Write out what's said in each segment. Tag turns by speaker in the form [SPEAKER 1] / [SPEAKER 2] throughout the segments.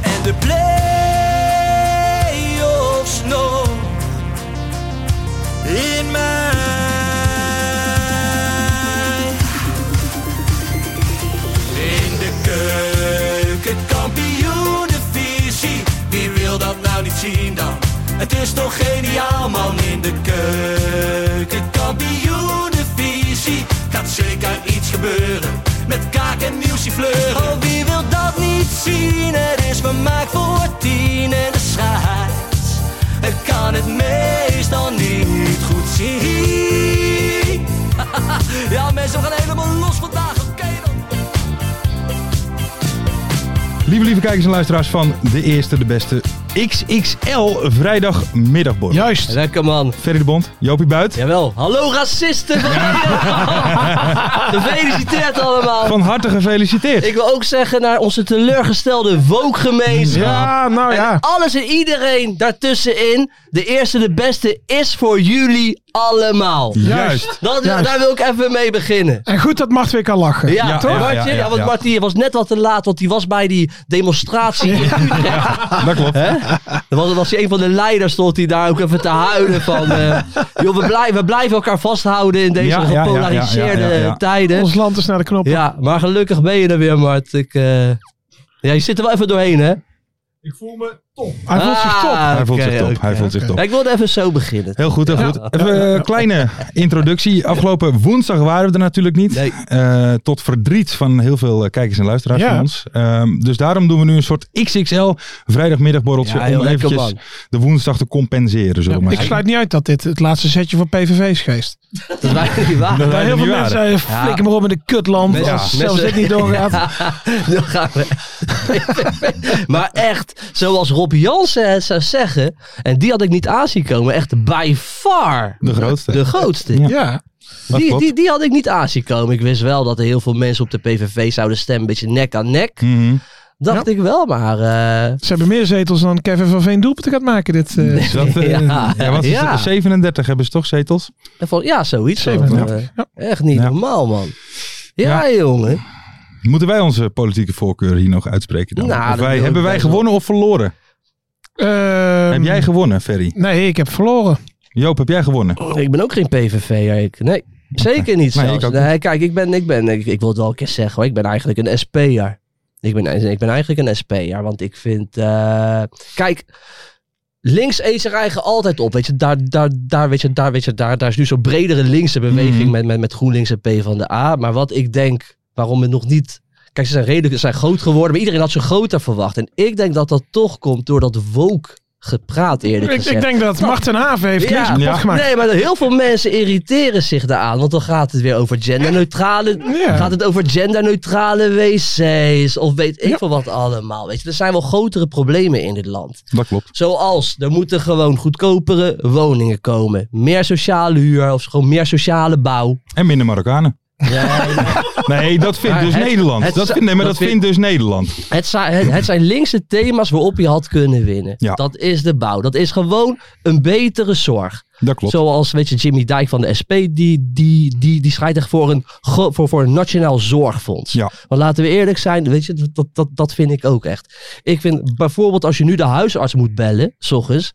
[SPEAKER 1] En de play-offs nog
[SPEAKER 2] In mij.
[SPEAKER 1] in de keuken. Kampioenenvisie, wie wil dat nou niet zien dan? Het is toch geniaal man in de keuken. Kampioenenvisie, gaat zeker iets gebeuren. Met kaak en muziek fleuren. Oh, wie wil dat niet zien? Het is vermaakt voor tien en de scheids. Ik kan het meestal niet goed zien. ja, mensen, we gaan helemaal los vandaag. Oké dan.
[SPEAKER 3] Lieve, lieve kijkers en luisteraars van de eerste, de beste XXL vrijdagmiddagborrel.
[SPEAKER 4] Juist.
[SPEAKER 1] Lekker man.
[SPEAKER 3] Ferry de Bond, Jopie Buit.
[SPEAKER 1] Jawel. Hallo racisten van Nederland. Gefeliciteerd allemaal.
[SPEAKER 3] Van harte gefeliciteerd.
[SPEAKER 1] Ik wil ook zeggen naar onze teleurgestelde wookgemeenschap.
[SPEAKER 4] Ja, nou
[SPEAKER 1] En
[SPEAKER 4] ja.
[SPEAKER 1] alles en iedereen daartussenin. De eerste, de beste is voor jullie allemaal.
[SPEAKER 3] Juist.
[SPEAKER 1] Dat,
[SPEAKER 4] Juist.
[SPEAKER 1] Daar wil ik even mee beginnen.
[SPEAKER 4] En goed dat Mart weer kan lachen.
[SPEAKER 1] Ja,
[SPEAKER 3] Ja,
[SPEAKER 1] toch?
[SPEAKER 3] ja,
[SPEAKER 1] Martje?
[SPEAKER 3] ja,
[SPEAKER 1] Ja,
[SPEAKER 3] ja,
[SPEAKER 1] want
[SPEAKER 3] ja.
[SPEAKER 1] Martje was net wat te laat, want die was bij die demonstratie.
[SPEAKER 3] Dat klopt.
[SPEAKER 1] Dan was, was hij een van de leiders, stond hij daar ook even te huilen van... eh, joh, we, blij- we blijven elkaar vasthouden in deze
[SPEAKER 3] Ja, ja, ja, ja,
[SPEAKER 1] gepolariseerde
[SPEAKER 3] ja, ja, ja.
[SPEAKER 1] eh, tijden.
[SPEAKER 4] Ons land is naar de knop.
[SPEAKER 1] Ja, maar gelukkig ben je er weer, Mart. Ik, eh, Ja, je zit er wel even doorheen, hè?
[SPEAKER 3] Ik voel me top.
[SPEAKER 4] Hij voelt zich
[SPEAKER 1] Ah,
[SPEAKER 4] top.
[SPEAKER 3] Hij voelt
[SPEAKER 1] oké,
[SPEAKER 3] zich top.
[SPEAKER 1] oké.
[SPEAKER 3] Hij voelt zich top.
[SPEAKER 1] Ja, ik wilde even zo beginnen.
[SPEAKER 3] Heel goed, heel goed. Even een kleine introductie. Afgelopen woensdag waren we er natuurlijk niet.
[SPEAKER 1] Nee.
[SPEAKER 3] Eh, tot verdriet van heel veel eh, kijkers en luisteraars
[SPEAKER 4] Ja.
[SPEAKER 3] van ons. Ehm, dus daarom doen we nu een soort XXL vrijdagmiddagborreltje
[SPEAKER 1] Ja, heel
[SPEAKER 3] om
[SPEAKER 1] lekker,
[SPEAKER 3] eventjes
[SPEAKER 1] man.
[SPEAKER 3] de woensdag te compenseren. Zo
[SPEAKER 4] Ja,
[SPEAKER 3] maar.
[SPEAKER 4] ik sluit niet uit dat dit het laatste setje voor PVV is geweest.
[SPEAKER 1] Dat is bijna niet waar.
[SPEAKER 3] Dat wij
[SPEAKER 4] Bij heel
[SPEAKER 3] er
[SPEAKER 4] veel
[SPEAKER 3] niet
[SPEAKER 4] mensen
[SPEAKER 3] waren.
[SPEAKER 4] zeiden,
[SPEAKER 1] Ja.
[SPEAKER 4] flikker maar op in de kutland.
[SPEAKER 1] Mensen-
[SPEAKER 4] als zelfs
[SPEAKER 1] mensen-
[SPEAKER 4] dit niet doorgaat.
[SPEAKER 1] Dan gaan we. maar echt, zoals Rob Jansen het zou zeggen, en die had ik niet aanzien komen, echt by far
[SPEAKER 3] De grootste.
[SPEAKER 1] de grootste.
[SPEAKER 3] Ja.
[SPEAKER 4] Ja.
[SPEAKER 3] Dat
[SPEAKER 1] Die,
[SPEAKER 3] klopt.
[SPEAKER 1] die, die had ik niet aanzien komen. Ik wist wel dat er heel veel mensen op de PVV zouden stemmen, een beetje nek aan nek.
[SPEAKER 3] Mhm.
[SPEAKER 1] Dacht ik wel, maar... eh,
[SPEAKER 4] Ze hebben meer zetels dan Kevin van Veen doelpunten gaat maken dit eh,
[SPEAKER 3] Dus dat, eh,
[SPEAKER 1] Ja.
[SPEAKER 3] ja. want ze-
[SPEAKER 1] Ja.
[SPEAKER 3] 37 hebben ze toch zetels?
[SPEAKER 1] En van, ja, zoiets.
[SPEAKER 4] Zeven,
[SPEAKER 1] van,
[SPEAKER 4] ja.
[SPEAKER 1] eh,
[SPEAKER 4] Ja.
[SPEAKER 1] Echt niet
[SPEAKER 3] Ja.
[SPEAKER 1] normaal, man. Ja, jongen.
[SPEAKER 3] Moeten wij onze politieke voorkeur hier nog uitspreken dan?
[SPEAKER 1] Nou,
[SPEAKER 3] Of
[SPEAKER 1] dat
[SPEAKER 3] wij,
[SPEAKER 1] wil ik
[SPEAKER 3] hebben wij
[SPEAKER 1] best wel.
[SPEAKER 3] gewonnen of verloren?
[SPEAKER 4] ehm,
[SPEAKER 3] heb jij gewonnen, Ferry?
[SPEAKER 4] Nee, ik heb verloren.
[SPEAKER 3] Joop, heb jij gewonnen?
[SPEAKER 1] Oh, Ik ben ook geen PVV'er. Ik, nee, zeker niet
[SPEAKER 3] Nee,
[SPEAKER 1] zelfs.
[SPEAKER 3] ik ook
[SPEAKER 1] Nee, kijk, ik ben, ik ben, ik, ik wil het wel een keer zeggen, hoor. ik ben eigenlijk een SP'er. Ik ben, ik ben eigenlijk een SP'er, want ik vind, eh, kijk, links eet zijn eigen altijd op, weet je, daar, daar, daar, weet je, daar, weet je, daar, daar is nu zo'n bredere linkse beweging
[SPEAKER 3] Mhm.
[SPEAKER 1] met, met, met GroenLinks en P van de A, maar wat ik denk, waarom het nog niet Kijk, ze zijn redelijk ze zijn groot geworden, maar iedereen had ze groter verwacht. En ik denk dat dat toch komt door dat woke gepraat eerlijk
[SPEAKER 4] Ik,
[SPEAKER 1] gezegd.
[SPEAKER 4] ik denk dat Mart ten Haven heeft
[SPEAKER 1] Oh. Ja.
[SPEAKER 4] links kapot
[SPEAKER 3] Ja.
[SPEAKER 4] gemaakt.
[SPEAKER 1] Nee, maar heel veel mensen irriteren zich daaraan. Want dan gaat het weer over genderneutrale.
[SPEAKER 4] Ja.
[SPEAKER 1] Gaat het over genderneutrale wc's. Of weet ik
[SPEAKER 4] Ja.
[SPEAKER 1] veel wat allemaal. Weet je, er zijn wel grotere problemen in dit land.
[SPEAKER 3] Dat klopt.
[SPEAKER 1] Zoals, er moeten gewoon goedkopere woningen komen. Meer sociale huur of gewoon meer sociale bouw.
[SPEAKER 3] En minder Marokkanen. Nee, dat vindt
[SPEAKER 1] Maar
[SPEAKER 3] dus
[SPEAKER 1] het-
[SPEAKER 3] Nederland.
[SPEAKER 1] het-
[SPEAKER 3] dat vindt- nee, maar dat,
[SPEAKER 1] dat
[SPEAKER 3] vindt dus Nederland.
[SPEAKER 1] Het, zi- het, het zijn linkse thema's waarop je had kunnen winnen.
[SPEAKER 3] Ja.
[SPEAKER 1] Dat is de bouw. Dat is gewoon een betere zorg.
[SPEAKER 3] Dat klopt.
[SPEAKER 1] Zoals weet je, Jimmy Dijk van de SP, die, die, die, die schrijft echt voor een, gro- voor, voor een nationaal zorgfonds.
[SPEAKER 3] Ja.
[SPEAKER 1] Maar laten we eerlijk zijn, weet je, dat- dat, dat, dat vind ik ook echt. Ik vind bijvoorbeeld als je nu de huisarts moet bellen, s ochtends.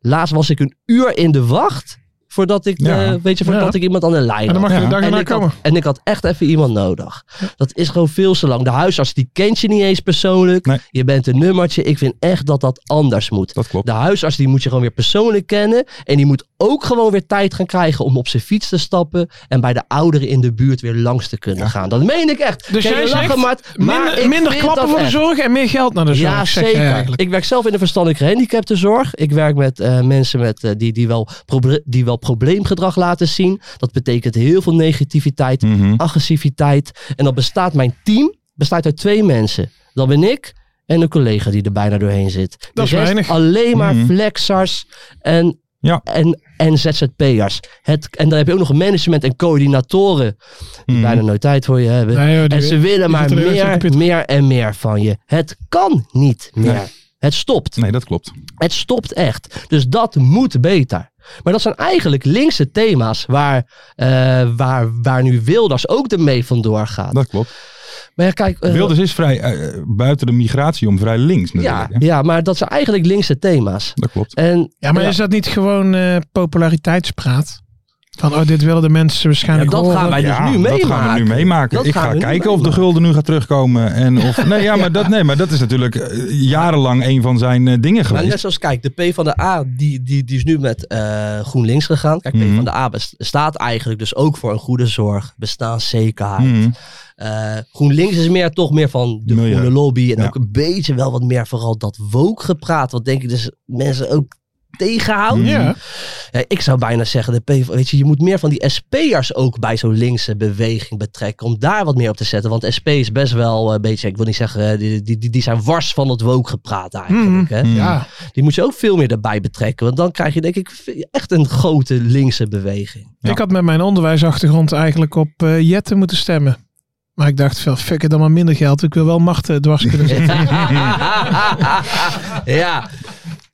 [SPEAKER 1] Laatst was ik een uur in de wacht voordat ik,
[SPEAKER 3] Ja.
[SPEAKER 1] eh, weet je, voordat
[SPEAKER 4] Ja.
[SPEAKER 1] ik iemand aan de lijn
[SPEAKER 4] En dan
[SPEAKER 1] had.
[SPEAKER 4] mag je
[SPEAKER 3] Ja.
[SPEAKER 4] de dag
[SPEAKER 1] En
[SPEAKER 4] erna
[SPEAKER 1] ik, had,
[SPEAKER 4] komen.
[SPEAKER 1] en ik had echt even iemand nodig. Dat is gewoon veel te lang. De huisarts die kent je niet eens persoonlijk.
[SPEAKER 3] Nee.
[SPEAKER 1] Je bent een nummertje. Ik vind echt dat dat anders moet.
[SPEAKER 3] Dat klopt.
[SPEAKER 1] De huisarts die moet je gewoon weer persoonlijk kennen. En die moet ook gewoon weer tijd gaan krijgen om op zijn fiets te stappen. En bij de ouderen in de buurt weer langs te kunnen gaan. Dat meen ik echt.
[SPEAKER 4] Dus
[SPEAKER 1] Kun je
[SPEAKER 4] jij
[SPEAKER 1] lachen,
[SPEAKER 4] zegt
[SPEAKER 1] maar, maar
[SPEAKER 4] minder,
[SPEAKER 1] ik
[SPEAKER 4] minder
[SPEAKER 1] vind
[SPEAKER 4] klappen
[SPEAKER 1] dat
[SPEAKER 4] voor de
[SPEAKER 1] echt.
[SPEAKER 4] zorg en meer geld naar de zorg.
[SPEAKER 1] Ja,
[SPEAKER 4] zeg jij
[SPEAKER 1] zeker.
[SPEAKER 4] eigenlijk.
[SPEAKER 1] Ik werk zelf in de verstandelijke gehandicaptenzorg. Ik werk met eh, mensen met, eh, die, die, wel proble- die wel probleemgedrag laten zien. Dat betekent heel veel negativiteit,
[SPEAKER 4] Hm?
[SPEAKER 3] Mhm.
[SPEAKER 1] agressiviteit. En dan bestaat mijn team bestaat uit twee mensen. Dan ben ik en een collega die er bijna doorheen zit. De
[SPEAKER 4] Dat is
[SPEAKER 1] rest
[SPEAKER 4] weinig.
[SPEAKER 1] alleen maar
[SPEAKER 3] Mhm.
[SPEAKER 1] flexers en,
[SPEAKER 3] Ja.
[SPEAKER 1] en, en ZZP'ers. Het, en dan heb je ook nog een management en coördinatoren die
[SPEAKER 3] Mhm.
[SPEAKER 1] bijna nooit tijd voor je hebben.
[SPEAKER 4] Nee, hoor, die-
[SPEAKER 1] en ze willen
[SPEAKER 4] die
[SPEAKER 1] maar
[SPEAKER 4] zitten er heel erg
[SPEAKER 1] meer,
[SPEAKER 4] op je-
[SPEAKER 1] meer en meer van je. Het kan niet meer.
[SPEAKER 3] Nee.
[SPEAKER 1] Het stopt.
[SPEAKER 3] Nee, dat klopt.
[SPEAKER 1] Het stopt echt. Dus dat moet beter. Maar dat zijn eigenlijk linkse thema's waar, eh, waar, waar nu Wilders ook ermee vandoor gaat.
[SPEAKER 3] Dat klopt.
[SPEAKER 1] Maar ja, kijk, eh,
[SPEAKER 3] Wilders is vrij eh, buiten de migratie om vrij links
[SPEAKER 1] ja,
[SPEAKER 3] natuurlijk. hè?
[SPEAKER 1] ja, maar dat zijn eigenlijk linkse thema's.
[SPEAKER 3] Dat klopt.
[SPEAKER 1] En
[SPEAKER 4] Ja, maar is dat niet gewoon eh, populariteitspraat? Van, oh, dit willen de mensen waarschijnlijk
[SPEAKER 1] Ja, dat
[SPEAKER 4] horen.
[SPEAKER 1] gaan wij- dus nu
[SPEAKER 3] Dat gaan we
[SPEAKER 1] meemaken.
[SPEAKER 3] nu meemaken.
[SPEAKER 1] Dat
[SPEAKER 3] ik
[SPEAKER 1] gaan
[SPEAKER 3] ga
[SPEAKER 1] we nu
[SPEAKER 3] kijken of de
[SPEAKER 1] meemaken.
[SPEAKER 3] gulden nu gaat terugkomen. En of, nee, ja, maar dat, nee, maar dat is natuurlijk eh, jarenlang een van zijn eh, dingen
[SPEAKER 1] Maar
[SPEAKER 3] geweest.
[SPEAKER 1] net zoals, kijk, de P van de A die, die, die is nu met eh, GroenLinks gegaan. Kijk,
[SPEAKER 3] Mhm.
[SPEAKER 1] P van de A staat eigenlijk dus ook voor een goede zorg, bestaanszekerheid.
[SPEAKER 3] Mhm.
[SPEAKER 1] Eh, GroenLinks is meer toch meer van de
[SPEAKER 3] Milieu.
[SPEAKER 1] groene lobby. En
[SPEAKER 3] Ja.
[SPEAKER 1] ook een beetje wel wat meer vooral dat woke gepraat. Wat denk ik dus mensen ook tegenhoudt.
[SPEAKER 4] Ja.
[SPEAKER 1] Ja, ik zou bijna zeggen, de PV, weet je, je moet meer van die SP'ers ook bij zo'n linkse beweging betrekken. Om daar wat meer op te zetten. Want SP is best wel eh, een beetje, ik wil niet zeggen, eh, die, die, die, die zijn wars van het woke gepraat eigenlijk.
[SPEAKER 3] Hmm.
[SPEAKER 1] Hè?
[SPEAKER 3] Mm.
[SPEAKER 4] Ja.
[SPEAKER 1] Die moet je ook veel meer erbij betrekken. Want dan krijg je denk ik ve- echt een grote linkse beweging.
[SPEAKER 4] Ik had met mijn onderwijsachtergrond eigenlijk op eh Jetten moeten stemmen. Maar ik dacht, veel, fuck het dan maar minder geld. Ik wil wel macht eh, dwars kunnen zetten.
[SPEAKER 1] ja.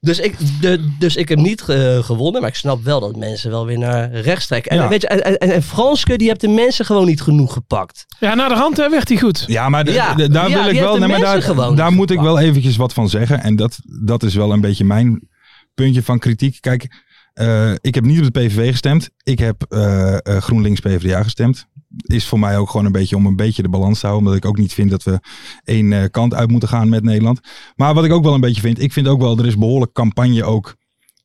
[SPEAKER 1] Dus ik, de- dus ik heb niet eh, gewonnen, maar ik snap wel dat mensen wel weer naar rechts trekken. En,
[SPEAKER 3] Ja.
[SPEAKER 1] weet je, en, en- en, en Franske, die hebt de mensen gewoon niet genoeg gepakt.
[SPEAKER 4] Ja, naar de hand hè, werd hij goed.
[SPEAKER 3] Ja, maar d-
[SPEAKER 1] Ja.
[SPEAKER 3] d- daar
[SPEAKER 1] Ja,
[SPEAKER 3] wil ik
[SPEAKER 1] die heeft de
[SPEAKER 3] wel. nee, maar
[SPEAKER 1] mensen
[SPEAKER 3] daar,
[SPEAKER 1] gewoon
[SPEAKER 3] daar
[SPEAKER 1] niet
[SPEAKER 3] moet ik wel eventjes wat van zeggen. En dat, dat is wel een beetje mijn puntje van kritiek. Kijk, eh, ik heb niet op de PVV gestemd. Ik heb eh, eh, GroenLinks PvdA gestemd. Is voor mij ook gewoon een beetje om een beetje de balans te houden. Omdat ik ook niet vind dat we één eh, kant uit moeten gaan met Nederland. Maar wat ik ook wel een beetje vind. Ik vind ook wel, er is behoorlijk campagne ook.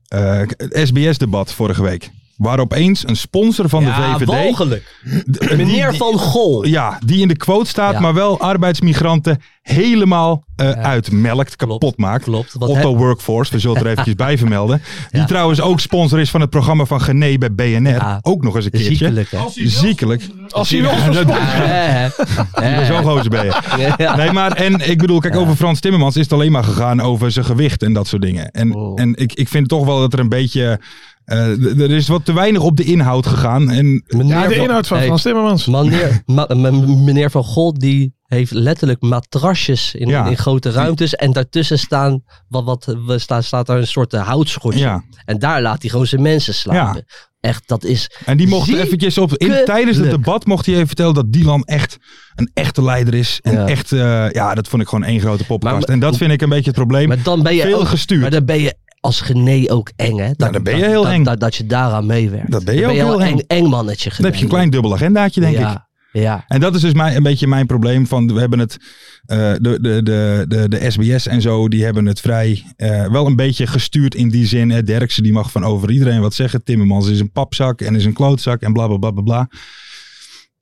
[SPEAKER 3] eh, het SBS-debat vorige week. Waar opeens een sponsor van
[SPEAKER 1] ja,
[SPEAKER 3] de VVD.
[SPEAKER 1] walgelijk.
[SPEAKER 3] d- die-
[SPEAKER 1] Meneer
[SPEAKER 3] die-
[SPEAKER 1] Van Gol.
[SPEAKER 3] ja, die in de quote staat,
[SPEAKER 1] Ja.
[SPEAKER 3] maar wel arbeidsmigranten helemaal eh, uitmelkt, kapot
[SPEAKER 1] Klopt,
[SPEAKER 3] maakt.
[SPEAKER 1] klopt. Want
[SPEAKER 3] Otto
[SPEAKER 1] hij-
[SPEAKER 3] Workforce, we zullen het er eventjes bij vermelden. Die
[SPEAKER 1] Ja.
[SPEAKER 3] trouwens ook sponsor is van het programma van Gené bij BNR.
[SPEAKER 1] Ja.
[SPEAKER 3] Ook nog eens een keertje.
[SPEAKER 1] Ziekelijk, hè?
[SPEAKER 3] Ziekelijk.
[SPEAKER 4] Als hij wel
[SPEAKER 3] dat-
[SPEAKER 1] Ja, hè?
[SPEAKER 3] Zo'n gozer ben je.
[SPEAKER 1] Ja.
[SPEAKER 3] Nee, maar en ik bedoel, kijk, over Frans Timmermans is het alleen maar gegaan over zijn gewicht en dat soort dingen. En,
[SPEAKER 1] Oh.
[SPEAKER 3] en ik, ik vind toch wel dat er een beetje. eh, d- er is wat te weinig op de inhoud gegaan. En
[SPEAKER 1] Meneer
[SPEAKER 4] Ja, de
[SPEAKER 1] Van-
[SPEAKER 4] inhoud van
[SPEAKER 1] Hey,
[SPEAKER 4] Frans Timmermans.
[SPEAKER 1] Meneer, ma- m- m- meneer Van Gol die heeft letterlijk matrasjes in,
[SPEAKER 3] Ja.
[SPEAKER 1] in grote ruimtes. En daartussen staan, wat, wat, we staan, staat daar een soort eh, houtschotje.
[SPEAKER 3] Ja.
[SPEAKER 1] En daar laat hij gewoon zijn mensen slapen. Echt, dat is...
[SPEAKER 3] En die mocht
[SPEAKER 1] Ziekelijk.
[SPEAKER 3] eventjes op, in, tijdens het debat mocht hij even vertellen dat Dylan echt een echte leider is. En
[SPEAKER 1] Ja.
[SPEAKER 3] echt, eh, ja, dat vond ik gewoon één grote poppenkast.
[SPEAKER 1] Maar-
[SPEAKER 3] En dat vind ik een beetje het probleem.
[SPEAKER 1] Maar dan ben je
[SPEAKER 3] Veel
[SPEAKER 1] ook,
[SPEAKER 3] gestuurd. Nou,
[SPEAKER 1] Maar dan ben je als genee ook eng, hè? Dat,
[SPEAKER 3] dan ben je heel
[SPEAKER 1] dat,
[SPEAKER 3] eng.
[SPEAKER 1] Dat, dat je daaraan meewerkt.
[SPEAKER 3] Dat ben je ook heel
[SPEAKER 1] al
[SPEAKER 3] eng.
[SPEAKER 1] eng mannetje
[SPEAKER 3] dan heb je een klein dubbel agendaatje, denk ik.
[SPEAKER 1] ja, Ja.
[SPEAKER 3] En dat is dus mijn, een beetje mijn probleem. Van, we hebben het, eh, de, de, de, de, de SBS en zo, die hebben het vrij eh, wel een beetje gestuurd in die zin. Hè. Derksen die mag van over iedereen wat zeggen. Timmermans is een papzak en is een klootzak en bla bla bla bla bla.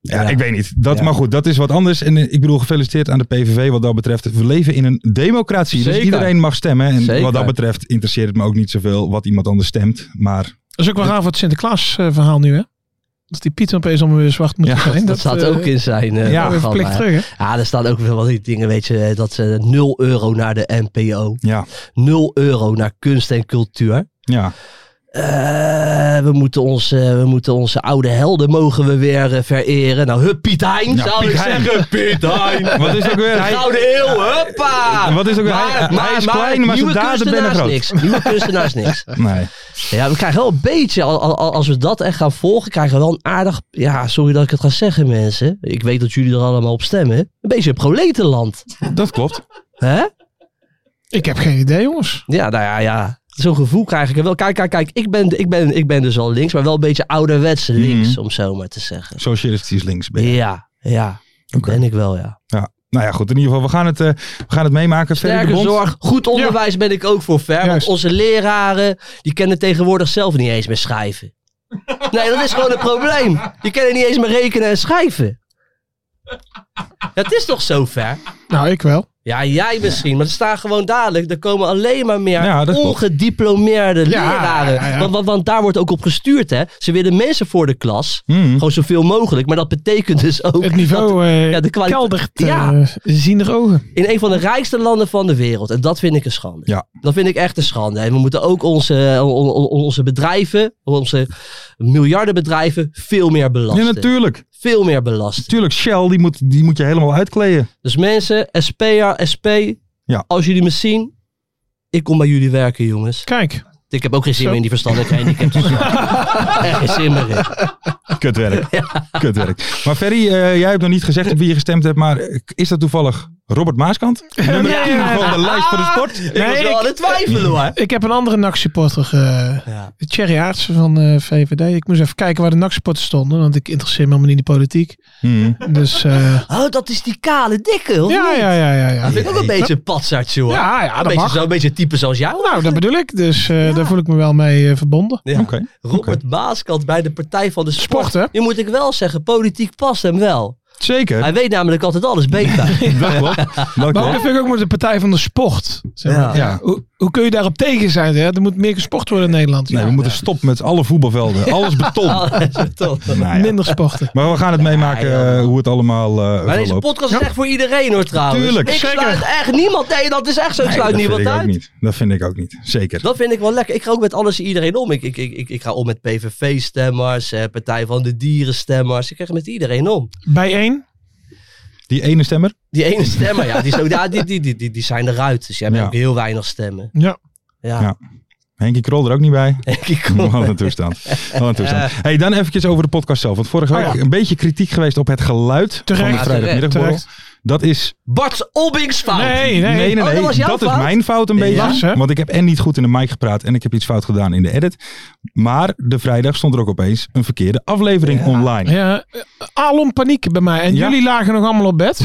[SPEAKER 3] Ja,
[SPEAKER 1] Ja.
[SPEAKER 3] ik weet niet. Dat,
[SPEAKER 1] Ja.
[SPEAKER 3] Maar goed, dat is wat anders. En eh, ik bedoel, gefeliciteerd aan de PVV wat dat betreft. We leven in een democratie, dus
[SPEAKER 1] Zeker.
[SPEAKER 3] iedereen mag stemmen. En
[SPEAKER 1] Zeker.
[SPEAKER 3] wat dat betreft interesseert het me ook niet zoveel wat iemand anders stemt. Maar
[SPEAKER 4] Dat is ook wel raar voor het Sinterklaas eh, verhaal nu hè. Dat die Piet opeens om weer zwart moet
[SPEAKER 3] Ja,
[SPEAKER 4] zijn.
[SPEAKER 1] Dat, staat
[SPEAKER 4] eh,
[SPEAKER 1] ook in zijn eh,
[SPEAKER 3] ja,
[SPEAKER 1] programma,
[SPEAKER 4] weer verplicht
[SPEAKER 1] hè.
[SPEAKER 4] terug hè.
[SPEAKER 1] Ja, er staan ook wel die dingen, weet je, eh, dat ze 0 euro naar de NPO,
[SPEAKER 3] ja,
[SPEAKER 1] 0 euro naar kunst en cultuur.
[SPEAKER 3] ja.
[SPEAKER 1] Eh, eh, we, moeten onze, we moeten onze oude helden mogen we weer eh, vereren. Nou, hup, Piet Hein,
[SPEAKER 3] Ja,
[SPEAKER 1] zou
[SPEAKER 3] Piet
[SPEAKER 1] ik
[SPEAKER 3] Hein.
[SPEAKER 1] zeggen. Piet Hein.
[SPEAKER 3] Wat is ook weer?
[SPEAKER 1] De Gouden Eeuw, huppa!
[SPEAKER 3] Wat is ook weer? Hij- hij is klein, maar zijn
[SPEAKER 1] nieuwe
[SPEAKER 3] daden
[SPEAKER 1] kunstenaars
[SPEAKER 3] zijn groot.
[SPEAKER 1] niks. Nieuwe kunstenaars niks.
[SPEAKER 3] Nee.
[SPEAKER 1] Ja, we krijgen wel een beetje, al- al- al- als we dat echt gaan volgen, krijgen we wel een aardig, ja, sorry dat ik het ga zeggen mensen. Ik weet dat jullie er allemaal op stemmen. Een beetje een proletenland.
[SPEAKER 3] Dat klopt.
[SPEAKER 1] Hè?
[SPEAKER 4] Ik heb geen idee, jongens.
[SPEAKER 1] Ja, nou ja, ja. Zo'n gevoel krijg ik er wel. Kijk, kijk, kijk. Ik ben, ik, ben, ik ben dus al links, maar wel een beetje ouderwets links, om zo maar te zeggen.
[SPEAKER 3] Socialistisch links Mhm. ben je.
[SPEAKER 1] Ja, ja. Dat
[SPEAKER 3] Oké.
[SPEAKER 1] ben ik wel, ja.
[SPEAKER 3] Ja. Nou ja, goed. In ieder geval, we gaan het, eh, we gaan het meemaken. Ferry de
[SPEAKER 1] Sterke
[SPEAKER 3] Bond.
[SPEAKER 1] zorg, goed onderwijs ben ik ook voor ver. Want
[SPEAKER 4] Juist.
[SPEAKER 1] onze leraren, die kennen tegenwoordig zelf niet eens meer schrijven. Nee, dat is gewoon een probleem. Die kennen niet eens meer rekenen en schrijven. Dat is toch zo ver?
[SPEAKER 4] Nou, ik wel.
[SPEAKER 1] Ja, jij misschien, maar er staan gewoon dadelijk, er komen alleen maar meer
[SPEAKER 3] Ja, dat klopt.
[SPEAKER 1] ongediplomeerde leraren.
[SPEAKER 4] ja, ja.
[SPEAKER 1] Want, want, want daar wordt ook op gestuurd, hè. Ze willen mensen voor de klas,
[SPEAKER 3] Hmm.
[SPEAKER 1] gewoon zoveel mogelijk. Maar dat betekent dus ook...
[SPEAKER 4] Hm. Het niveau eh
[SPEAKER 1] ja, de kwali-
[SPEAKER 4] keldert
[SPEAKER 1] Ja.
[SPEAKER 4] eh, zien er ogen.
[SPEAKER 1] In een van de rijkste landen van de wereld. En dat vind ik een schande.
[SPEAKER 3] Ja.
[SPEAKER 1] Dat vind ik echt een schande. En we moeten ook onze, eh, on- on- onze bedrijven, onze miljardenbedrijven, veel meer
[SPEAKER 3] Ja,
[SPEAKER 1] belasten.
[SPEAKER 3] natuurlijk.
[SPEAKER 1] veel meer belasten.
[SPEAKER 3] Natuurlijk, Shell, die moet, die moet je helemaal uitkleden.
[SPEAKER 1] Dus mensen, SP, SP,
[SPEAKER 3] Ja.
[SPEAKER 1] als jullie me zien, ik kom bij jullie werken, jongens.
[SPEAKER 4] Kijk,
[SPEAKER 1] Ik heb ook geen zin
[SPEAKER 4] Zo.
[SPEAKER 1] meer in die verstandelijke handicaps. Echt geen zin meer in.
[SPEAKER 3] Kutwerk. Kutwerk. Maar Ferry, eh, jij hebt nog niet gezegd op wie je gestemd hebt, maar eh, is dat toevallig Robert Maaskant? Nummer 10 van de lijst voor de sport.
[SPEAKER 1] Ik was wel aan het twijfelen, hoor.
[SPEAKER 4] ik heb een andere NAC-supporter. eh,
[SPEAKER 1] Ja.
[SPEAKER 4] Thierry Aartsen van eh, VVD. Ik moest even kijken waar de NAC-supporters stonden. Want ik interesseer me helemaal niet in de politiek.
[SPEAKER 3] Hmm.
[SPEAKER 4] Dus eh,
[SPEAKER 1] Oh, dat is die kale dikke, hoor.
[SPEAKER 4] ja, ja, ja, ja, ja.
[SPEAKER 1] Dat vind ik ook een beetje een patsertje, hoor.
[SPEAKER 4] Ja, ja,
[SPEAKER 1] een
[SPEAKER 4] dat
[SPEAKER 1] beetje,
[SPEAKER 4] mag.
[SPEAKER 1] zo, een beetje type zoals jou.
[SPEAKER 4] Nou, dat bedoel ik. Dus eh, daar voel ik me wel mee eh, verbonden.
[SPEAKER 1] Ja.
[SPEAKER 3] Oké.
[SPEAKER 1] Robert Baaskant bij de Partij van de Sport.
[SPEAKER 4] Sport, hè?
[SPEAKER 1] Nu moet ik wel zeggen, politiek past hem wel.
[SPEAKER 3] Zeker.
[SPEAKER 1] Hij weet namelijk altijd alles beter.
[SPEAKER 3] Dat klopt. Dat
[SPEAKER 4] Maar
[SPEAKER 3] klopt.
[SPEAKER 4] dat vind ik ook met de Partij van de Sport. Zeg maar.
[SPEAKER 1] Ja.
[SPEAKER 3] Ja.
[SPEAKER 4] Hoe, hoe kun je daarop tegen zijn? Hè? Er moet meer gesport worden in Nederland.
[SPEAKER 3] Nee, we moeten stoppen met alle voetbalvelden. Alles beton.
[SPEAKER 1] Alles is top.
[SPEAKER 3] Nou ja.
[SPEAKER 4] Minder sporten.
[SPEAKER 3] Maar we gaan het meemaken
[SPEAKER 1] ja,
[SPEAKER 3] eh,
[SPEAKER 1] ja.
[SPEAKER 3] hoe het allemaal
[SPEAKER 1] Maar
[SPEAKER 3] eh
[SPEAKER 1] deze
[SPEAKER 3] verloopt.
[SPEAKER 1] podcast is echt voor iedereen hoor trouwens.
[SPEAKER 3] Tuurlijk,
[SPEAKER 1] ik
[SPEAKER 3] zeker.
[SPEAKER 1] sluit echt niemand Nee, Dat is echt zo. Ik
[SPEAKER 3] Nee,
[SPEAKER 1] sluit
[SPEAKER 3] dat
[SPEAKER 1] niemand
[SPEAKER 3] vind ik ook
[SPEAKER 1] uit.
[SPEAKER 3] niet. Dat vind ik ook niet. Zeker.
[SPEAKER 1] Dat vind ik wel lekker. Ik ga ook met alles en iedereen om. Ik, ik, ik, ik, ik ga om met PVV-stemmers, eh, Partij van de Dieren-stemmers. Ik ga met iedereen om.
[SPEAKER 4] Bijeen.
[SPEAKER 3] Die ene stemmer?
[SPEAKER 1] Die ene stemmer, ja, die, is ook, ja, die, die, die, die, die zijn eruit. Dus jij hebt
[SPEAKER 3] Ja.
[SPEAKER 1] ook heel weinig stemmen.
[SPEAKER 4] Ja.
[SPEAKER 1] Ja.
[SPEAKER 3] Ja. Henkie Krol er ook niet bij.
[SPEAKER 1] Ik
[SPEAKER 3] Wat
[SPEAKER 1] kom.
[SPEAKER 3] een toestand. Wat een toestand. Hey, dan eventjes over de podcast zelf. Want vorige week
[SPEAKER 4] Oh ja.
[SPEAKER 3] een beetje kritiek geweest op het geluid
[SPEAKER 4] Terecht.
[SPEAKER 3] van de
[SPEAKER 4] Ja,
[SPEAKER 3] vrijdagmiddagborrel. Dat is...
[SPEAKER 1] Bart Obbings fout.
[SPEAKER 4] Nee, nee.
[SPEAKER 3] Nee, nee, nee.
[SPEAKER 1] Oh, dat was jouw
[SPEAKER 3] is
[SPEAKER 1] fout?
[SPEAKER 3] mijn fout een beetje.
[SPEAKER 4] Lars, hè?
[SPEAKER 3] Want ik heb en niet goed in de mic gepraat en ik heb iets fout gedaan in de edit. Maar de vrijdag stond er ook opeens een verkeerde aflevering online.
[SPEAKER 4] Ja, eh, alom paniek bij mij. En
[SPEAKER 3] Ja.
[SPEAKER 4] jullie lagen nog allemaal op bed.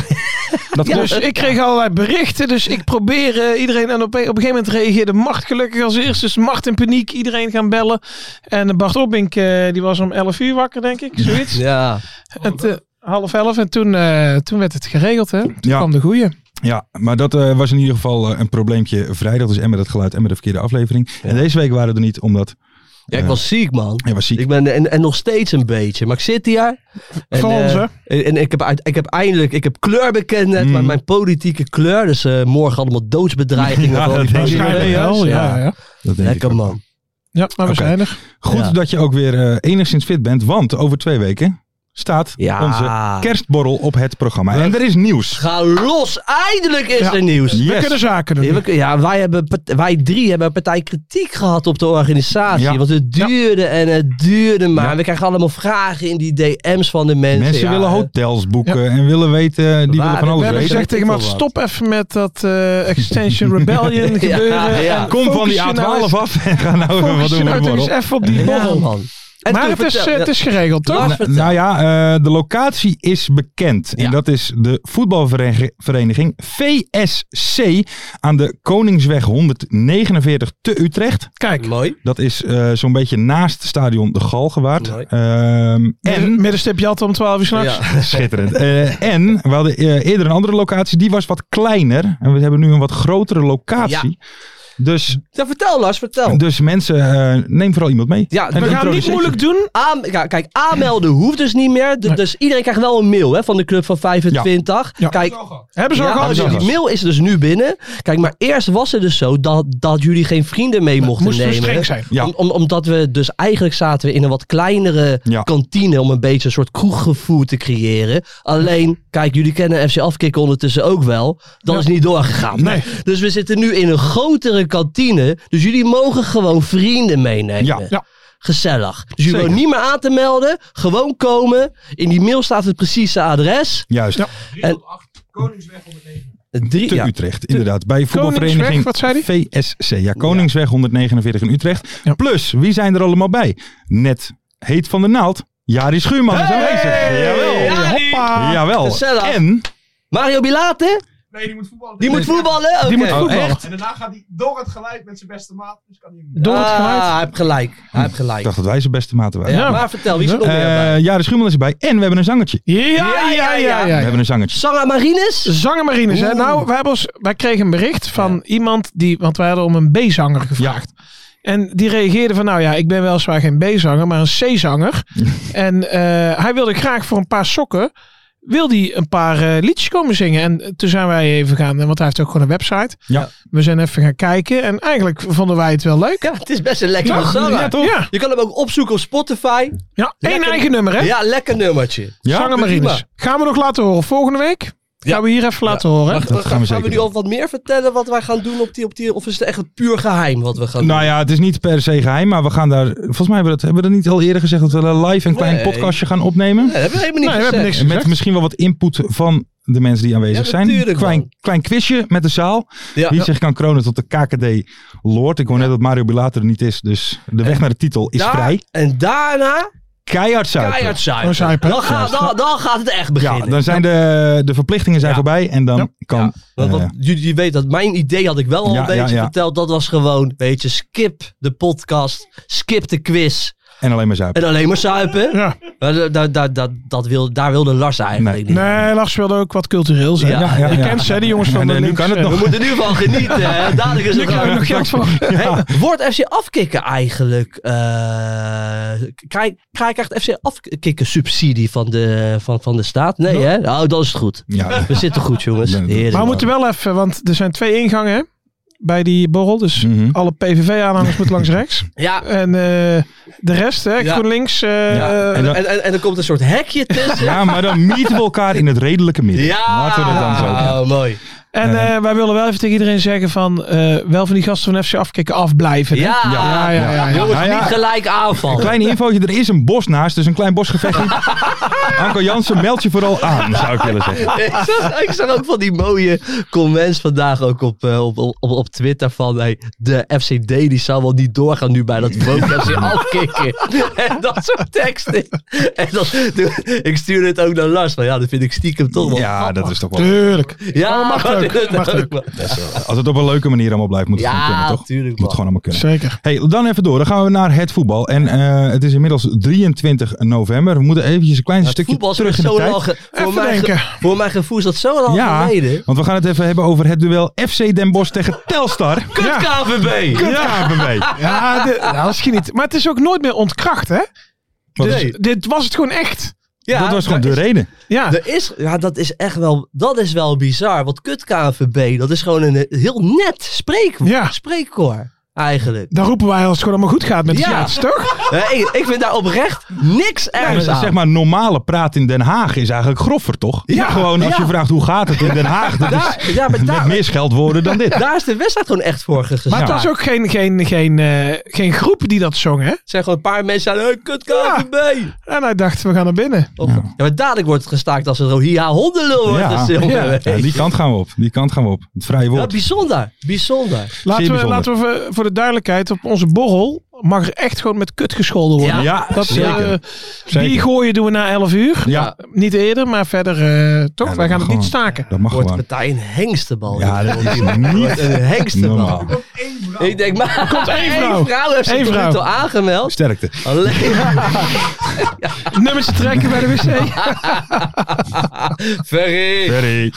[SPEAKER 3] Dat klopt.
[SPEAKER 4] dus ik kreeg allerlei berichten. Dus ik probeer eh, iedereen. En op, een- op een gegeven moment reageerde Macht gelukkig als eerst. Dus Macht in paniek. Iedereen gaan bellen. En Bart Opbink, eh, die was om 11 uur wakker, denk ik. Zoiets.
[SPEAKER 1] Ja.
[SPEAKER 4] En te- half elf. En toen, eh, toen werd het geregeld, hè? Toen
[SPEAKER 3] Ja.
[SPEAKER 4] kwam de goeie.
[SPEAKER 3] Ja, maar dat eh, was in ieder geval eh, een probleempje vrijdag. Dus en met het geluid en met de verkeerde aflevering. En deze week waren we er niet, omdat
[SPEAKER 1] Ja, ik
[SPEAKER 3] Ja.
[SPEAKER 1] was ziek, man.
[SPEAKER 3] hij was ziek.
[SPEAKER 1] Ik ben, en, en nog steeds een beetje. Maar ik zit hier. En,
[SPEAKER 4] Voor
[SPEAKER 1] eh,
[SPEAKER 4] ons, hè?
[SPEAKER 1] en, en ik, heb uit, ik heb eindelijk ik heb kleur bekend. net,
[SPEAKER 3] Mm.
[SPEAKER 1] maar mijn politieke kleur. Dus eh, morgen allemaal doodsbedreigingen.
[SPEAKER 3] Ja,
[SPEAKER 1] voor
[SPEAKER 3] dat
[SPEAKER 1] die
[SPEAKER 3] denk ik
[SPEAKER 1] mensen. Oh,
[SPEAKER 4] Waarschijnlijk wel, ja. ja.
[SPEAKER 3] Dat denk ik
[SPEAKER 1] Lekker
[SPEAKER 3] ook.
[SPEAKER 1] man.
[SPEAKER 4] Ja, maar we
[SPEAKER 3] Oké.
[SPEAKER 4] zijn er.
[SPEAKER 3] Goed
[SPEAKER 1] Ja.
[SPEAKER 3] dat je ook weer eh, enigszins fit bent, want over twee weken staat
[SPEAKER 1] Ja.
[SPEAKER 3] onze kerstborrel op het programma. En er is nieuws.
[SPEAKER 1] Ga los. Eindelijk is
[SPEAKER 4] Ja.
[SPEAKER 1] er nieuws.
[SPEAKER 3] Yes.
[SPEAKER 4] We kunnen zaken doen.
[SPEAKER 1] Ja, we kun- ja, wij, hebben, part- wij drie hebben een partij kritiek gehad op de organisatie.
[SPEAKER 3] Ja.
[SPEAKER 1] Want het duurde en het duurde maar. We krijgen allemaal vragen in die DM's van de mensen.
[SPEAKER 3] Mensen
[SPEAKER 1] Ja,
[SPEAKER 3] willen
[SPEAKER 1] eh,
[SPEAKER 3] hotels boeken en willen weten, die
[SPEAKER 1] Waar-
[SPEAKER 3] willen van
[SPEAKER 1] we
[SPEAKER 3] alles
[SPEAKER 4] We hebben
[SPEAKER 1] Weet
[SPEAKER 3] weten.
[SPEAKER 4] gezegd
[SPEAKER 1] ik
[SPEAKER 4] tegen
[SPEAKER 1] veel
[SPEAKER 4] Maat,
[SPEAKER 1] wat.
[SPEAKER 4] stop even met dat eh, Extension Rebellion
[SPEAKER 1] Ja,
[SPEAKER 4] gebeuren.
[SPEAKER 1] ja.
[SPEAKER 4] En
[SPEAKER 3] Kom van
[SPEAKER 4] focus
[SPEAKER 3] die
[SPEAKER 4] je nou
[SPEAKER 3] A12
[SPEAKER 4] eens-
[SPEAKER 3] af en ga nou even wat
[SPEAKER 4] Focus je
[SPEAKER 3] doen met
[SPEAKER 4] nou
[SPEAKER 3] de
[SPEAKER 4] toch eens
[SPEAKER 3] borrel.
[SPEAKER 4] even op die
[SPEAKER 1] Ja,
[SPEAKER 4] borrel.
[SPEAKER 1] man. En
[SPEAKER 4] Maar
[SPEAKER 1] toen
[SPEAKER 4] het is,
[SPEAKER 1] vertel-
[SPEAKER 4] eh, het is geregeld, toch?
[SPEAKER 1] Lars,
[SPEAKER 3] Nou,
[SPEAKER 1] vertel.
[SPEAKER 3] nou ja, eh, de locatie is bekend.
[SPEAKER 1] Ja.
[SPEAKER 3] En dat is de voetbalvereniging VSC aan de Koningsweg 149 te Utrecht.
[SPEAKER 4] Kijk,
[SPEAKER 1] Mooi.
[SPEAKER 3] Dat is eh, zo'n beetje naast stadion De Galgenwaard.
[SPEAKER 1] Mooi.
[SPEAKER 3] Ehm en
[SPEAKER 4] en middenstipje had om 12 uur s'nachts.
[SPEAKER 1] Ja.
[SPEAKER 3] Schitterend. Eh, en we hadden eh, eerder een andere locatie, die was wat kleiner. En we hebben nu een wat grotere locatie. Dus,
[SPEAKER 1] Ja, vertel Lars, vertel.
[SPEAKER 3] dus mensen, eh, neem vooral iemand mee.
[SPEAKER 1] Ja,
[SPEAKER 3] En
[SPEAKER 4] We gaan niet
[SPEAKER 3] introduceer-
[SPEAKER 4] moeilijk doen.
[SPEAKER 1] Aan, ja, kijk, aanmelden hoeft dus niet meer. D- Dus iedereen krijgt wel een mail hè, van de Club van 25.
[SPEAKER 4] Ja.
[SPEAKER 1] Kijk,
[SPEAKER 4] Hebben ze
[SPEAKER 1] ja,
[SPEAKER 4] al gehad?
[SPEAKER 1] dus die mail is dus nu binnen. Kijk, maar eerst was het dus zo dat, dat jullie geen vrienden mee mochten
[SPEAKER 4] Moesten we
[SPEAKER 1] nemen.
[SPEAKER 4] dus streng zijn.
[SPEAKER 3] Ja.
[SPEAKER 1] Om, om- omdat we dus eigenlijk zaten we in een wat kleinere
[SPEAKER 3] Ja.
[SPEAKER 1] kantine om een beetje een soort kroeggevoel te creëren. Alleen, kijk, jullie kennen FC Afkikken ondertussen ook wel. Dat is niet doorgegaan.
[SPEAKER 4] Nee.
[SPEAKER 1] Dus we zitten nu in een grotere kantine. Dus jullie mogen gewoon vrienden meenemen.
[SPEAKER 3] Ja.
[SPEAKER 4] Ja.
[SPEAKER 1] Gezellig. Dus jullie
[SPEAKER 3] Zeker.
[SPEAKER 1] hoeven niet meer aan te melden. Gewoon komen. In die mail staat het precieze adres.
[SPEAKER 3] Juist,
[SPEAKER 4] Ja.
[SPEAKER 1] Drie,
[SPEAKER 3] te
[SPEAKER 1] ja.
[SPEAKER 3] Utrecht, inderdaad. Bij voetbalvereniging
[SPEAKER 4] Koningsweg, wat zei die?
[SPEAKER 3] VSC. Ja, Koningsweg 149 in Utrecht.
[SPEAKER 4] Ja.
[SPEAKER 3] Plus, wie zijn er allemaal bij? Net heet van de naald, Jari Schuurman is aanwezig. Jawel.
[SPEAKER 4] Hoppa.
[SPEAKER 3] Jawel.
[SPEAKER 1] Ah, Gezellig.
[SPEAKER 3] En,
[SPEAKER 1] Mario Bilate?
[SPEAKER 5] Nee, die moet voetballen.
[SPEAKER 1] Die moet voetballen? Oké.
[SPEAKER 4] Die moet
[SPEAKER 3] oh,
[SPEAKER 4] voetballen.
[SPEAKER 3] echt?
[SPEAKER 5] En daarna gaat hij door het geluid met zijn beste maat. Dus kan hij hem niet.
[SPEAKER 4] Door het geluid.
[SPEAKER 1] Ah, hij heeft gelijk. Hij heeft gelijk.
[SPEAKER 3] ik dacht dat wij zijn beste maten waren.
[SPEAKER 1] Ja,
[SPEAKER 4] Ja.
[SPEAKER 1] Maar vertel, wie is er nog meer bij?
[SPEAKER 3] Eh Jari Schuurman is erbij. En we hebben een zangertje.
[SPEAKER 4] Ja, ja, ja,
[SPEAKER 3] We
[SPEAKER 4] ja.
[SPEAKER 3] hebben een zangertje.
[SPEAKER 1] Sarah Marines?
[SPEAKER 4] Zangermarines, hè? Nou, wij, hebben ons, wij kregen een bericht van iemand die, want wij hadden om een B-zanger gevraagd. En die reageerde van, nou ja, ik ben weliswaar geen B-zanger, maar een C-zanger. en eh, hij wilde graag voor een paar sokken, wil hij een paar eh, liedjes komen zingen. En eh, toen zijn wij even gaan, eh, want hij heeft ook gewoon een website.
[SPEAKER 3] Ja.
[SPEAKER 4] We zijn even gaan kijken en eigenlijk vonden wij het wel leuk.
[SPEAKER 1] Ja, het is best een lekkere
[SPEAKER 4] Toch?
[SPEAKER 1] zanger.
[SPEAKER 4] Ja, toch? Ja,
[SPEAKER 1] Je kan hem ook opzoeken op Spotify.
[SPEAKER 4] ja. één
[SPEAKER 1] Lekker.
[SPEAKER 4] eigen nummer, hè?
[SPEAKER 1] Ja, lekker nummertje.
[SPEAKER 3] Ja,
[SPEAKER 4] Zangermarines. Gaan we nog laten horen volgende week? Gaan we hier even laten horen.
[SPEAKER 1] Wacht,
[SPEAKER 3] dat gaan we
[SPEAKER 1] gaan we
[SPEAKER 3] zeker
[SPEAKER 1] nu
[SPEAKER 3] doen.
[SPEAKER 1] al wat meer vertellen wat wij gaan doen op die, op die... Of is het echt puur geheim wat we gaan doen?
[SPEAKER 3] Nou ja, het is niet per se geheim, maar we gaan daar... Volgens mij hebben we dat, hebben we dat niet al eerder gezegd... dat we een live een klein
[SPEAKER 1] Nee.
[SPEAKER 3] podcastje gaan opnemen.
[SPEAKER 1] Nee, dat hebben we helemaal niet
[SPEAKER 4] Nee, we hebben
[SPEAKER 1] gezegd.
[SPEAKER 4] niks
[SPEAKER 3] En
[SPEAKER 4] gezegd.
[SPEAKER 3] Met misschien wel wat input van de mensen die aanwezig
[SPEAKER 1] Ja,
[SPEAKER 3] zijn.
[SPEAKER 1] natuurlijk, man.
[SPEAKER 3] Klein, klein quizje met de zaal.
[SPEAKER 1] Ja.
[SPEAKER 3] Wie zich kan kronen tot de KKD Lord. Ik hoor net dat Mario Bilater er niet is, dus de weg naar de titel is
[SPEAKER 1] Daar-
[SPEAKER 3] vrij.
[SPEAKER 1] En daarna
[SPEAKER 3] Keihard zuipen.
[SPEAKER 1] keihard
[SPEAKER 4] Oh,
[SPEAKER 1] zuipen.
[SPEAKER 4] zuipen.
[SPEAKER 1] Dan, gaat- dan, dan gaat het echt
[SPEAKER 3] Ja,
[SPEAKER 1] beginnen.
[SPEAKER 3] dan zijn de, de verplichtingen zijn
[SPEAKER 1] Ja.
[SPEAKER 3] voorbij en dan
[SPEAKER 4] Ja.
[SPEAKER 3] kan...
[SPEAKER 1] Want,
[SPEAKER 3] eh,
[SPEAKER 1] want jullie jullie weten dat mijn idee had ik wel al
[SPEAKER 3] Ja,
[SPEAKER 1] een beetje
[SPEAKER 3] ja, ja.
[SPEAKER 1] verteld. Dat was gewoon, weet je, skip de podcast, skip de quiz
[SPEAKER 3] en alleen maar zuipen.
[SPEAKER 1] en alleen maar zuipen.
[SPEAKER 4] Ja.
[SPEAKER 1] Maar da- da- da- da- dat wil, daar wilde Lars eigenlijk
[SPEAKER 3] Nee.
[SPEAKER 1] niet.
[SPEAKER 4] Nee, Lars wilde ook wat cultureel zijn.
[SPEAKER 1] Ja.
[SPEAKER 4] Je kent ze, hè, die jongens van
[SPEAKER 3] En,
[SPEAKER 4] de
[SPEAKER 3] eh, nu
[SPEAKER 4] links,
[SPEAKER 3] kan het
[SPEAKER 4] eh,
[SPEAKER 1] We
[SPEAKER 3] nog.
[SPEAKER 1] moeten nu van genieten. Hè. Dadelijk is
[SPEAKER 4] Nu
[SPEAKER 1] het
[SPEAKER 4] krijgen we nog geld van.
[SPEAKER 1] Hey, wordt FC Afkikken eigenlijk... eh krijg, krijg ik echt FC Afkikken subsidie van de, van, van de staat? Nee, hè? Nou, dan is het goed.
[SPEAKER 3] Ja,
[SPEAKER 1] We zitten goed, jongens.
[SPEAKER 3] Nee, dat-
[SPEAKER 1] Heerlijk.
[SPEAKER 4] Maar we moeten wel even, want er zijn twee ingangen hè, bij die borrel. Dus
[SPEAKER 3] Mhm.
[SPEAKER 4] alle PVV-aanhangers moeten langs rechts.
[SPEAKER 1] Ja,
[SPEAKER 4] En eh, de rest, hè,
[SPEAKER 1] Ja.
[SPEAKER 4] GroenLinks. eh,
[SPEAKER 3] Ja,
[SPEAKER 1] en,
[SPEAKER 3] dan-
[SPEAKER 1] en, en er komt een soort hekje tussen.
[SPEAKER 3] ja, maar dan mieten we elkaar in het redelijke midden.
[SPEAKER 1] Ja,
[SPEAKER 3] Laten we dat dan zo doen.
[SPEAKER 1] Oh, mooi.
[SPEAKER 4] en
[SPEAKER 3] Ja.
[SPEAKER 4] eh, wij willen wel even tegen iedereen zeggen van, eh, wel van die gasten van FC afkicken afblijven. hè.
[SPEAKER 1] Ja,
[SPEAKER 4] Ja, ja, ja, ja.
[SPEAKER 1] jongens,
[SPEAKER 3] Nou ja.
[SPEAKER 1] niet gelijk aanvallen.
[SPEAKER 3] Kleine infootje, er is een bos naast, dus een klein bosgevecht. Anko Jansen, meld je vooral aan, zou ik willen zeggen.
[SPEAKER 1] ik, zag, ik zag ook van die mooie comments vandaag ook op, eh, op, op, op Twitter van hey, de FCD die zal wel niet doorgaan nu bij dat vote FC afkicken. en dat soort teksten. En dat, toen- ik stuurde het ook naar Lars van ja, dat vind ik stiekem toch wel
[SPEAKER 3] Ja,
[SPEAKER 1] grappig.
[SPEAKER 3] dat is toch wel...
[SPEAKER 4] Tuurlijk.
[SPEAKER 1] Ja,
[SPEAKER 4] mag
[SPEAKER 1] dat
[SPEAKER 4] ook,
[SPEAKER 1] is het
[SPEAKER 4] mag ook.
[SPEAKER 1] wel.
[SPEAKER 3] Als het op een leuke manier allemaal blijft, moet het gewoon
[SPEAKER 1] Ja,
[SPEAKER 3] kunnen, toch?
[SPEAKER 1] natuurlijk
[SPEAKER 3] Moet het gewoon allemaal kunnen.
[SPEAKER 4] Zeker.
[SPEAKER 3] Hey, dan even door. Dan gaan we naar het voetbal. En eh, het is inmiddels 23 november. We moeten eventjes een klein stukje
[SPEAKER 1] Voetbal is
[SPEAKER 3] terug in
[SPEAKER 1] echt
[SPEAKER 3] de
[SPEAKER 1] zo
[SPEAKER 3] tijd.
[SPEAKER 1] lang ge- voor,
[SPEAKER 4] Even
[SPEAKER 1] mijn
[SPEAKER 4] denken.
[SPEAKER 1] ge- voor mijn gevoel is dat zo lang
[SPEAKER 3] Ja.
[SPEAKER 1] geleden.
[SPEAKER 3] Want we gaan het even hebben over het duel FC Den Bosch tegen Telstar.
[SPEAKER 1] Kut KVB!
[SPEAKER 3] Ja, KVB.
[SPEAKER 4] Ja, de- nou, misschien niet. Maar het is ook nooit meer ontkracht, hè?
[SPEAKER 3] Wat
[SPEAKER 4] Dus
[SPEAKER 3] is-
[SPEAKER 4] dit was het gewoon echt.
[SPEAKER 1] Ja,
[SPEAKER 3] dat was gewoon
[SPEAKER 1] dat
[SPEAKER 3] de
[SPEAKER 1] is-
[SPEAKER 3] reden.
[SPEAKER 4] Ja.
[SPEAKER 1] Er is, ja, dat is echt wel, dat is wel bizar. Want kut KNVB, dat is gewoon een eh, heel net spreekwoord.
[SPEAKER 4] Ja.
[SPEAKER 1] Spreekkoor, eigenlijk.
[SPEAKER 4] Dan roepen wij als het gewoon allemaal goed gaat met de
[SPEAKER 1] Ja.
[SPEAKER 4] scheids, toch?
[SPEAKER 1] Eh, ik, ik vind daar oprecht niks
[SPEAKER 3] Ja,
[SPEAKER 1] ergs
[SPEAKER 3] maar
[SPEAKER 1] aan.
[SPEAKER 3] zeg maar, normale praat in Den Haag is eigenlijk groffer, toch?
[SPEAKER 1] Ja,
[SPEAKER 3] gewoon als
[SPEAKER 1] ja.
[SPEAKER 3] je vraagt hoe gaat het in Den Haag, dat is
[SPEAKER 1] daar, ja, maar
[SPEAKER 3] met
[SPEAKER 1] daar,
[SPEAKER 3] meer scheldwoorden dan dit.
[SPEAKER 1] daar is de wedstrijd gewoon echt voor ge-
[SPEAKER 4] Maar
[SPEAKER 1] gespaard.
[SPEAKER 4] het was ook geen, geen, geen, eh, geen groep die dat zong, hè?
[SPEAKER 1] Er zijn gewoon een paar mensen aan, hey, kut KNVB.
[SPEAKER 4] En hij dacht, we gaan naar binnen.
[SPEAKER 1] Of- Ja. maar dadelijk wordt het gestaakt als het Rohia hondenlul wordt.
[SPEAKER 3] Ja.
[SPEAKER 1] Ja. Ja.
[SPEAKER 3] Ja, die kant gaan we op. Die kant gaan we op. Het vrije woord.
[SPEAKER 1] bijzonder, bijzonder.
[SPEAKER 4] Laten we,
[SPEAKER 3] bijzonder.
[SPEAKER 4] laten we voor- voor de duidelijkheid op onze borrel, eh, mag er echt gewoon met kut gescholden worden.
[SPEAKER 1] Ja.
[SPEAKER 3] Ja,
[SPEAKER 4] Dat,
[SPEAKER 3] zeker.
[SPEAKER 4] eh,
[SPEAKER 3] Zeker.
[SPEAKER 4] Die gooien doen we na 11 uur.
[SPEAKER 3] Ja.
[SPEAKER 4] Niet eerder, maar verder eh, toch.
[SPEAKER 3] dat
[SPEAKER 4] Wij gaan
[SPEAKER 3] mag
[SPEAKER 4] het niet
[SPEAKER 3] gewoon.
[SPEAKER 4] staken.
[SPEAKER 3] Dat mag
[SPEAKER 1] Wordt
[SPEAKER 3] gewoon.
[SPEAKER 1] partij een hengstenbal.
[SPEAKER 3] Ja, dat is
[SPEAKER 1] Wordt
[SPEAKER 3] niet
[SPEAKER 1] een hengstenbal.
[SPEAKER 3] normaal.
[SPEAKER 5] Ook één vrouw.
[SPEAKER 1] Ik denk, maar komt
[SPEAKER 4] één vrouw.
[SPEAKER 1] heeft zich
[SPEAKER 4] Eén
[SPEAKER 1] tot nu
[SPEAKER 4] vrouw.
[SPEAKER 1] toe aangemeld.
[SPEAKER 3] Sterkte.
[SPEAKER 1] Alleen
[SPEAKER 4] Nummers te trekken bij de wc.
[SPEAKER 1] Ferry.
[SPEAKER 3] Ferry.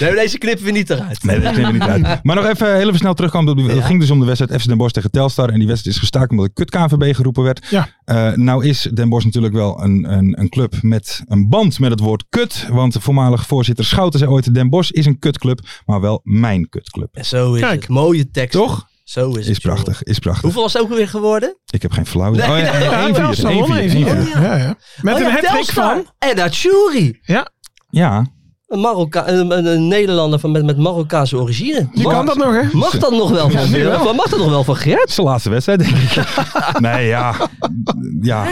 [SPEAKER 1] Nee, deze knippen we niet eruit.
[SPEAKER 3] Nee, dat klinkt er niet uit. Maar nog even heel even snel terugkomen. op die- Het ging dus om de wedstrijd FC Den Bosch tegen Telstar. En die wedstrijd is gestaakt omdat de kut KNVB geroepen werd.
[SPEAKER 4] Ja.
[SPEAKER 3] Eh, nou is Den Bosch natuurlijk wel een, een, een club met een band met het woord kut. Want de voormalig voorzitter Schouten zei ooit... Den Bosch is een kutclub, maar wel mijn kutclub.
[SPEAKER 1] En zo is
[SPEAKER 4] Kijk.
[SPEAKER 1] het. Mooie tekst.
[SPEAKER 3] Toch?
[SPEAKER 1] Zo is het.
[SPEAKER 3] Is
[SPEAKER 1] jongen.
[SPEAKER 3] prachtig, is prachtig.
[SPEAKER 1] Hoeveel was het ook weer geworden?
[SPEAKER 3] Ik heb geen flauw.
[SPEAKER 1] Nee,
[SPEAKER 3] idee. Oh,
[SPEAKER 1] nee,
[SPEAKER 3] ja,
[SPEAKER 4] Ja,
[SPEAKER 3] één
[SPEAKER 4] wel,
[SPEAKER 3] vier,
[SPEAKER 4] ze
[SPEAKER 3] één vier,
[SPEAKER 4] wonnen één
[SPEAKER 3] één
[SPEAKER 4] vier.
[SPEAKER 3] vier.
[SPEAKER 4] Ja, ja. Met
[SPEAKER 1] Oh
[SPEAKER 4] een
[SPEAKER 1] ja,
[SPEAKER 4] hat-trick
[SPEAKER 1] Telstar.
[SPEAKER 4] van...
[SPEAKER 1] En dat Jury.
[SPEAKER 4] Ja,
[SPEAKER 3] Ja,
[SPEAKER 1] Een, Marokka een, een- een Nederlander van, met, met Marokkaanse origine.
[SPEAKER 4] je
[SPEAKER 1] Mag-
[SPEAKER 4] kan dat nog hè.
[SPEAKER 1] Mag dat nog wel van,
[SPEAKER 3] nu wel.
[SPEAKER 1] van- Mag dat nog wel van Gert?
[SPEAKER 3] het is de laatste wedstrijd, denk ik. nee, ja. Ja.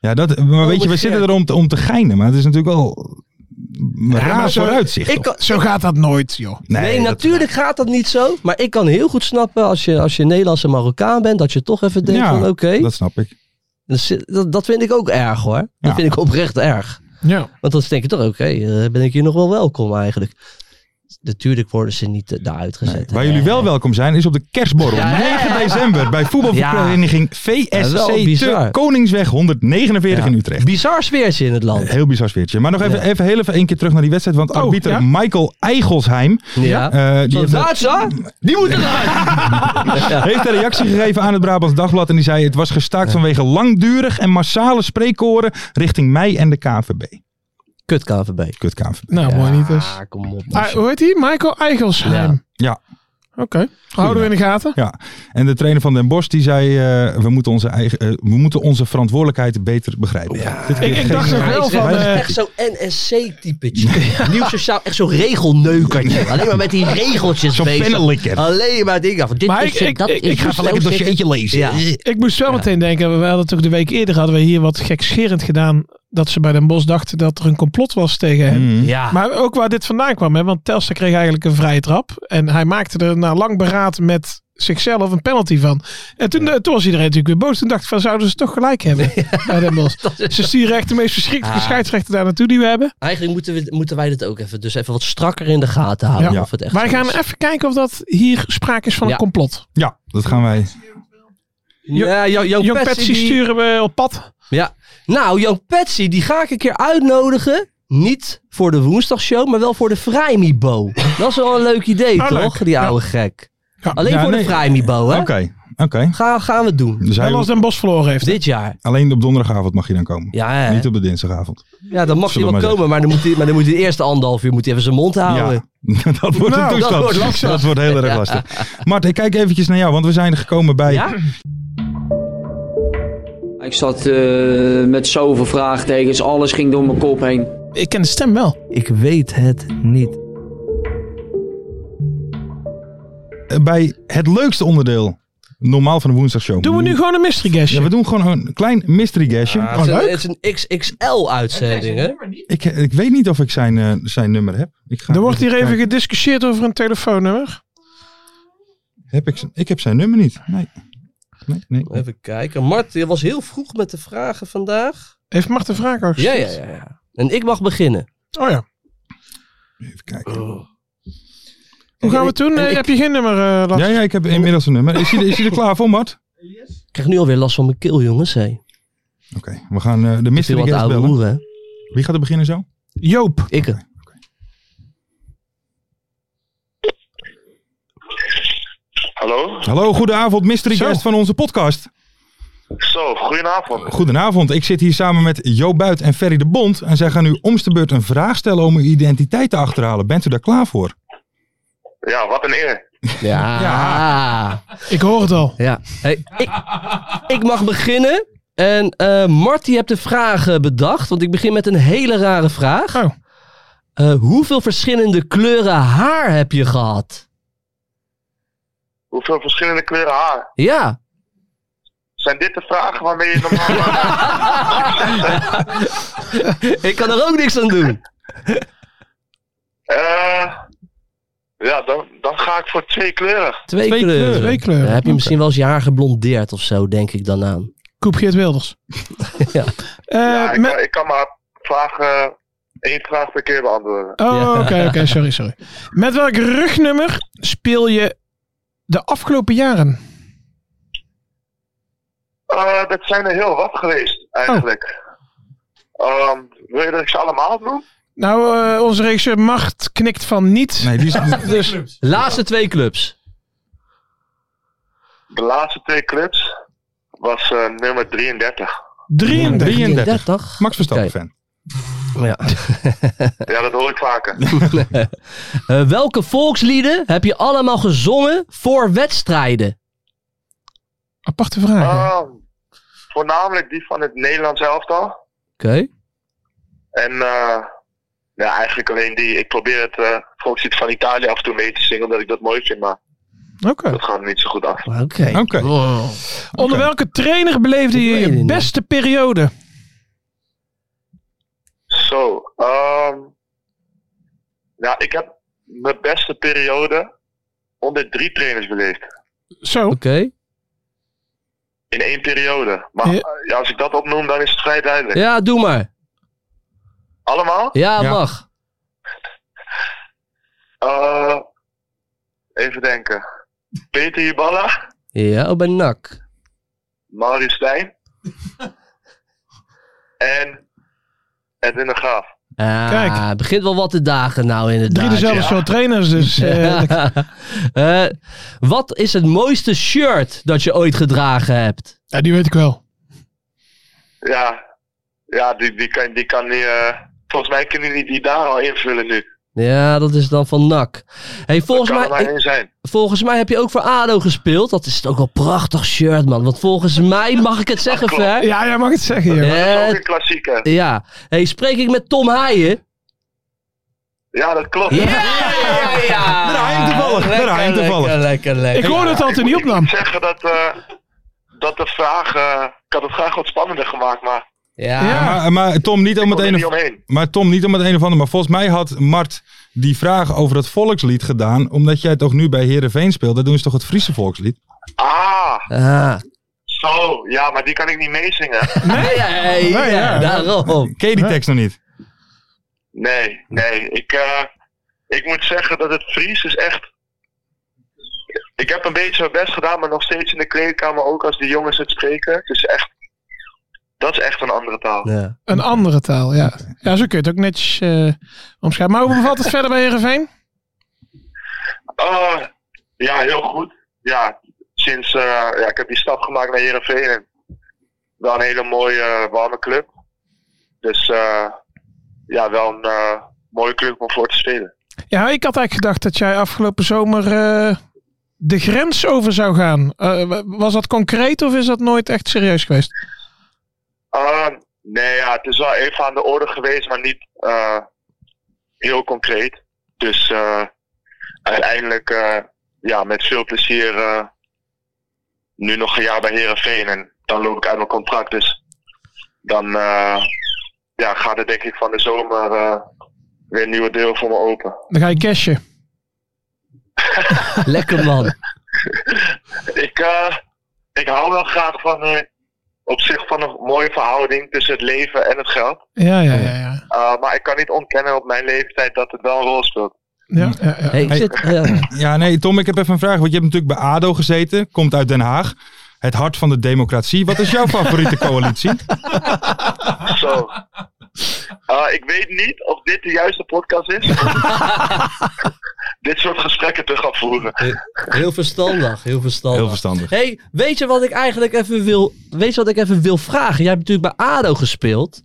[SPEAKER 3] Ja, dat, maar weet je, we
[SPEAKER 1] Oh, wat
[SPEAKER 3] zitten
[SPEAKER 1] gek.
[SPEAKER 3] er om te, om te geinen. Maar het is natuurlijk wel een raar
[SPEAKER 4] maar zo-
[SPEAKER 3] vooruitzicht.
[SPEAKER 1] Ik
[SPEAKER 3] toch?
[SPEAKER 1] kan,
[SPEAKER 4] Zo gaat dat nooit joh.
[SPEAKER 1] nee,
[SPEAKER 3] dat-
[SPEAKER 1] natuurlijk gaat dat niet zo. Maar ik kan heel goed snappen als je, als je Nederlandse Marokkaan bent, dat je toch even denkt
[SPEAKER 3] Ja,
[SPEAKER 1] van oké.
[SPEAKER 3] Dat snap ik.
[SPEAKER 1] Dat is- Dat, dat vind ik ook erg hoor. Dat
[SPEAKER 3] Ja.
[SPEAKER 1] vind ik oprecht erg.
[SPEAKER 4] Ja.
[SPEAKER 1] Want dan denk je toch, oké, eh, ben ik hier nog wel welkom eigenlijk. Natuurlijk worden ze niet eh, daaruit gezet.
[SPEAKER 3] Nee. Waar jullie wel welkom zijn is op de kerstborrel.
[SPEAKER 1] Ja, ja, ja, ja.
[SPEAKER 3] 9 december bij voetbalvereniging
[SPEAKER 1] Ja, wel
[SPEAKER 3] VSC
[SPEAKER 1] bizar.
[SPEAKER 3] te Koningsweg 149
[SPEAKER 1] Ja.
[SPEAKER 3] in Utrecht.
[SPEAKER 1] Bizar sfeertje in het land.
[SPEAKER 3] Heel bizar sfeertje. Maar nog even, even heel even één keer terug naar die wedstrijd. Want
[SPEAKER 4] Oh,
[SPEAKER 3] arbiter
[SPEAKER 4] ja.
[SPEAKER 3] Michael Eigelsheim...
[SPEAKER 1] Ja.
[SPEAKER 3] eh, die
[SPEAKER 1] Zo'n
[SPEAKER 3] heeft,
[SPEAKER 1] Duitser, die moet eruit. ja.
[SPEAKER 3] heeft een reactie gegeven aan het Brabants Dagblad. En die zei het was gestaakt vanwege langdurig en massale spreekkoren richting mij en de KNVB.
[SPEAKER 1] Kut KVB.
[SPEAKER 3] Kut KNVB.
[SPEAKER 4] Nou, mooi niet dus.
[SPEAKER 1] Ah, kom op.
[SPEAKER 4] Ah, hoe heet die? Michael Eigelsheim.
[SPEAKER 3] Ja.
[SPEAKER 4] Oké, houden we in de gaten.
[SPEAKER 3] Ja, en de trainer van Den Bosch die zei: eh, we, moeten onze eigen, eh, we moeten onze verantwoordelijkheid beter begrijpen. Dit keer
[SPEAKER 4] Ik, ik
[SPEAKER 3] geen-
[SPEAKER 4] dacht ook
[SPEAKER 1] Hij
[SPEAKER 4] wel
[SPEAKER 1] is
[SPEAKER 4] van...
[SPEAKER 1] echt,
[SPEAKER 4] eh,
[SPEAKER 1] echt zo'n NSC-typetje. Nieuw sociaal, echt zo'n regelneukertje. Alleen maar met die regeltjes
[SPEAKER 3] Zo'n
[SPEAKER 1] bezig.
[SPEAKER 3] pennenlikker.
[SPEAKER 1] Alleen maar dingen van dit
[SPEAKER 4] Maar
[SPEAKER 1] is
[SPEAKER 4] ik-
[SPEAKER 1] het,
[SPEAKER 4] ik-
[SPEAKER 1] dat
[SPEAKER 4] ik-
[SPEAKER 1] is
[SPEAKER 4] ik ga
[SPEAKER 1] het,
[SPEAKER 4] wel even
[SPEAKER 1] zo
[SPEAKER 4] een
[SPEAKER 1] zit het. Ja.
[SPEAKER 4] Ik moest wel meteen denken, we hadden toch de week eerder hadden we hier wat gekscherend gedaan. Dat ze bij Den Bos dachten dat er een complot was tegen hem.
[SPEAKER 3] Mm.
[SPEAKER 1] Ja.
[SPEAKER 4] Maar ook waar dit vandaan kwam, hè? want Telstra kreeg eigenlijk een vrije trap. En hij maakte er na lang beraad met zichzelf een penalty van. En toen, eh, toen was iedereen natuurlijk weer boos. Toen dacht ik van, zouden ze toch gelijk hebben bij Den Bos. Ze sturen echt de meest verschrikkelijke
[SPEAKER 1] Ah.
[SPEAKER 4] scheidsrechter daar naartoe die we hebben.
[SPEAKER 1] Eigenlijk moeten, we, moeten wij dit ook even, dus even wat strakker in de gaten houden.
[SPEAKER 4] Ja.
[SPEAKER 1] Of het echt
[SPEAKER 4] Wij
[SPEAKER 1] zo
[SPEAKER 4] gaan
[SPEAKER 1] is.
[SPEAKER 4] even kijken of dat hier sprake is van
[SPEAKER 1] Ja.
[SPEAKER 4] een complot.
[SPEAKER 3] Ja, dat gaan wij.
[SPEAKER 4] Jo-
[SPEAKER 1] ja, Jo- Joop
[SPEAKER 4] Jong
[SPEAKER 1] Petsy
[SPEAKER 4] Petsy
[SPEAKER 1] die-
[SPEAKER 4] sturen we op pad.
[SPEAKER 1] Ja. Nou, Joop Petsy, die ga ik een keer uitnodigen. Niet voor de woensdagshow, maar wel voor de Vrijmibo. Dat is wel een leuk idee,
[SPEAKER 4] Oh,
[SPEAKER 1] toch?
[SPEAKER 4] leuk.
[SPEAKER 1] Die oude gek.
[SPEAKER 4] Ja.
[SPEAKER 1] Alleen
[SPEAKER 3] Ah, Ja,
[SPEAKER 1] voor de
[SPEAKER 3] nee.
[SPEAKER 1] Vrijmibo, hè?
[SPEAKER 3] Oké, oké.
[SPEAKER 1] Ga, gaan we doen.
[SPEAKER 3] Dus hij-
[SPEAKER 4] En als Den Bos verloren heeft.
[SPEAKER 1] Dit jaar.
[SPEAKER 3] alleen op donderdagavond mag je dan komen.
[SPEAKER 1] Ja, hè?
[SPEAKER 3] Niet op de dinsdagavond.
[SPEAKER 1] ja dan mag hij
[SPEAKER 3] Zullen we
[SPEAKER 1] wel
[SPEAKER 3] maar
[SPEAKER 1] komen, maar dan, moet hij, maar dan moet hij de eerste anderhalf uur moet hij even zijn mond houden.
[SPEAKER 3] Ja, Oh, dat wordt
[SPEAKER 4] Nou,
[SPEAKER 3] een
[SPEAKER 4] dat
[SPEAKER 3] toestand.
[SPEAKER 1] wordt lastig.
[SPEAKER 3] Dat wordt heel erg lastig. Mart, ik kijk eventjes naar jou, want we zijn gekomen bij...
[SPEAKER 1] Ja?
[SPEAKER 6] Ik zat eh, met zoveel vraagtekens, alles ging door mijn kop heen.
[SPEAKER 4] Ik ken de stem wel.
[SPEAKER 1] Ik weet het niet.
[SPEAKER 3] eh, bij het leukste onderdeel, normaal van de woensdagshow.
[SPEAKER 4] Doen we nu Ah, gewoon een mystery guestje?
[SPEAKER 3] Ja, we doen gewoon een klein mystery guestje.
[SPEAKER 1] het, is een, het is een XXL-uitzending, hè?
[SPEAKER 3] ik, ik weet niet of ik zijn, eh, zijn nummer heb. Ik ga
[SPEAKER 4] er wordt hier even
[SPEAKER 3] kijken.
[SPEAKER 4] gediscussieerd over een telefoonnummer.
[SPEAKER 3] Heb ik, zijn- ik heb zijn nummer niet. Nee. Nee, nee.
[SPEAKER 1] Even kijken. Mart, je was heel vroeg met de vragen vandaag.
[SPEAKER 4] Heeft Mart de vraag al
[SPEAKER 1] Ja,
[SPEAKER 4] gesteld?
[SPEAKER 1] ja, ja. ja. En ik mag beginnen.
[SPEAKER 4] Oh ja.
[SPEAKER 3] Even kijken.
[SPEAKER 4] Hoe gaan we het doen?
[SPEAKER 1] En
[SPEAKER 4] Nee,
[SPEAKER 1] ik-
[SPEAKER 4] heb je geen nummer, eh Lars?
[SPEAKER 3] Ja, ja, ik heb inmiddels een nummer. Is hij, is hij er klaar voor, Mart?
[SPEAKER 1] Ik krijg nu alweer last van mijn keel, jongens. Hé. Ik
[SPEAKER 3] Oké, we gaan eh, de
[SPEAKER 1] vind
[SPEAKER 3] mystery
[SPEAKER 1] wat
[SPEAKER 3] guest
[SPEAKER 1] oude
[SPEAKER 3] bellen.
[SPEAKER 1] hoeren. hè.
[SPEAKER 3] Wie gaat er beginnen zo?
[SPEAKER 4] Joop.
[SPEAKER 1] Ik het.
[SPEAKER 7] Hallo?
[SPEAKER 3] Hallo, goedenavond, mystery
[SPEAKER 4] Zo.
[SPEAKER 3] guest van onze podcast.
[SPEAKER 7] Zo, goedenavond.
[SPEAKER 3] Goedenavond, ik zit hier samen met Jo Buit en Ferry de Bond. En zij gaan u om de beurt een vraag stellen om uw identiteit te achterhalen. Bent u daar klaar voor?
[SPEAKER 7] Ja, wat een eer.
[SPEAKER 1] Ja. ja.
[SPEAKER 4] Ik hoor het al.
[SPEAKER 1] Hé, ik, ik mag beginnen. En eh Mart, je hebt de vragen bedacht. Want ik begin met een hele rare vraag.
[SPEAKER 4] Oh.
[SPEAKER 1] Eh, hoeveel verschillende kleuren haar heb je gehad?
[SPEAKER 7] Hoeveel verschillende kleuren haar?
[SPEAKER 1] Ja.
[SPEAKER 7] Zijn dit de vragen waarmee je normaal...
[SPEAKER 1] Ik kan er ook niks aan doen.
[SPEAKER 7] Eh, Ja, dan, dan ga ik voor twee kleuren.
[SPEAKER 1] Twee,
[SPEAKER 4] Twee
[SPEAKER 1] kleuren.
[SPEAKER 4] kleuren. Twee kleuren.
[SPEAKER 1] Dan heb je
[SPEAKER 4] Oké.
[SPEAKER 1] misschien wel eens je haar geblondeerd of zo, denk ik dan aan.
[SPEAKER 4] Koep Geert Wilders.
[SPEAKER 1] ja.
[SPEAKER 4] Eh,
[SPEAKER 7] ja, ik,
[SPEAKER 4] me-
[SPEAKER 7] ik kan maar vragen, eh, één vraag per keer beantwoorden.
[SPEAKER 4] Oh, oké, oké, sorry, sorry. Met welk rugnummer speel je de afgelopen jaren?
[SPEAKER 7] Eh, dat zijn er heel wat geweest, eigenlijk. Ehm, wil je dat ik ze allemaal noem?
[SPEAKER 4] Nou, eh, onze regisseur Macht knikt van niet.
[SPEAKER 3] Nee, die is...
[SPEAKER 4] dus,
[SPEAKER 1] Laatste twee clubs.
[SPEAKER 7] De laatste twee clubs was eh, nummer 33.
[SPEAKER 4] 33.
[SPEAKER 1] 33.
[SPEAKER 3] Max Verstappen fan.
[SPEAKER 1] Ja.
[SPEAKER 7] Ja, dat hoor ik vaker.
[SPEAKER 1] Eh, welke volkslieden heb je allemaal gezongen voor wedstrijden?
[SPEAKER 4] Aparte vraag. hè?
[SPEAKER 7] Ehm, voornamelijk die van het Nederlands elftal.
[SPEAKER 1] Oké.
[SPEAKER 7] En eh, ja, eigenlijk alleen die. Ik probeer het eh volkslied van Italië af en toe mee te zingen, omdat ik dat mooi vind, maar
[SPEAKER 4] Oké.
[SPEAKER 7] dat gaat me niet zo goed af.
[SPEAKER 1] Oké.
[SPEAKER 3] Oké.
[SPEAKER 4] Onder welke trainer beleefde
[SPEAKER 1] Ik
[SPEAKER 4] je
[SPEAKER 1] weet het
[SPEAKER 4] je
[SPEAKER 1] niet.
[SPEAKER 4] beste periode?
[SPEAKER 7] Zo, ehm nou, ik heb mijn beste periode onder drie trainers beleefd.
[SPEAKER 4] Zo.
[SPEAKER 1] Oké.
[SPEAKER 7] In één periode. Maar
[SPEAKER 4] Ja.
[SPEAKER 7] eh, ja, als ik dat opnoem, dan is het vrij duidelijk.
[SPEAKER 1] Ja, doe maar.
[SPEAKER 7] Allemaal?
[SPEAKER 1] Ja,
[SPEAKER 3] Ja.
[SPEAKER 1] mag.
[SPEAKER 7] Eh, even denken. Peter Hiballa,
[SPEAKER 1] Ja, oh, bij NAC.
[SPEAKER 7] Maurice Stijn en Edwin de Graaf.
[SPEAKER 1] Ah,
[SPEAKER 4] Kijk.
[SPEAKER 1] het begint wel wat te dagen nou inderdaad.
[SPEAKER 4] Drie dezelfde soort trainers, dus eh,
[SPEAKER 1] Eh, wat is het mooiste shirt dat je ooit gedragen hebt?
[SPEAKER 4] ja, die weet ik wel.
[SPEAKER 7] Ja, ja die, die kan, die kan die, eh, volgens mij kunnen die die daar al invullen nu.
[SPEAKER 1] Ja, dat is dan van NAC. Hey, volgens,
[SPEAKER 7] kan
[SPEAKER 1] mij,
[SPEAKER 7] er maar één zijn.
[SPEAKER 1] volgens mij heb je ook voor ADO gespeeld. Dat is ook wel een prachtig shirt, man. Want volgens mij, mag ik het zeggen,
[SPEAKER 7] klopt.
[SPEAKER 1] Ver?
[SPEAKER 4] Ja, jij mag het zeggen, joh.
[SPEAKER 7] Dat is
[SPEAKER 1] Eh,
[SPEAKER 7] ook een klassieker.
[SPEAKER 1] ja. Hey, spreek ik met Tom Haaien?
[SPEAKER 7] Ja, dat klopt.
[SPEAKER 1] ja, ja.
[SPEAKER 3] Met Haaien toevallig, met Haaien
[SPEAKER 1] Lekker,
[SPEAKER 3] toevallig.
[SPEAKER 1] Lekker, lekker, lekker.
[SPEAKER 4] Ik hoorde het al toen hij
[SPEAKER 7] Ik
[SPEAKER 4] opnam.
[SPEAKER 7] moet zeggen dat, eh, dat de vraag... eh, ik had het graag wat spannender gemaakt, maar
[SPEAKER 1] Ja.
[SPEAKER 3] Ja, maar, maar Tom, niet om
[SPEAKER 7] ik
[SPEAKER 3] het
[SPEAKER 1] Oh,
[SPEAKER 7] kon er
[SPEAKER 3] een
[SPEAKER 7] niet
[SPEAKER 3] of,
[SPEAKER 7] omheen.
[SPEAKER 3] maar Tom, niet om het een of ander. Maar volgens mij had Mart die vraag over het volkslied gedaan. Omdat jij toch nu bij Herenveen speelt. Dat doen ze toch het Friese volkslied?
[SPEAKER 7] Ah,
[SPEAKER 1] Ah.
[SPEAKER 7] zo. Ja, maar die kan ik niet meezingen.
[SPEAKER 1] Nee? Ja, ja, ja,
[SPEAKER 4] ja.
[SPEAKER 1] daarom.
[SPEAKER 3] Ken je die tekst nog niet?
[SPEAKER 7] Nee, nee. Ik, eh, ik moet zeggen dat het Fries is echt... Ik heb een beetje mijn best gedaan, maar nog steeds in de kleedkamer, ook als die jongens het spreken. Het is echt... Dat is echt een andere taal.
[SPEAKER 1] Ja.
[SPEAKER 4] Een andere taal, ja. Ja, zo kun je het ook netjes eh, omschrijven. Maar hoe bevalt het verder bij Heerenveen?
[SPEAKER 7] Ah, ja, heel goed. Ja, sinds, eh, ja, ik heb die stap gemaakt naar Heerenveen. En wel een hele mooie, eh, warme club. Dus eh, ja, wel een eh, mooie club om voor te spelen.
[SPEAKER 4] Ja, ik had eigenlijk gedacht dat jij afgelopen zomer eh, de grens over zou gaan. Eh, wa- was dat concreet of is dat nooit echt serieus geweest?
[SPEAKER 7] Ah, nee, ja, het is wel even aan de orde geweest, maar niet eh, heel concreet. Dus eh, uiteindelijk eh, ja, met veel plezier eh, nu nog een jaar bij Heerenveen. En dan loop ik uit mijn contract, dus dan eh, ja, gaat er denk ik van de zomer eh, weer een nieuwe deel voor me open.
[SPEAKER 4] Dan ga je cashen.
[SPEAKER 1] Lekker, man.
[SPEAKER 7] Ik, eh, ik hou wel graag van eh, op zich van een mooie verhouding tussen het leven en het geld.
[SPEAKER 4] Ja, ja, ja. ja.
[SPEAKER 7] Uh, maar ik kan niet ontkennen op mijn leeftijd dat het wel een rol speelt.
[SPEAKER 4] ja, ja, ja.
[SPEAKER 1] Hey, ik
[SPEAKER 3] Hey.
[SPEAKER 1] zit, ja.
[SPEAKER 3] Ja, nee, Tom, ik heb even een vraag. Want je hebt natuurlijk bij ADO gezeten. Komt uit Den Haag. Het hart van de democratie. Wat is jouw favoriete coalitie?
[SPEAKER 7] Zo. Uh, ik weet niet of dit de juiste podcast is. dit soort gesprekken te gaan voeren.
[SPEAKER 1] Heel verstandig, heel verstandig.
[SPEAKER 3] Heel verstandig.
[SPEAKER 1] Hey, weet je wat ik eigenlijk even wil, weet je wat ik even wil vragen? Jij hebt natuurlijk bij ADO gespeeld.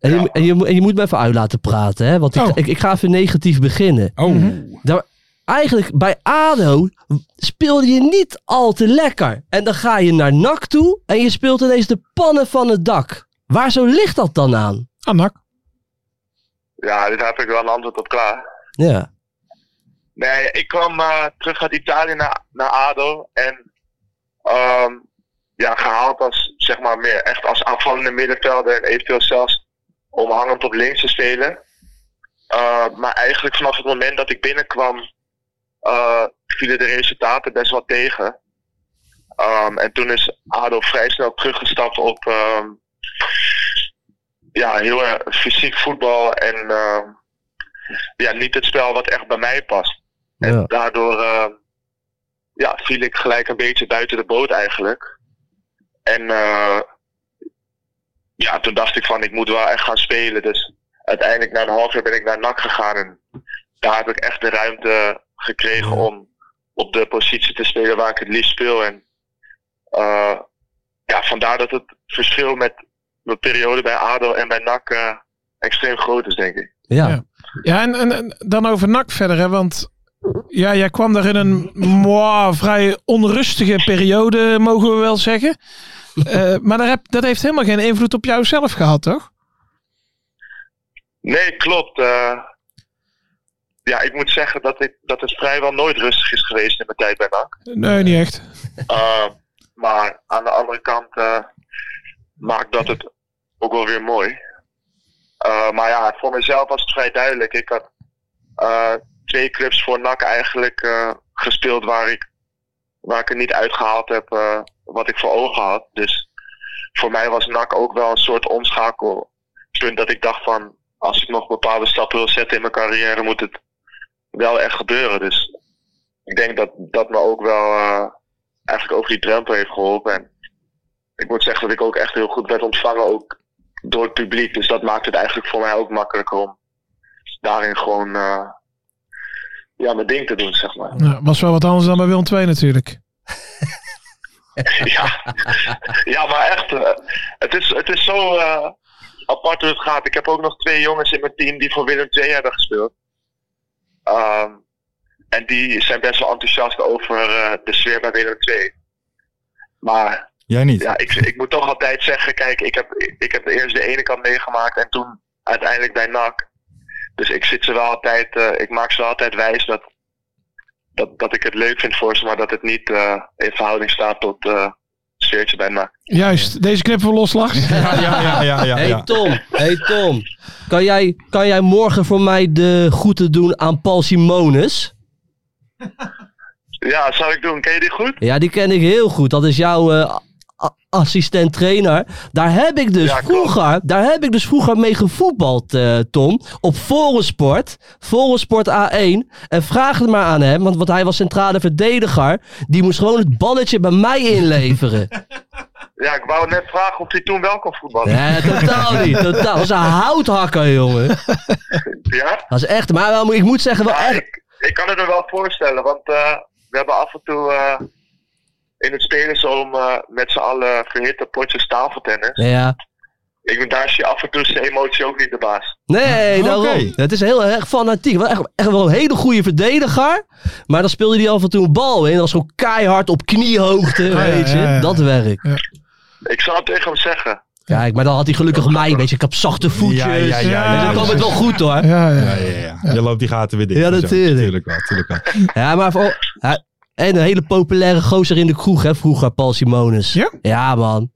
[SPEAKER 1] En, je, en, je, moet- en je moet me even uit laten praten, hè? want ik,
[SPEAKER 4] Oh.
[SPEAKER 1] ik, ik ga even negatief beginnen.
[SPEAKER 3] Oh,
[SPEAKER 1] Daar, eigenlijk, bij ADO speelde je niet al te lekker. En dan ga je naar NAC toe en je speelt ineens de pannen van het dak. Waar zo ligt dat dan aan?
[SPEAKER 4] Anak.
[SPEAKER 7] Ja, dit heb ik wel een antwoord op klaar.
[SPEAKER 1] Ja.
[SPEAKER 7] Nee, ik kwam eh, terug uit Italië naar, naar ADO. En ehm, ja, gehaald als, zeg maar, meer echt als aanvallende middenvelder. En eventueel zelfs omhangend op links te spelen. Eh, maar eigenlijk vanaf het moment dat ik binnenkwam, eh, vielen de resultaten best wel tegen. Ehm, en toen is ADO vrij snel teruggestapt op ehm, ja, heel erg fysiek voetbal en ehm, ja, niet het spel wat echt bij mij past. En daardoor ehm, ja, viel ik gelijk een beetje buiten de boot eigenlijk. En eh, ja, toen dacht ik van ik moet wel echt gaan spelen. Dus uiteindelijk na een half jaar ben ik naar NAC gegaan. En daar heb ik echt de ruimte gekregen om op de positie te spelen waar ik het liefst speel. En eh, ja, vandaar dat het verschil met mijn periode bij ADO en bij NAC eh, extreem groot is, denk ik.
[SPEAKER 1] Ja.
[SPEAKER 4] Ja, en, en, en dan over NAC verder, hè, want ja, jij kwam daar in een moi, vrij onrustige periode, mogen we wel zeggen. Eh, maar daar heb, dat heeft helemaal geen invloed op jou zelf gehad, toch?
[SPEAKER 7] Nee, klopt. eh. ja, ik moet zeggen dat, ik, dat het vrijwel nooit rustig is geweest in mijn tijd bij NAC.
[SPEAKER 4] Nee, niet echt.
[SPEAKER 7] Eh, maar aan de andere kant eh, maakt dat het ook wel weer mooi. Eh, maar ja, voor mezelf was het vrij duidelijk. Ik had eh, twee clubs voor NAC eigenlijk eh, gespeeld waar ik, waar ik er niet uitgehaald heb eh, wat ik voor ogen had. Dus voor mij was NAC ook wel een soort omschakelpunt dat ik dacht van als ik nog bepaalde stappen wil zetten in mijn carrière moet het wel echt gebeuren. Dus ik denk dat dat me ook wel eh, eigenlijk over die drempel heeft geholpen. En ik moet zeggen dat ik ook echt heel goed werd ontvangen, ook door het publiek. Dus dat maakt het eigenlijk voor mij ook makkelijker om daarin gewoon eh, ja, mijn ding te doen, zeg maar.
[SPEAKER 4] Nou, was wel wat anders dan bij Willem II natuurlijk.
[SPEAKER 7] ja. ja, maar echt, eh, het, is, het is zo eh, apart hoe het gaat. Ik heb ook nog twee jongens in mijn team die voor Willem II hebben gespeeld. Ehm, en die zijn best wel enthousiast over eh, de sfeer bij Willem II. Maar
[SPEAKER 3] Jij niet?
[SPEAKER 7] Ja, ik, ik moet toch altijd zeggen, kijk, ik heb, ik heb eerst de ene kant meegemaakt en toen uiteindelijk bij NAC. Dus ik zit ze wel altijd, eh, ik maak ze wel altijd wijs dat, dat, dat ik het leuk vind voor ze, maar dat het niet eh, in verhouding staat tot eh sfeertje bij NAC.
[SPEAKER 4] Juist, deze knippen we los, Lars.
[SPEAKER 3] ja, ja, ja, ja,
[SPEAKER 1] hey
[SPEAKER 3] ja.
[SPEAKER 1] Tom, hey Tom. Kan jij, kan jij morgen voor mij de groeten doen aan Paul Simonis?
[SPEAKER 7] Ja, zou ik doen. Ken je die goed?
[SPEAKER 1] Ja, die ken ik heel goed. Dat is jouw eh, assistent trainer. Daar heb ik dus
[SPEAKER 7] Ja, klopt.
[SPEAKER 1] vroeger, daar heb ik dus vroeger mee gevoetbald, eh, Tom. Op Forensport. Forensport A1. En vraag het maar aan hem, want, want hij was centrale verdediger. Die moest gewoon het balletje bij mij inleveren.
[SPEAKER 7] Ja, ik wou net vragen of hij toen wel kon voetballen.
[SPEAKER 1] nee, totaal niet. Totaal. Dat was een houthakker, jongen.
[SPEAKER 7] Ja?
[SPEAKER 1] Dat is echt, maar wel, ik moet zeggen, wel
[SPEAKER 7] Ja,
[SPEAKER 1] echt.
[SPEAKER 7] ik, ik kan het me wel voorstellen, want eh, we hebben af en toe eh, in het spelersom eh, met z'n allen verhitte potjes tafeltennis.
[SPEAKER 1] Ja.
[SPEAKER 7] Ik ben daar zie je af en toe zijn emotie ook niet de baas.
[SPEAKER 1] Nee, daarom. Het is heel erg fanatiek. Wel Echt, echt wel een hele goede verdediger. Maar dan speelde hij af en toe een bal in. Dat was gewoon keihard op kniehoogte. weet je.
[SPEAKER 4] ja, ja.
[SPEAKER 1] Dat werk.
[SPEAKER 7] Ik zou het tegen hem zeggen.
[SPEAKER 1] Kijk, maar dan had hij gelukkig mij. Weet je, ik heb zachte voetjes.
[SPEAKER 3] Ja, ja, ja, ja,
[SPEAKER 1] dus dan
[SPEAKER 3] ja,
[SPEAKER 1] kwam
[SPEAKER 3] ja.
[SPEAKER 1] het wel goed hoor.
[SPEAKER 4] Ja, ja.
[SPEAKER 3] Ja, ja, ja. Je loopt die gaten weer dicht.
[SPEAKER 1] Ja,
[SPEAKER 3] en zo.
[SPEAKER 1] natuurlijk.
[SPEAKER 3] Tuurlijk wel, tuurlijk wel.
[SPEAKER 1] Ja, maar voor- ja, en een hele populaire gozer in de kroeg, hè, vroeger, Paul Simonis.
[SPEAKER 4] Ja?
[SPEAKER 1] man.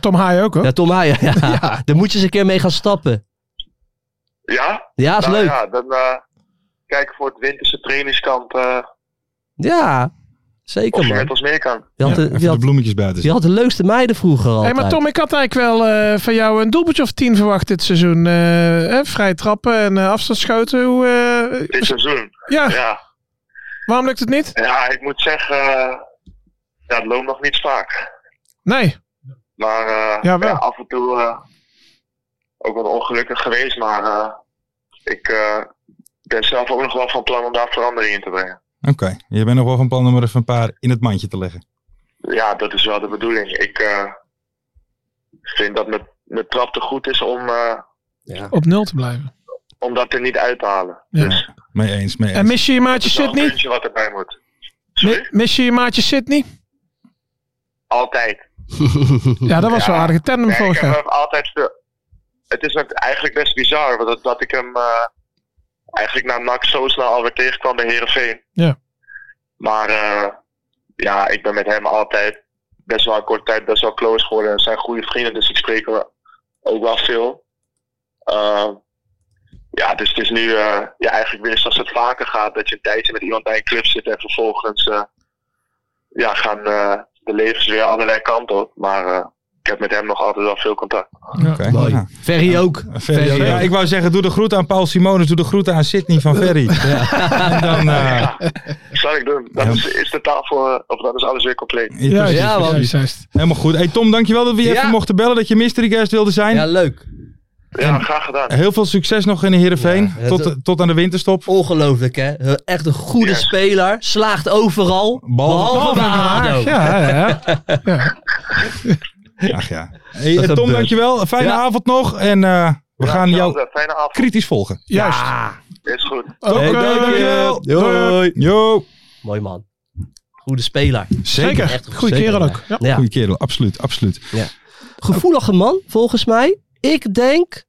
[SPEAKER 4] Tom Haai ook, hoor.
[SPEAKER 1] Ja, Tom Haaien. Ja. Daar moet je eens een keer mee gaan stappen.
[SPEAKER 7] Ja?
[SPEAKER 1] Ja, is
[SPEAKER 7] Nou
[SPEAKER 1] leuk. Ja.
[SPEAKER 7] Ja, dan eh kijken voor het winterse trainingskamp eh of
[SPEAKER 1] zeker,
[SPEAKER 7] je met
[SPEAKER 1] man.
[SPEAKER 7] ons mee kan.
[SPEAKER 1] Die had, de- die,
[SPEAKER 3] Even de
[SPEAKER 1] had,
[SPEAKER 3] bloemetjes buiten.
[SPEAKER 1] die had de leukste meiden vroeger altijd.
[SPEAKER 4] Hey, maar Tom, ik had eigenlijk wel eh, van jou een doelpuntje of tien verwacht dit seizoen. Eh, eh, vrij trappen en eh, afstandsschoten. Hoe, eh,
[SPEAKER 7] Dit seizoen.
[SPEAKER 4] ja,
[SPEAKER 7] Ja.
[SPEAKER 4] waarom lukt het niet?
[SPEAKER 7] ja, ik moet zeggen, eh, ja, het loopt nog niet vaak.
[SPEAKER 4] Nee.
[SPEAKER 7] Maar eh,
[SPEAKER 4] Ja, wel.
[SPEAKER 7] ja, af en toe eh, ook wel ongelukkig geweest. Maar eh, ik eh, ben zelf ook nog wel van plan om daar verandering in te brengen.
[SPEAKER 3] Oké, je bent nog wel van plan om er even een paar in het mandje te leggen.
[SPEAKER 7] Ja, dat is wel de bedoeling. Ik eh, vind dat mijn, mijn trap te goed is om, eh,
[SPEAKER 4] Op nul te blijven.
[SPEAKER 7] om dat er niet uit te halen.
[SPEAKER 4] Ja.
[SPEAKER 7] Dus
[SPEAKER 3] Mee eens, mee
[SPEAKER 4] En
[SPEAKER 3] eens.
[SPEAKER 4] mis je je maatje
[SPEAKER 7] Het is wel een
[SPEAKER 4] Sydney?
[SPEAKER 7] puntje wat erbij moet.
[SPEAKER 4] Mi-
[SPEAKER 7] Sorry?
[SPEAKER 4] Mis je je maatje Sydney?
[SPEAKER 7] Altijd.
[SPEAKER 4] Ja, dat was
[SPEAKER 7] Ja.
[SPEAKER 4] wel een aardige tandem
[SPEAKER 7] Nee, ik
[SPEAKER 4] vorig
[SPEAKER 7] heb
[SPEAKER 4] jaar.
[SPEAKER 7] hem altijd veel... Het is ook eigenlijk best bizar want dat, dat ik hem eh, eigenlijk na NAC zo snel alweer tegenkwam bij Herenveen.
[SPEAKER 4] Ja.
[SPEAKER 7] Maar eh, ja, ik ben met hem altijd best wel een korte tijd best wel close geworden. We zijn goede vrienden, dus ik spreek hem ook wel veel. Eh, ja, dus het is nu eh, ja, eigenlijk weer zoals het vaker gaat. Dat je een tijdje met iemand bij een club zit en vervolgens eh, ja, gaan eh, de levens weer allerlei kanten op. Maar eh, ik heb met hem nog altijd wel veel contact.
[SPEAKER 3] Oké,
[SPEAKER 1] Mooi.
[SPEAKER 3] ja.
[SPEAKER 1] Ferry ook.
[SPEAKER 3] Ferry,
[SPEAKER 1] Ferry
[SPEAKER 3] ja,
[SPEAKER 1] ook.
[SPEAKER 3] ik wou zeggen, doe de groeten aan Paul Simonis, doe de groeten aan Sidney van Ferry. En dan, eh,
[SPEAKER 7] Zal ik doen. Dat
[SPEAKER 3] Ja.
[SPEAKER 7] is, is de tafel, eh, of dat is alles weer compleet.
[SPEAKER 3] ja, precies,
[SPEAKER 1] ja, man.
[SPEAKER 3] precies. Helemaal goed. Hey Tom, dankjewel dat we je
[SPEAKER 1] Ja.
[SPEAKER 3] even mochten bellen, dat je mystery guest wilde zijn.
[SPEAKER 1] Ja, leuk.
[SPEAKER 7] Ja, graag gedaan.
[SPEAKER 3] Heel veel succes nog in de Heerenveen,
[SPEAKER 1] Ja,
[SPEAKER 3] tot, eh,
[SPEAKER 1] dat-
[SPEAKER 3] tot aan de winterstop.
[SPEAKER 1] Ongelooflijk, hè? Echt een goede
[SPEAKER 7] Ja.
[SPEAKER 1] speler. Slaagt overal. behalve bij ADO.
[SPEAKER 4] Ja, ja, ja.
[SPEAKER 3] Ach ja. Hey,
[SPEAKER 1] Dat
[SPEAKER 3] eh, Tom,
[SPEAKER 1] gebeurt.
[SPEAKER 3] dankjewel. Fijne
[SPEAKER 1] Ja.
[SPEAKER 3] avond nog en eh, we
[SPEAKER 7] Ja,
[SPEAKER 3] gaan jou
[SPEAKER 7] hetzelfde. Fijne avond.
[SPEAKER 3] kritisch volgen.
[SPEAKER 4] Juist.
[SPEAKER 7] Is goed.
[SPEAKER 4] Oké,
[SPEAKER 1] Hey,
[SPEAKER 4] dankjewel.
[SPEAKER 1] dankjewel. Doei.
[SPEAKER 3] Yo.
[SPEAKER 1] Mooi man. Goede speler.
[SPEAKER 4] Zeker.
[SPEAKER 1] Echt een
[SPEAKER 4] Goeie
[SPEAKER 1] speler,
[SPEAKER 4] kerel
[SPEAKER 1] ja.
[SPEAKER 4] ook. Ja.
[SPEAKER 1] Ja.
[SPEAKER 3] Goeie kerel, absoluut, absoluut.
[SPEAKER 1] Gevoelige man, volgens mij. Ik denk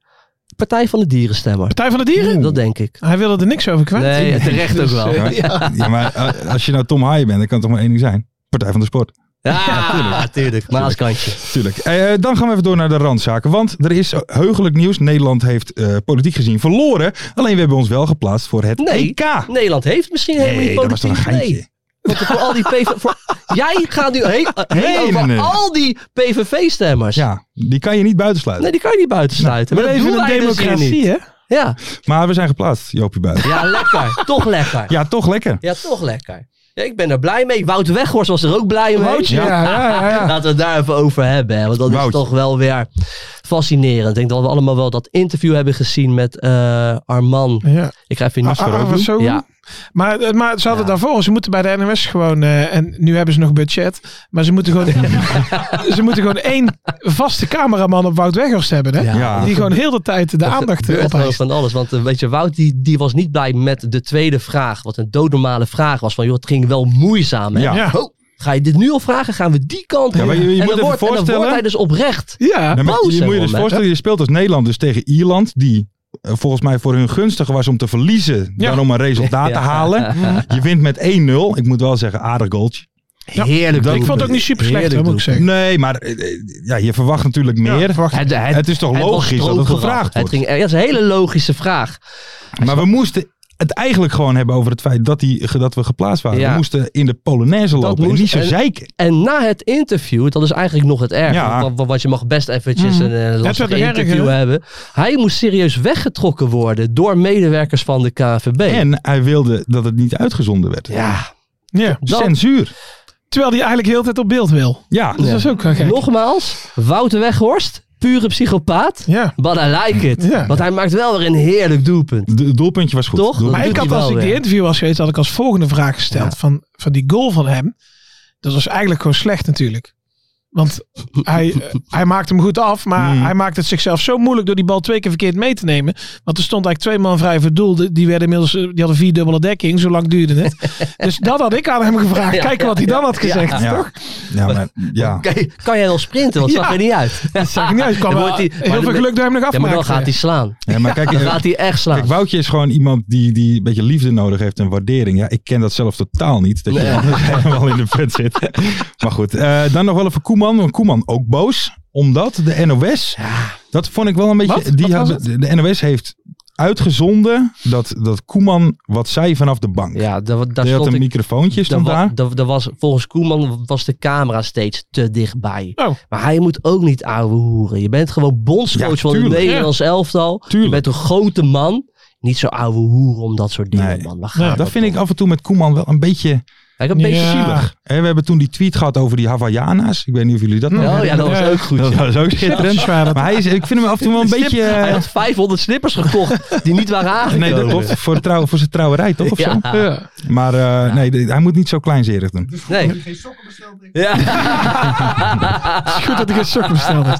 [SPEAKER 1] Partij van de Dierenstemmer.
[SPEAKER 4] Partij van de Dieren?
[SPEAKER 1] Dat denk ik.
[SPEAKER 4] Hij wilde er niks over kwijt.
[SPEAKER 1] Nee, terecht
[SPEAKER 4] Dus,
[SPEAKER 1] ook wel.
[SPEAKER 3] Ja, maar, ja, maar eh, als je nou Tom Haaien bent, dan kan het toch maar één ding zijn. Partij van de Sport.
[SPEAKER 1] Ja, tuurlijk. Maaskantje.
[SPEAKER 3] Tuurlijk. Eh, eh, dan gaan we even door naar de randzaken. Want er is heugelijk nieuws. Nederland heeft eh, politiek gezien verloren. Alleen we hebben ons wel geplaatst voor het
[SPEAKER 1] Nee.
[SPEAKER 3] EK. Nee,
[SPEAKER 1] Nederland heeft misschien helemaal niet
[SPEAKER 3] dat was
[SPEAKER 1] politiek.
[SPEAKER 3] toch een geintje?
[SPEAKER 1] Nee. Want voor al die PV... voor- Jij gaat nu heen, heen
[SPEAKER 3] Nee,
[SPEAKER 1] over
[SPEAKER 3] nee, nee.
[SPEAKER 1] al die PVV-stemmers.
[SPEAKER 3] Ja, die kan je niet buitensluiten.
[SPEAKER 1] Nee, die kan je niet buiten sluiten.
[SPEAKER 4] Nou, We
[SPEAKER 1] Maar dat
[SPEAKER 4] leven in
[SPEAKER 1] doen
[SPEAKER 4] een
[SPEAKER 1] wij dus hier niet.
[SPEAKER 4] democratie, hè?
[SPEAKER 1] Ja.
[SPEAKER 3] Maar we zijn geplaatst, Joopie Buiten.
[SPEAKER 1] ja, lekker. Toch lekker. Ja,
[SPEAKER 3] Ja, toch lekker.
[SPEAKER 1] toch lekker. Ja, ik ben er blij mee. Wout Weghorst was er ook blij mee.
[SPEAKER 4] Woutje, ja, ja, ja, ja.
[SPEAKER 1] Laten we het daar even over hebben. Hè, want dat
[SPEAKER 3] Wout.
[SPEAKER 1] is toch wel weer fascinerend. Ik denk dat we allemaal wel dat interview hebben gezien met eh Arman.
[SPEAKER 4] Ja.
[SPEAKER 1] Ik ga even niet
[SPEAKER 4] Ah, ah,
[SPEAKER 1] voor
[SPEAKER 4] wat zo doen?
[SPEAKER 1] Ja,
[SPEAKER 4] Maar, eh, maar ze hadden
[SPEAKER 1] Ja.
[SPEAKER 4] daarvoor, ze moeten bij de NMS gewoon, eh, en nu hebben ze nog budget, maar ze moeten gewoon, ze moeten gewoon één vaste cameraman op Wout Weghorst hebben, hè?
[SPEAKER 1] Ja.
[SPEAKER 3] Ja.
[SPEAKER 4] Die gewoon heel de tijd de aandacht eh,
[SPEAKER 1] gebeurt wel
[SPEAKER 4] opeist.
[SPEAKER 1] van alles. Want eh, weet je, Wout die, die was niet blij met de tweede vraag. Wat een doodnormale vraag was. Van joh, het ging wel moeizaam. Hè?
[SPEAKER 3] Ja.
[SPEAKER 4] Ja.
[SPEAKER 1] Oh, ga je dit nu al vragen? Gaan we die kant
[SPEAKER 3] Ja, maar je- je
[SPEAKER 1] en,
[SPEAKER 3] moet
[SPEAKER 1] dan
[SPEAKER 3] even
[SPEAKER 1] wordt, en dan wordt
[SPEAKER 3] voorstellen-
[SPEAKER 1] hij dus oprecht.
[SPEAKER 4] Ja,
[SPEAKER 3] Nee,
[SPEAKER 1] boos
[SPEAKER 3] maar je moet je
[SPEAKER 1] helemaal,
[SPEAKER 3] dus
[SPEAKER 1] hè?
[SPEAKER 3] voorstellen, je speelt als Nederland dus tegen Ierland, die eh, volgens mij voor hun gunstiger was om te verliezen
[SPEAKER 4] Ja.
[SPEAKER 3] dan om een resultaat te
[SPEAKER 1] Ja.
[SPEAKER 3] halen. Je wint met 1-0. Ik moet wel zeggen, aardig goaltje.
[SPEAKER 4] Ja.
[SPEAKER 1] Heerlijk.
[SPEAKER 4] ik vond het ook niet super slecht, hè, moet ik zeggen.
[SPEAKER 3] Nee, maar eh, eh, ja, je verwacht natuurlijk meer.
[SPEAKER 1] Het, het,
[SPEAKER 3] het is toch
[SPEAKER 1] het was
[SPEAKER 3] logisch dat het
[SPEAKER 1] stroperig. Het
[SPEAKER 3] gevraagd wordt.
[SPEAKER 1] ging, ja, dat is een hele logische vraag.
[SPEAKER 3] Maar we moesten het eigenlijk gewoon hebben over het feit dat, die, dat we geplaatst waren.
[SPEAKER 1] Ja.
[SPEAKER 3] We moesten in de Polonaise lopen en
[SPEAKER 1] moest.
[SPEAKER 3] niet zo
[SPEAKER 1] En-
[SPEAKER 3] zeiken.
[SPEAKER 1] En na het interview, dat is eigenlijk nog het erg.
[SPEAKER 3] Ja.
[SPEAKER 1] Want, want je mag best eventjes
[SPEAKER 4] Mm.
[SPEAKER 1] een eh, lastig
[SPEAKER 4] werd erger,
[SPEAKER 1] interview
[SPEAKER 4] hè?
[SPEAKER 1] hebben. Hij moest serieus weggetrokken worden door medewerkers van de KVB.
[SPEAKER 3] En hij wilde dat het niet uitgezonden werd.
[SPEAKER 1] ja,
[SPEAKER 4] Ja.
[SPEAKER 1] dat-
[SPEAKER 3] Censuur.
[SPEAKER 4] Terwijl hij eigenlijk heel de tijd op beeld wil.
[SPEAKER 3] Ja.
[SPEAKER 4] Dus dat is ook wel gek.
[SPEAKER 1] nogmaals, Wouter Weghorst, pure psychopaat.
[SPEAKER 4] Ja.
[SPEAKER 1] But I like it.
[SPEAKER 4] Ja.
[SPEAKER 1] Want hij maakt wel weer een heerlijk doelpunt.
[SPEAKER 3] De- Het doelpuntje was goed.
[SPEAKER 1] Toch?
[SPEAKER 3] Doelpuntje.
[SPEAKER 4] Maar ik
[SPEAKER 1] doet
[SPEAKER 4] had,
[SPEAKER 1] hij
[SPEAKER 4] als
[SPEAKER 1] wel
[SPEAKER 4] ik die
[SPEAKER 1] weer.
[SPEAKER 4] interview was geweest, had ik als volgende vraag gesteld van, van die goal van hem. Dat was eigenlijk gewoon slecht natuurlijk. Want hij, eh, hij maakte hem goed af, maar
[SPEAKER 1] Mm.
[SPEAKER 4] hij maakte het zichzelf zo moeilijk door die bal twee keer verkeerd mee te nemen. Want er stond eigenlijk twee man vrij voor het doel. Die die werden inmiddels, eh, die hadden vier dubbele dekking, zo lang duurde het. dus dat had ik aan hem gevraagd.
[SPEAKER 1] Ja,
[SPEAKER 4] Kijken wat hij
[SPEAKER 1] ja,
[SPEAKER 4] dan had
[SPEAKER 1] ja.
[SPEAKER 4] gezegd,
[SPEAKER 3] Ja.
[SPEAKER 4] toch?
[SPEAKER 3] Ja, maar, ja.
[SPEAKER 1] Oké, Kan jij wel sprinten? Want het
[SPEAKER 4] Ja.
[SPEAKER 1] zag er niet uit.
[SPEAKER 4] Dat zag ik niet uit. Ik kwam
[SPEAKER 1] Dan
[SPEAKER 4] wel-
[SPEAKER 1] wordt hij- maar
[SPEAKER 4] heel veel
[SPEAKER 1] dan-
[SPEAKER 4] geluk dat hij hem nog
[SPEAKER 1] Ja, maar dan
[SPEAKER 4] afmaakte.
[SPEAKER 1] gaat hij slaan.
[SPEAKER 3] Ja, maar kijk,
[SPEAKER 1] Dan
[SPEAKER 3] eh,
[SPEAKER 1] gaat hij echt
[SPEAKER 3] Kijk,
[SPEAKER 1] slaan.
[SPEAKER 3] Woutje is gewoon iemand die, die een beetje liefde nodig heeft en waardering. Ja, ik ken dat zelf totaal niet. Dat je dan helemaal in de vet zit. Maar goed, eh, dan nog wel even Koeman. Want Koeman ook boos. Omdat de NOS, dat vond ik wel een beetje...
[SPEAKER 4] Wat?
[SPEAKER 3] Die
[SPEAKER 4] Wat was
[SPEAKER 3] hadden- de, de NOS heeft uitgezonden dat, dat Koeman wat zei vanaf de bank.
[SPEAKER 1] Ja, daar, daar
[SPEAKER 3] die had
[SPEAKER 1] stond
[SPEAKER 3] een
[SPEAKER 1] ik
[SPEAKER 3] microfoontje
[SPEAKER 1] Er
[SPEAKER 3] stond
[SPEAKER 1] wa-
[SPEAKER 3] daar.
[SPEAKER 1] er- er was, volgens Koeman was de camera steeds te dichtbij.
[SPEAKER 4] Oh.
[SPEAKER 1] Maar hij moet ook niet ouwe hoeren. Je bent gewoon bondscoach
[SPEAKER 3] Ja,
[SPEAKER 1] van het
[SPEAKER 3] tuurlijk.
[SPEAKER 1] Nederlands elftal. Je
[SPEAKER 3] Tuurlijk.
[SPEAKER 1] bent een grote man. Niet zo ouwe hoeren om dat soort dingen,
[SPEAKER 3] Nee.
[SPEAKER 1] man. Waar gaat
[SPEAKER 3] Ja, dat vind ik af en toe met Koeman wel een beetje
[SPEAKER 1] Kijk, een beetje
[SPEAKER 4] Ja.
[SPEAKER 1] zielig.
[SPEAKER 3] zielig. Hè, we hebben toen die tweet gehad over die Havaianas. Ik weet niet of jullie dat nog
[SPEAKER 1] Oh ja, dat was ook goed.
[SPEAKER 3] Dat
[SPEAKER 1] ja.
[SPEAKER 3] was ook schitterend. Maar hij is, ik vind hem af en toe wel een
[SPEAKER 1] Snip-
[SPEAKER 3] beetje... eh,
[SPEAKER 1] Hij had 500 slippers gekocht die niet waren aangekomen.
[SPEAKER 3] Nee, dat klopt. Voor, de trouw, voor zijn trouwerij, toch? Of
[SPEAKER 1] Ja.
[SPEAKER 3] zo? Maar eh, nee, de- hij moet niet zo kleinzerig doen.
[SPEAKER 5] Heb je
[SPEAKER 1] Nee.
[SPEAKER 5] geen sokken besteld? denk ik?
[SPEAKER 1] Ja,
[SPEAKER 4] Het is goed dat ik een sokken besteld heb.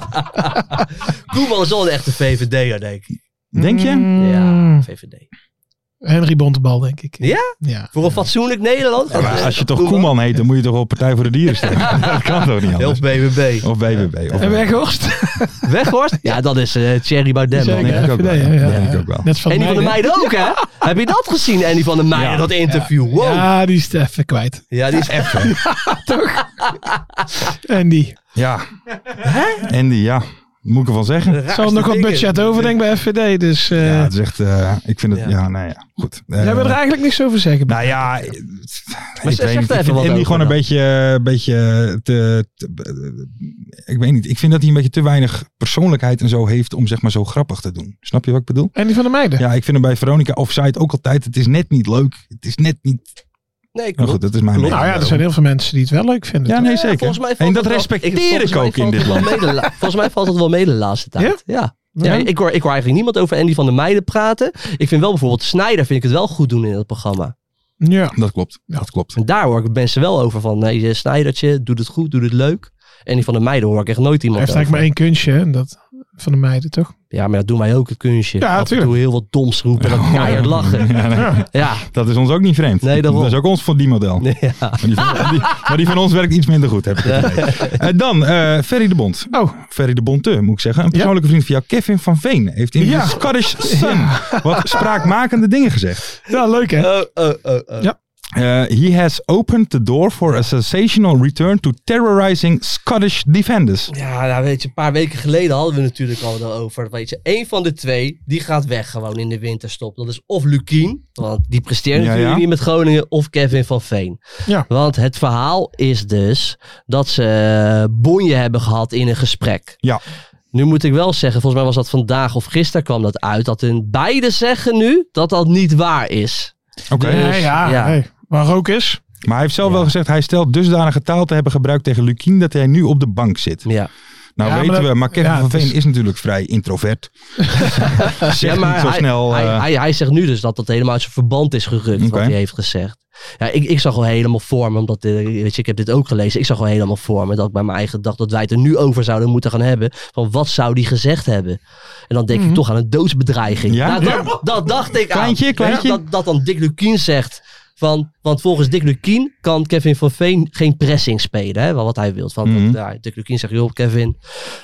[SPEAKER 1] Koeman is al een echte VVD'er, denk ik.
[SPEAKER 3] Denk je?
[SPEAKER 1] Ja, VVD.
[SPEAKER 4] Mm. Henry Bontebal, denk ik.
[SPEAKER 1] Ja?
[SPEAKER 4] Ja.
[SPEAKER 1] Voor een fatsoenlijk Nederland.
[SPEAKER 3] Ja, maar als je toch Koeman heet, dan moet je toch wel Partij voor de Dieren stemmen. Dat kan toch niet
[SPEAKER 1] Heel
[SPEAKER 3] anders?
[SPEAKER 1] BBB.
[SPEAKER 3] Of BBB. Of
[SPEAKER 4] En Weghorst.
[SPEAKER 1] Weghorst? Ja, dat is eh, Thierry Baudet. man.
[SPEAKER 4] Zeker.
[SPEAKER 3] denk ik ook wel,
[SPEAKER 4] Ja,
[SPEAKER 3] ja.
[SPEAKER 4] ja, ja.
[SPEAKER 3] Dat denk ik ook wel.
[SPEAKER 4] Net van
[SPEAKER 1] En die van de
[SPEAKER 4] Meijden.
[SPEAKER 1] meiden ook, hè? Heb je dat gezien, Andy van de meiden, dat interview? Wow. Ja,
[SPEAKER 4] Ja, die is het even kwijt.
[SPEAKER 1] die is echt...
[SPEAKER 4] En die.
[SPEAKER 3] Ja. Andy, ja. Moet ik ervan zeggen.
[SPEAKER 4] Er zal nog wat budget over, denk ik, bij FVD. Dus, eh,
[SPEAKER 3] Ja, het is echt, eh, ik vind het, ja, nou ja, goed. Eh,
[SPEAKER 4] Jij wil er eigenlijk niks over zeggen.
[SPEAKER 3] Nou ja, ik
[SPEAKER 4] maar
[SPEAKER 3] ik weet niet,
[SPEAKER 4] zeg er
[SPEAKER 3] ik
[SPEAKER 4] even
[SPEAKER 3] vind
[SPEAKER 4] wat
[SPEAKER 3] Andy
[SPEAKER 4] over
[SPEAKER 3] gewoon een
[SPEAKER 4] dan.
[SPEAKER 3] beetje, eh, beetje te, te- Ik weet niet. Ik vind dat hij een beetje te weinig persoonlijkheid en zo heeft om zeg maar zo grappig te doen. Snap je wat ik bedoel?
[SPEAKER 4] En die van de meiden.
[SPEAKER 3] Ja, ik vind hem bij Veronica Offside ook altijd. Het is net niet leuk. Het is net niet.
[SPEAKER 1] Nee,
[SPEAKER 3] Maar goed, dat is mijn
[SPEAKER 4] Nou
[SPEAKER 3] mening.
[SPEAKER 4] ja, er zijn heel veel mensen die het wel leuk vinden.
[SPEAKER 3] Ja, nee,
[SPEAKER 1] Ja,
[SPEAKER 3] zeker.
[SPEAKER 1] Eh, volgens mij valt
[SPEAKER 3] en dat
[SPEAKER 1] het wel-
[SPEAKER 3] respecteer
[SPEAKER 1] ik- volgens
[SPEAKER 3] ik
[SPEAKER 1] mij
[SPEAKER 3] ook in
[SPEAKER 1] valt
[SPEAKER 3] dit
[SPEAKER 1] het
[SPEAKER 3] land.
[SPEAKER 1] wel mee de la- volgens mij valt het wel mee de laatste tijd. Ja? Ja.
[SPEAKER 4] Ja.
[SPEAKER 1] ik, hoor, ik hoor eigenlijk niemand over Andy van der Meijden praten. Ik vind wel bijvoorbeeld Snijder vind ik het wel goed doen in het programma.
[SPEAKER 4] Ja.
[SPEAKER 3] Dat klopt. Dat klopt.
[SPEAKER 1] En daar hoor ik mensen wel over van. Nee, eh, Snijdertje, doet het goed, doet het leuk. Andy van der Meijden hoor ik echt nooit
[SPEAKER 4] Hij
[SPEAKER 1] iemand
[SPEAKER 4] heeft
[SPEAKER 1] over.
[SPEAKER 4] eigenlijk maar één kunstje, hè, en dat van de meiden, toch?
[SPEAKER 1] Ja, maar dat doen wij ook een kunstje.
[SPEAKER 4] Ja,
[SPEAKER 1] Af en toe
[SPEAKER 4] tuurlijk.
[SPEAKER 1] heel wat doms roepen en dan keihard lachen.
[SPEAKER 3] Ja, nee,
[SPEAKER 1] Ja,
[SPEAKER 3] dat is ons ook niet vreemd.
[SPEAKER 1] Nee, daarom.
[SPEAKER 3] dat is ook ons verdienmodel.
[SPEAKER 1] Nee, ja.
[SPEAKER 3] Maar die, van, die- maar die van ons werkt iets minder goed, heb ik het idee. Eh, dan eh, Ferry de Bond.
[SPEAKER 4] Oh.
[SPEAKER 3] Ferry de Bonte, moet ik zeggen. Een persoonlijke vriend van jou, Kevin van Veen, heeft in
[SPEAKER 4] Ja.
[SPEAKER 3] de Scottish Sun wat spraakmakende dingen gezegd.
[SPEAKER 4] Ja, leuk hè?
[SPEAKER 1] Oh, oh, oh, oh.
[SPEAKER 3] Eh, he has opened the door for a sensational return to terrorizing Scottish defenders.
[SPEAKER 1] Ja, nou weet je, een paar weken geleden hadden we natuurlijk al over. Weet je, één van de twee, die gaat weg gewoon in de winterstop. Dat is of Lukien, want die presteert
[SPEAKER 3] Ja,
[SPEAKER 1] natuurlijk
[SPEAKER 3] ja.
[SPEAKER 1] niet met Groningen, of Kevin van Veen.
[SPEAKER 4] Ja.
[SPEAKER 1] Want het verhaal is dus dat ze eh, bonje hebben gehad in een gesprek.
[SPEAKER 3] Ja.
[SPEAKER 1] Nu moet ik wel zeggen, volgens mij was dat vandaag of gisteren kwam dat uit, dat hun beide zeggen nu dat dat niet waar is.
[SPEAKER 3] Oké.
[SPEAKER 4] Nee, ja,
[SPEAKER 1] ja.
[SPEAKER 4] nee. Waar ook is.
[SPEAKER 3] Maar hij heeft zelf wel gezegd, hij stelt dusdanige taal te hebben gebruikt tegen Lukien dat hij nu op de bank zit.
[SPEAKER 1] Ja.
[SPEAKER 3] Nou
[SPEAKER 4] Ja, maar
[SPEAKER 3] weten
[SPEAKER 4] dat-
[SPEAKER 3] we, maar Kevin
[SPEAKER 4] ja,
[SPEAKER 3] van
[SPEAKER 4] het
[SPEAKER 3] Veen
[SPEAKER 4] is-
[SPEAKER 3] is... natuurlijk vrij introvert. Zegt
[SPEAKER 1] Ja, maar
[SPEAKER 3] niet zo
[SPEAKER 1] hij,
[SPEAKER 3] snel...
[SPEAKER 1] hij,
[SPEAKER 3] eh,
[SPEAKER 1] hij, hij zegt nu dus dat dat helemaal uit zijn verband is gerukt,
[SPEAKER 3] Oké.
[SPEAKER 1] wat hij heeft gezegd. Ja, ik, ik zag al helemaal voor me, omdat eh, weet je, ik heb dit ook gelezen. Ik zag al helemaal voor me dat ik bij mijn eigen dacht dat wij het er nu over zouden moeten gaan hebben. Van wat zou die gezegd hebben? En dan denk ik toch aan een doodsbedreiging.
[SPEAKER 3] Mhm. Ja?
[SPEAKER 1] Nou, dat, dat dacht ik aan.
[SPEAKER 3] Kleintje,
[SPEAKER 1] Ja,
[SPEAKER 3] kleintje.
[SPEAKER 1] Dat, dat dan Dick Lukien zegt. Van, want volgens Dick Lukien kan Kevin van Veen geen pressing spelen. Hè, wat hij wil. Want
[SPEAKER 3] Mhm.
[SPEAKER 1] ja, Dick Lukien zegt, joh Kevin,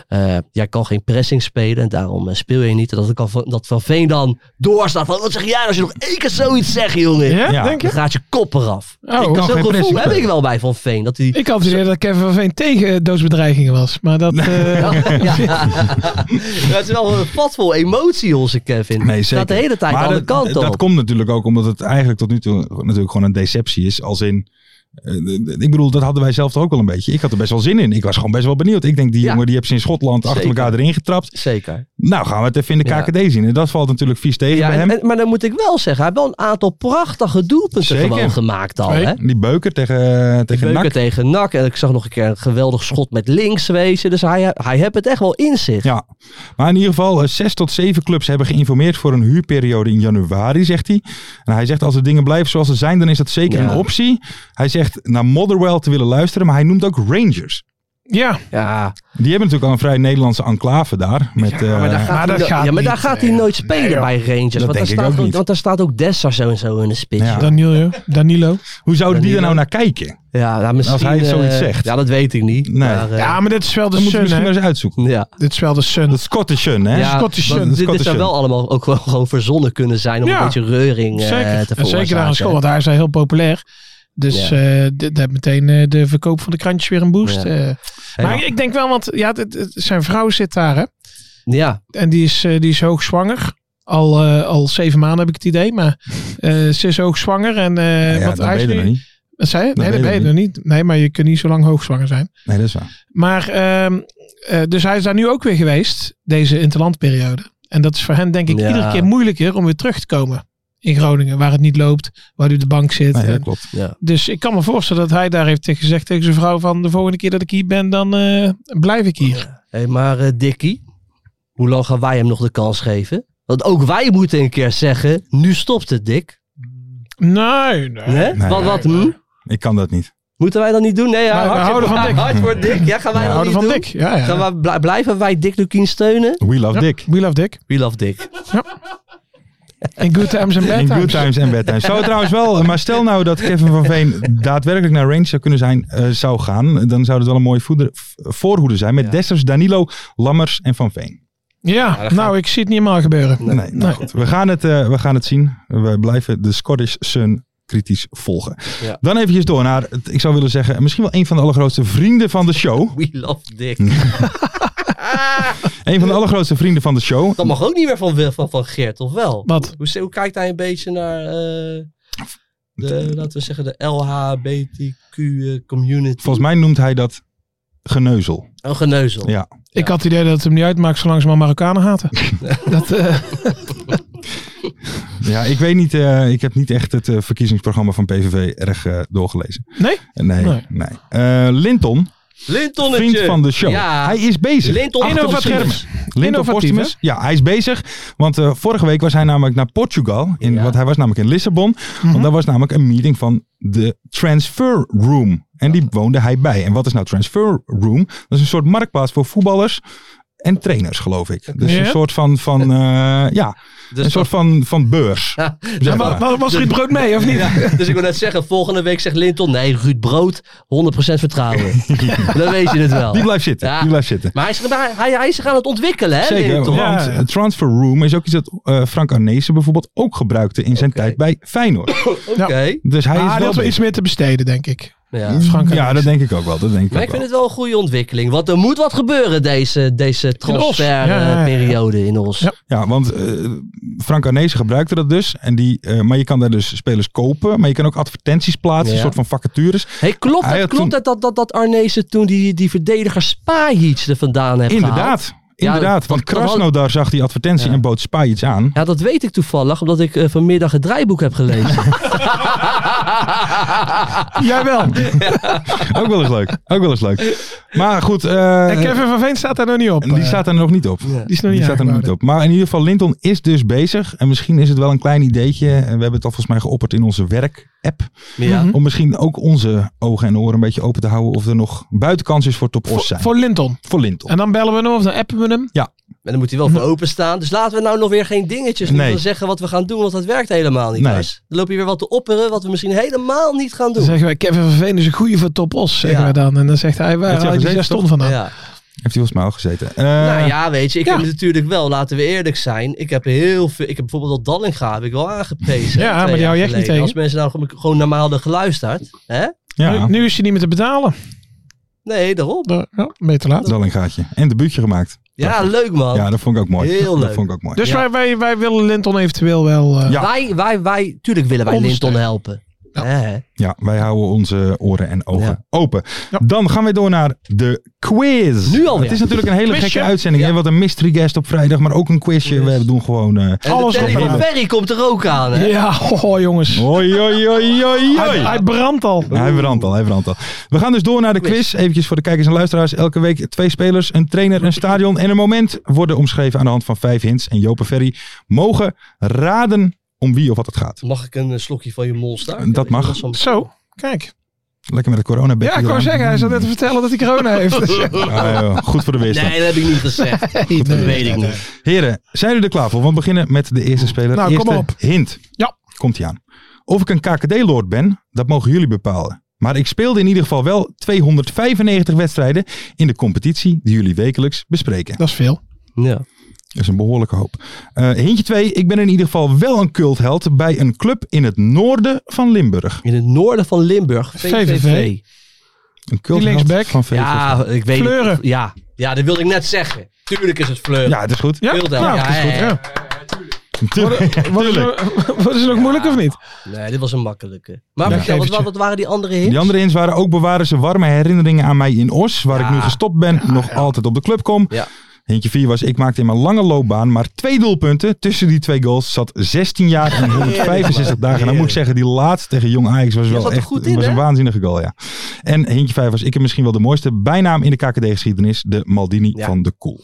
[SPEAKER 1] eh, jij kan geen pressing spelen en daarom eh, speel je niet. En dat, ik al van, dat Van Veen dan doorstaat van, wat zeg jij nou als je nog één keer zoiets zegt, jongen?
[SPEAKER 4] Ja,
[SPEAKER 3] Ja.
[SPEAKER 4] denk je?
[SPEAKER 1] Dan gaat je kop eraf.
[SPEAKER 4] Oh, ik,
[SPEAKER 1] Zo'n
[SPEAKER 3] kan geen
[SPEAKER 1] gevoel
[SPEAKER 3] pressing
[SPEAKER 1] heb ik
[SPEAKER 3] spelen.
[SPEAKER 1] wel bij Van Veen. Dat hij,
[SPEAKER 4] ik had het idee dat Kevin van Veen tegen eh, doodsbedreigingen was. Maar dat... eh,
[SPEAKER 1] ja, ja. het is wel een vat vol emotie, onze Kevin.
[SPEAKER 3] Nee, zeker.
[SPEAKER 1] Gaat de hele tijd aan de
[SPEAKER 3] dat-
[SPEAKER 1] kant op.
[SPEAKER 3] Dat komt natuurlijk ook omdat het eigenlijk tot nu toe natuurlijk gewoon een deceptie is. Als in, eh, ik bedoel, dat hadden wij zelf toch ook wel een beetje. Ik had er best wel zin in. Ik was gewoon best wel benieuwd. Ik denk, die
[SPEAKER 1] Ja.
[SPEAKER 3] jongen die hebben ze in Schotland achter
[SPEAKER 1] Zeker.
[SPEAKER 3] elkaar erin getrapt.
[SPEAKER 1] Zeker.
[SPEAKER 3] Nou, gaan we het even in de
[SPEAKER 1] Ja.
[SPEAKER 3] KKD zien. En dat valt natuurlijk vies tegen
[SPEAKER 1] Ja,
[SPEAKER 3] bij
[SPEAKER 1] en,
[SPEAKER 3] hem.
[SPEAKER 1] en- maar dan moet ik wel zeggen, hij heeft wel een aantal prachtige doelpunten
[SPEAKER 3] Zeker.
[SPEAKER 1] gewoon gemaakt al.
[SPEAKER 4] Twee.
[SPEAKER 1] Hè?
[SPEAKER 3] die beuker tegen, eh, tegen
[SPEAKER 1] Beuken
[SPEAKER 3] NAC.
[SPEAKER 1] tegen Nak. En ik zag nog een keer een geweldig schot met links wezen. Dus hij, hij heeft het echt wel in zich.
[SPEAKER 3] Ja, maar in ieder geval, eh, zes tot zeven clubs hebben geïnformeerd voor een huurperiode in januari, zegt hij. En hij zegt, als de dingen blijven zoals ze zijn, dan is dat zeker
[SPEAKER 1] Ja.
[SPEAKER 3] een optie. Hij zegt naar Motherwell te willen luisteren, maar hij noemt ook Rangers.
[SPEAKER 4] ja,
[SPEAKER 1] Ja,
[SPEAKER 3] Die hebben natuurlijk al een vrij Nederlandse enclave daar. Met, eh,
[SPEAKER 1] maar daar gaat,
[SPEAKER 4] maar
[SPEAKER 1] hij,
[SPEAKER 4] dat
[SPEAKER 1] no-
[SPEAKER 4] gaat
[SPEAKER 1] ja, maar daar
[SPEAKER 4] niet,
[SPEAKER 1] gaat hij
[SPEAKER 4] nee.
[SPEAKER 1] nooit spelen
[SPEAKER 4] Nee, joh.
[SPEAKER 1] bij Rangers.
[SPEAKER 3] Dat
[SPEAKER 1] want, daar
[SPEAKER 3] denk ik
[SPEAKER 1] staat
[SPEAKER 3] ook
[SPEAKER 1] ook,
[SPEAKER 3] niet.
[SPEAKER 1] want daar staat ook Dessa zo en zo in de spits.
[SPEAKER 3] Ja.
[SPEAKER 1] Ja,
[SPEAKER 4] Danilo. Danilo.
[SPEAKER 3] hoe zouden die er
[SPEAKER 1] Danilo.
[SPEAKER 3] nou naar kijken?
[SPEAKER 1] nou, misschien,
[SPEAKER 3] Als hij zoiets
[SPEAKER 1] eh,
[SPEAKER 3] zegt.
[SPEAKER 1] Ja, dat weet ik niet.
[SPEAKER 3] Nee.
[SPEAKER 1] Maar, eh,
[SPEAKER 4] Ja, maar dit is wel de
[SPEAKER 3] Dan moeten we misschien
[SPEAKER 4] Sun, hè?
[SPEAKER 3] maar eens uitzoeken.
[SPEAKER 1] ja.
[SPEAKER 4] Dit is wel de Sun.
[SPEAKER 3] Dat Scottish Sun, hè?
[SPEAKER 1] Ja,
[SPEAKER 4] Scottish
[SPEAKER 1] want
[SPEAKER 4] Sun,
[SPEAKER 1] dit, dit
[SPEAKER 3] Scottish
[SPEAKER 1] zou
[SPEAKER 3] Sun.
[SPEAKER 1] wel allemaal ook wel gewoon verzonnen kunnen zijn om
[SPEAKER 4] Ja.
[SPEAKER 1] een beetje reuring eh, te
[SPEAKER 4] zeker. En
[SPEAKER 1] veroorzaken.
[SPEAKER 4] zeker daar aan school, want daar is hij heel populair. Dus
[SPEAKER 1] Ja.
[SPEAKER 4] eh dit heeft meteen eh, de verkoop van de krantjes weer een boost.
[SPEAKER 1] Ja.
[SPEAKER 4] eh. maar
[SPEAKER 1] Ja.
[SPEAKER 4] ik denk wel, want ja, dit- dit- zijn vrouw zit daar, hè?
[SPEAKER 1] Ja,
[SPEAKER 4] En die is, eh, die is hoogzwanger. Al, eh, al zeven maanden heb ik het idee, maar eh, ze is hoogzwanger. En, eh,
[SPEAKER 3] ja,
[SPEAKER 4] want
[SPEAKER 3] dat
[SPEAKER 4] hij is
[SPEAKER 3] weten we
[SPEAKER 4] nu-
[SPEAKER 3] niet.
[SPEAKER 4] Wat zei je?
[SPEAKER 3] Dat
[SPEAKER 4] Nee, dat
[SPEAKER 3] weten
[SPEAKER 4] ben je
[SPEAKER 3] we
[SPEAKER 4] nog niet. Nee, maar je kunt niet zo lang hoogzwanger zijn.
[SPEAKER 3] Nee, dat is waar.
[SPEAKER 4] Maar, ehm, eh, dus hij is daar nu ook weer geweest, deze interlandperiode. En dat is voor hen denk ik
[SPEAKER 1] Ja.
[SPEAKER 4] iedere keer moeilijker om weer terug te komen in Groningen. Waar het niet loopt, waar hij op de bank zit.
[SPEAKER 3] Nee, dat
[SPEAKER 4] En-
[SPEAKER 3] klopt.
[SPEAKER 1] ja.
[SPEAKER 4] dus ik kan me voorstellen dat hij daar heeft tegen- gezegd tegen zijn vrouw van de volgende keer dat ik hier ben, dan eh, blijf ik hier.
[SPEAKER 1] Hey, maar eh, Dikkie, hoe lang gaan wij hem nog de kans geven? Want ook wij moeten een keer zeggen, nu stopt het, Dick.
[SPEAKER 4] Nee, nee.
[SPEAKER 1] Hè?
[SPEAKER 3] Nee.
[SPEAKER 1] wat, wat, hm?
[SPEAKER 3] Ik kan dat niet.
[SPEAKER 1] Moeten wij dan niet doen? Nee, ja,
[SPEAKER 4] Nee, we
[SPEAKER 1] hard,
[SPEAKER 4] houden van Dick.
[SPEAKER 1] Hard voor Dick. Ja, gaan wij
[SPEAKER 4] We
[SPEAKER 1] dan
[SPEAKER 4] houden
[SPEAKER 1] niet
[SPEAKER 4] van
[SPEAKER 1] doen?
[SPEAKER 4] Dick. Ja, ja.
[SPEAKER 1] Gaan we, bl- blijven wij Dick Lukien steunen?
[SPEAKER 3] We love
[SPEAKER 4] Ja,
[SPEAKER 3] Dick.
[SPEAKER 4] We love Dick.
[SPEAKER 1] We love Dick.
[SPEAKER 4] In good times and bad
[SPEAKER 3] In good
[SPEAKER 4] times.
[SPEAKER 3] times en bad times. Zou trouwens wel, maar stel nou dat Kevin van Veen daadwerkelijk naar Range zou kunnen zijn, eh, zou gaan, dan zou het wel een mooie voeder, v- voorhoede zijn met Dessers, Danilo, Lammers en Van Veen.
[SPEAKER 4] Ja, nou ik zie het niet helemaal gebeuren.
[SPEAKER 3] Nee, nou
[SPEAKER 4] Nee.
[SPEAKER 3] goed. We gaan, het, eh, we gaan het zien. We blijven de Scottish Sun kritisch volgen.
[SPEAKER 1] Ja.
[SPEAKER 3] Dan eventjes door naar, het- ik zou willen zeggen, misschien wel een van de allergrootste vrienden van de show.
[SPEAKER 1] We love Dick.
[SPEAKER 3] Een van de allergrootste vrienden van de show.
[SPEAKER 1] Dat mag ook niet meer van, Wil- van, van Geert, of wel?
[SPEAKER 4] Wat?
[SPEAKER 1] Hoe, hoe kijkt hij een beetje naar, eh, de, laten we zeggen, de LHBTQ eh, community?
[SPEAKER 3] Volgens mij noemt hij dat geneuzel.
[SPEAKER 1] Een geneuzel.
[SPEAKER 3] Ja.
[SPEAKER 4] Ik had het idee dat het hem niet uitmaakt zolang ze maar Marokkanen haten. dat, eh,
[SPEAKER 3] Ja, ik weet niet. eh, ik heb niet echt het eh, verkiezingsprogramma van PVV erg eh, doorgelezen.
[SPEAKER 4] nee?
[SPEAKER 3] Nee, nee.
[SPEAKER 4] Nee.
[SPEAKER 3] Eh, Linton,
[SPEAKER 1] Lintonnetje.
[SPEAKER 3] vriend van de show.
[SPEAKER 1] Ja.
[SPEAKER 3] Hij is bezig.
[SPEAKER 1] Linton
[SPEAKER 3] Achter de
[SPEAKER 1] Innovatief.
[SPEAKER 3] schermen. Linton
[SPEAKER 4] Innovatief,
[SPEAKER 3] Postumus. Ja, hij is bezig. Want eh, vorige week was hij namelijk naar Portugal. In,
[SPEAKER 1] Ja.
[SPEAKER 3] Want hij was namelijk in Lissabon. Want daar was namelijk een meeting van de Transfer Room. En die woonde hij bij. En wat is nou Transfer Room? Dat is een soort marktplaats voor voetballers. En trainers, geloof ik. Dus
[SPEAKER 4] Ja.
[SPEAKER 3] een soort van, van eh, ja,
[SPEAKER 1] Dus
[SPEAKER 3] een soort van, van beurs.
[SPEAKER 1] Ja,
[SPEAKER 3] zeg maar.
[SPEAKER 4] maar, maar was Ruud Brood mee, of niet?
[SPEAKER 1] Ja, dus ik wil net zeggen, volgende week zegt Linton, nee, Ruud Brood, 100% vertrouwen. Dan weet je het wel.
[SPEAKER 3] Die blijft zitten.
[SPEAKER 1] Ja.
[SPEAKER 3] Die blijft zitten.
[SPEAKER 1] Maar hij is, maar hij, hij is zich aan het ontwikkelen, hè?
[SPEAKER 3] Zeker,
[SPEAKER 1] Linton?
[SPEAKER 3] want
[SPEAKER 4] Ja.
[SPEAKER 3] eh, transfer room is ook iets dat eh, Frank Arnezen bijvoorbeeld ook gebruikte in zijn
[SPEAKER 1] Oké.
[SPEAKER 3] tijd bij Feyenoord.
[SPEAKER 1] Oké.
[SPEAKER 3] Dus hij
[SPEAKER 4] Ah,
[SPEAKER 3] is wel
[SPEAKER 4] die had wel iets
[SPEAKER 3] bezig.
[SPEAKER 4] meer te besteden, denk ik.
[SPEAKER 1] Ja.
[SPEAKER 4] Frank
[SPEAKER 3] Ja, dat denk ik ook wel. Dat denk ik
[SPEAKER 1] Maar
[SPEAKER 3] ook
[SPEAKER 1] ik vind het
[SPEAKER 3] wel.
[SPEAKER 1] wel een goede ontwikkeling. Want er moet wat gebeuren deze, deze
[SPEAKER 4] Ja, ja, ja.
[SPEAKER 1] transferperiode in ons.
[SPEAKER 4] Ja.
[SPEAKER 3] Ja, want eh, Frank Arnezen gebruikte dat dus. En die, eh, maar je kan daar dus spelers kopen. Maar je kan ook advertenties plaatsen.
[SPEAKER 1] Ja.
[SPEAKER 3] Een soort van vacatures.
[SPEAKER 1] Hey, klopt
[SPEAKER 3] Hij
[SPEAKER 1] het,
[SPEAKER 3] had
[SPEAKER 1] klopt
[SPEAKER 3] toen-
[SPEAKER 1] het dat, dat, dat Arnezen toen die, die verdediger Spajic er vandaan heeft gehaald?
[SPEAKER 3] Inderdaad.
[SPEAKER 1] Ja,
[SPEAKER 3] Inderdaad.
[SPEAKER 1] dat-
[SPEAKER 3] want
[SPEAKER 1] dat- dat had-
[SPEAKER 3] Krasnodar zag die advertentie
[SPEAKER 1] Ja.
[SPEAKER 3] en bood Spy iets aan.
[SPEAKER 1] Ja, dat weet ik toevallig, omdat ik eh, vanmiddag het draaiboek heb gelezen.
[SPEAKER 4] Jij wel.
[SPEAKER 3] ook wel eens leuk. Ook wel eens leuk. Maar goed. eh,
[SPEAKER 4] En Kevin van Veen staat daar nog niet op.
[SPEAKER 3] En die
[SPEAKER 4] eh.
[SPEAKER 3] staat er nog niet op. Die,
[SPEAKER 4] is nog niet
[SPEAKER 3] staat er nog niet
[SPEAKER 4] aangeboden.
[SPEAKER 3] op. Maar in ieder geval, Linton is dus bezig. En misschien is het wel een klein ideetje. En we hebben het al volgens mij geopperd in onze werk-app.
[SPEAKER 1] ja.
[SPEAKER 4] Hm?
[SPEAKER 3] Om misschien ook onze ogen en oren een beetje open te houden. Of er nog buitenkans is voor top os zijn. Voor,
[SPEAKER 4] Voor Linton.
[SPEAKER 3] Linton.
[SPEAKER 4] En dan bellen we hem of dan appen we hem.
[SPEAKER 1] En dan moet hij wel voor openstaan. Dus laten we nou nog weer geen dingetjes
[SPEAKER 3] Nee.
[SPEAKER 1] nee. zeggen wat we gaan doen, want dat werkt helemaal niet.
[SPEAKER 3] Nee.
[SPEAKER 1] Lars. Dan loop je weer wat te opperen wat we misschien helemaal niet gaan
[SPEAKER 4] Dan
[SPEAKER 1] doen.
[SPEAKER 4] zeggen wij, Kevin van Veen is een goeie voor Top Os, zeggen
[SPEAKER 1] Ja.
[SPEAKER 4] we dan. En dan zegt hij, waar
[SPEAKER 3] Heeft hij
[SPEAKER 4] haal je die
[SPEAKER 3] gezeten,
[SPEAKER 4] zes ton
[SPEAKER 3] toch?
[SPEAKER 4] vandaan?
[SPEAKER 1] Ja.
[SPEAKER 3] Heeft hij volgens mij al gezeten. Eh,
[SPEAKER 1] nou ja, weet je, ik
[SPEAKER 4] ja.
[SPEAKER 1] heb natuurlijk wel, laten we eerlijk zijn, ik heb heel veel, ik heb bijvoorbeeld al Dallinga heb ik wel aangepezen.
[SPEAKER 4] Ja,
[SPEAKER 1] hè,
[SPEAKER 4] maar
[SPEAKER 1] twee
[SPEAKER 4] die
[SPEAKER 1] jaar
[SPEAKER 4] hou je echt
[SPEAKER 1] geleden.
[SPEAKER 4] niet tegen.
[SPEAKER 1] Als mensen nou gewoon- gewoon normaal hadden geluisterd, hè?
[SPEAKER 3] ja,
[SPEAKER 4] Nu, nu is hij niet meer te betalen.
[SPEAKER 1] Nee, daarom.
[SPEAKER 4] Dan- Ja, beter laat.
[SPEAKER 3] dan een gaatje. En debuutje gemaakt.
[SPEAKER 1] Ja, leuk man.
[SPEAKER 3] Ja, dat vond ik ook mooi.
[SPEAKER 1] Oh. Heel
[SPEAKER 3] Dat
[SPEAKER 1] leuk.
[SPEAKER 3] vond ik ook mooi.
[SPEAKER 4] Dus
[SPEAKER 1] Ja.
[SPEAKER 4] wij, wij, wij willen Linton eventueel wel... eh,
[SPEAKER 3] Ja.
[SPEAKER 1] Wij, wij, wij, tuurlijk willen wij
[SPEAKER 4] Ondersteun.
[SPEAKER 1] Linton helpen. Hè?
[SPEAKER 3] Ja, wij houden onze oren en ogen
[SPEAKER 1] Ja.
[SPEAKER 3] open.
[SPEAKER 4] Ja.
[SPEAKER 3] Dan gaan we door naar de quiz.
[SPEAKER 1] Nu alweer.
[SPEAKER 3] Het is natuurlijk een hele
[SPEAKER 4] Quizje.
[SPEAKER 3] gekke uitzending.
[SPEAKER 1] Ja.
[SPEAKER 3] hè, Want een mystery guest op vrijdag, maar ook een quizje.
[SPEAKER 1] Quiz.
[SPEAKER 3] We doen gewoon... eh,
[SPEAKER 1] En
[SPEAKER 4] Alles
[SPEAKER 1] de Terry
[SPEAKER 4] op
[SPEAKER 1] van
[SPEAKER 4] aan.
[SPEAKER 1] Perry komt er ook aan. Hè?
[SPEAKER 4] Ja, hoho, jongens.
[SPEAKER 3] Oi, oi, oi, oi,
[SPEAKER 4] Hij,
[SPEAKER 3] oi.
[SPEAKER 4] hij brandt al.
[SPEAKER 3] Hij brandt al, hij brandt al. We gaan dus door naar de
[SPEAKER 1] Quiz.
[SPEAKER 3] quiz. Eventjes voor de kijkers en luisteraars. Elke week twee spelers, een trainer, een stadion en een moment worden omschreven aan de hand van vijf hints. En Joop en Ferry mogen raden om wie of wat het gaat.
[SPEAKER 1] Mag ik een eh, slokje van je monster?
[SPEAKER 3] Dat
[SPEAKER 1] Ja,
[SPEAKER 3] mag.
[SPEAKER 1] dat is soms-
[SPEAKER 4] Zo, kijk.
[SPEAKER 3] Lekker met de corona
[SPEAKER 4] Ja, ik wou zeggen, hij zat net te vertellen dat hij corona heeft.
[SPEAKER 3] Ah, joh, goed voor de weerstand.
[SPEAKER 1] Nee, dat heb ik niet gezegd. dat weet ik niet.
[SPEAKER 3] Heren, zijn jullie er klaar voor? Want we beginnen met de eerste speler.
[SPEAKER 4] Nou, kom
[SPEAKER 3] eerste
[SPEAKER 4] maar op.
[SPEAKER 3] hint.
[SPEAKER 4] Ja.
[SPEAKER 3] Komt-ie aan. Of ik een KKD-lord ben, dat mogen jullie bepalen. Maar ik speelde in ieder geval wel 295 wedstrijden in de competitie die jullie wekelijks bespreken.
[SPEAKER 4] Dat is veel.
[SPEAKER 1] Ja.
[SPEAKER 3] Dat is een behoorlijke hoop. Eh hintje 2. Ik ben in ieder geval wel een cultheld bij een club in het noorden van Limburg.
[SPEAKER 1] In het noorden van Limburg.
[SPEAKER 4] VVV.
[SPEAKER 1] VVV.
[SPEAKER 3] Een cultheld
[SPEAKER 4] linksback?
[SPEAKER 3] van VVV.
[SPEAKER 1] Ja, ik weet
[SPEAKER 4] Fleuren.
[SPEAKER 1] het. Ja. ja, dat wilde ik net zeggen. Tuurlijk is het Fleuren.
[SPEAKER 3] Ja, het is goed.
[SPEAKER 4] Ja,
[SPEAKER 1] Veel dan.
[SPEAKER 4] nou,
[SPEAKER 1] Ja,
[SPEAKER 4] dat is
[SPEAKER 1] ja,
[SPEAKER 4] goed.
[SPEAKER 1] ja.
[SPEAKER 4] Ja.
[SPEAKER 3] Tuurlijk.
[SPEAKER 4] Worden
[SPEAKER 3] Tuurlijk.
[SPEAKER 4] ze, worden ze nog moeilijk of niet?
[SPEAKER 1] Nee, dit was een makkelijke. Maar
[SPEAKER 4] Ja.
[SPEAKER 1] vertel, wat,
[SPEAKER 4] Gevertje.
[SPEAKER 1] wat waren die andere hints?
[SPEAKER 3] Die andere hints waren ook bewaren ze warme herinneringen aan mij in Os, waar ik nu
[SPEAKER 1] Ja.
[SPEAKER 3] gestopt ben, nog altijd op de club kom.
[SPEAKER 1] Ja.
[SPEAKER 3] Hintje 4 was, ik maakte in mijn lange loopbaan maar twee doelpunten. Tussen die twee goals zat 16 jaar en 165 dagen. Dan moet ik zeggen, die laatste tegen Jong Ajax was wel
[SPEAKER 1] zat er
[SPEAKER 3] echt
[SPEAKER 1] goed in,
[SPEAKER 3] was een
[SPEAKER 1] hè?
[SPEAKER 3] waanzinnige goal, ja. En hintje 5 was, ik heb misschien wel de mooiste bijnaam in de KKD-geschiedenis, de Maldini
[SPEAKER 1] Ja.
[SPEAKER 3] van de Koel.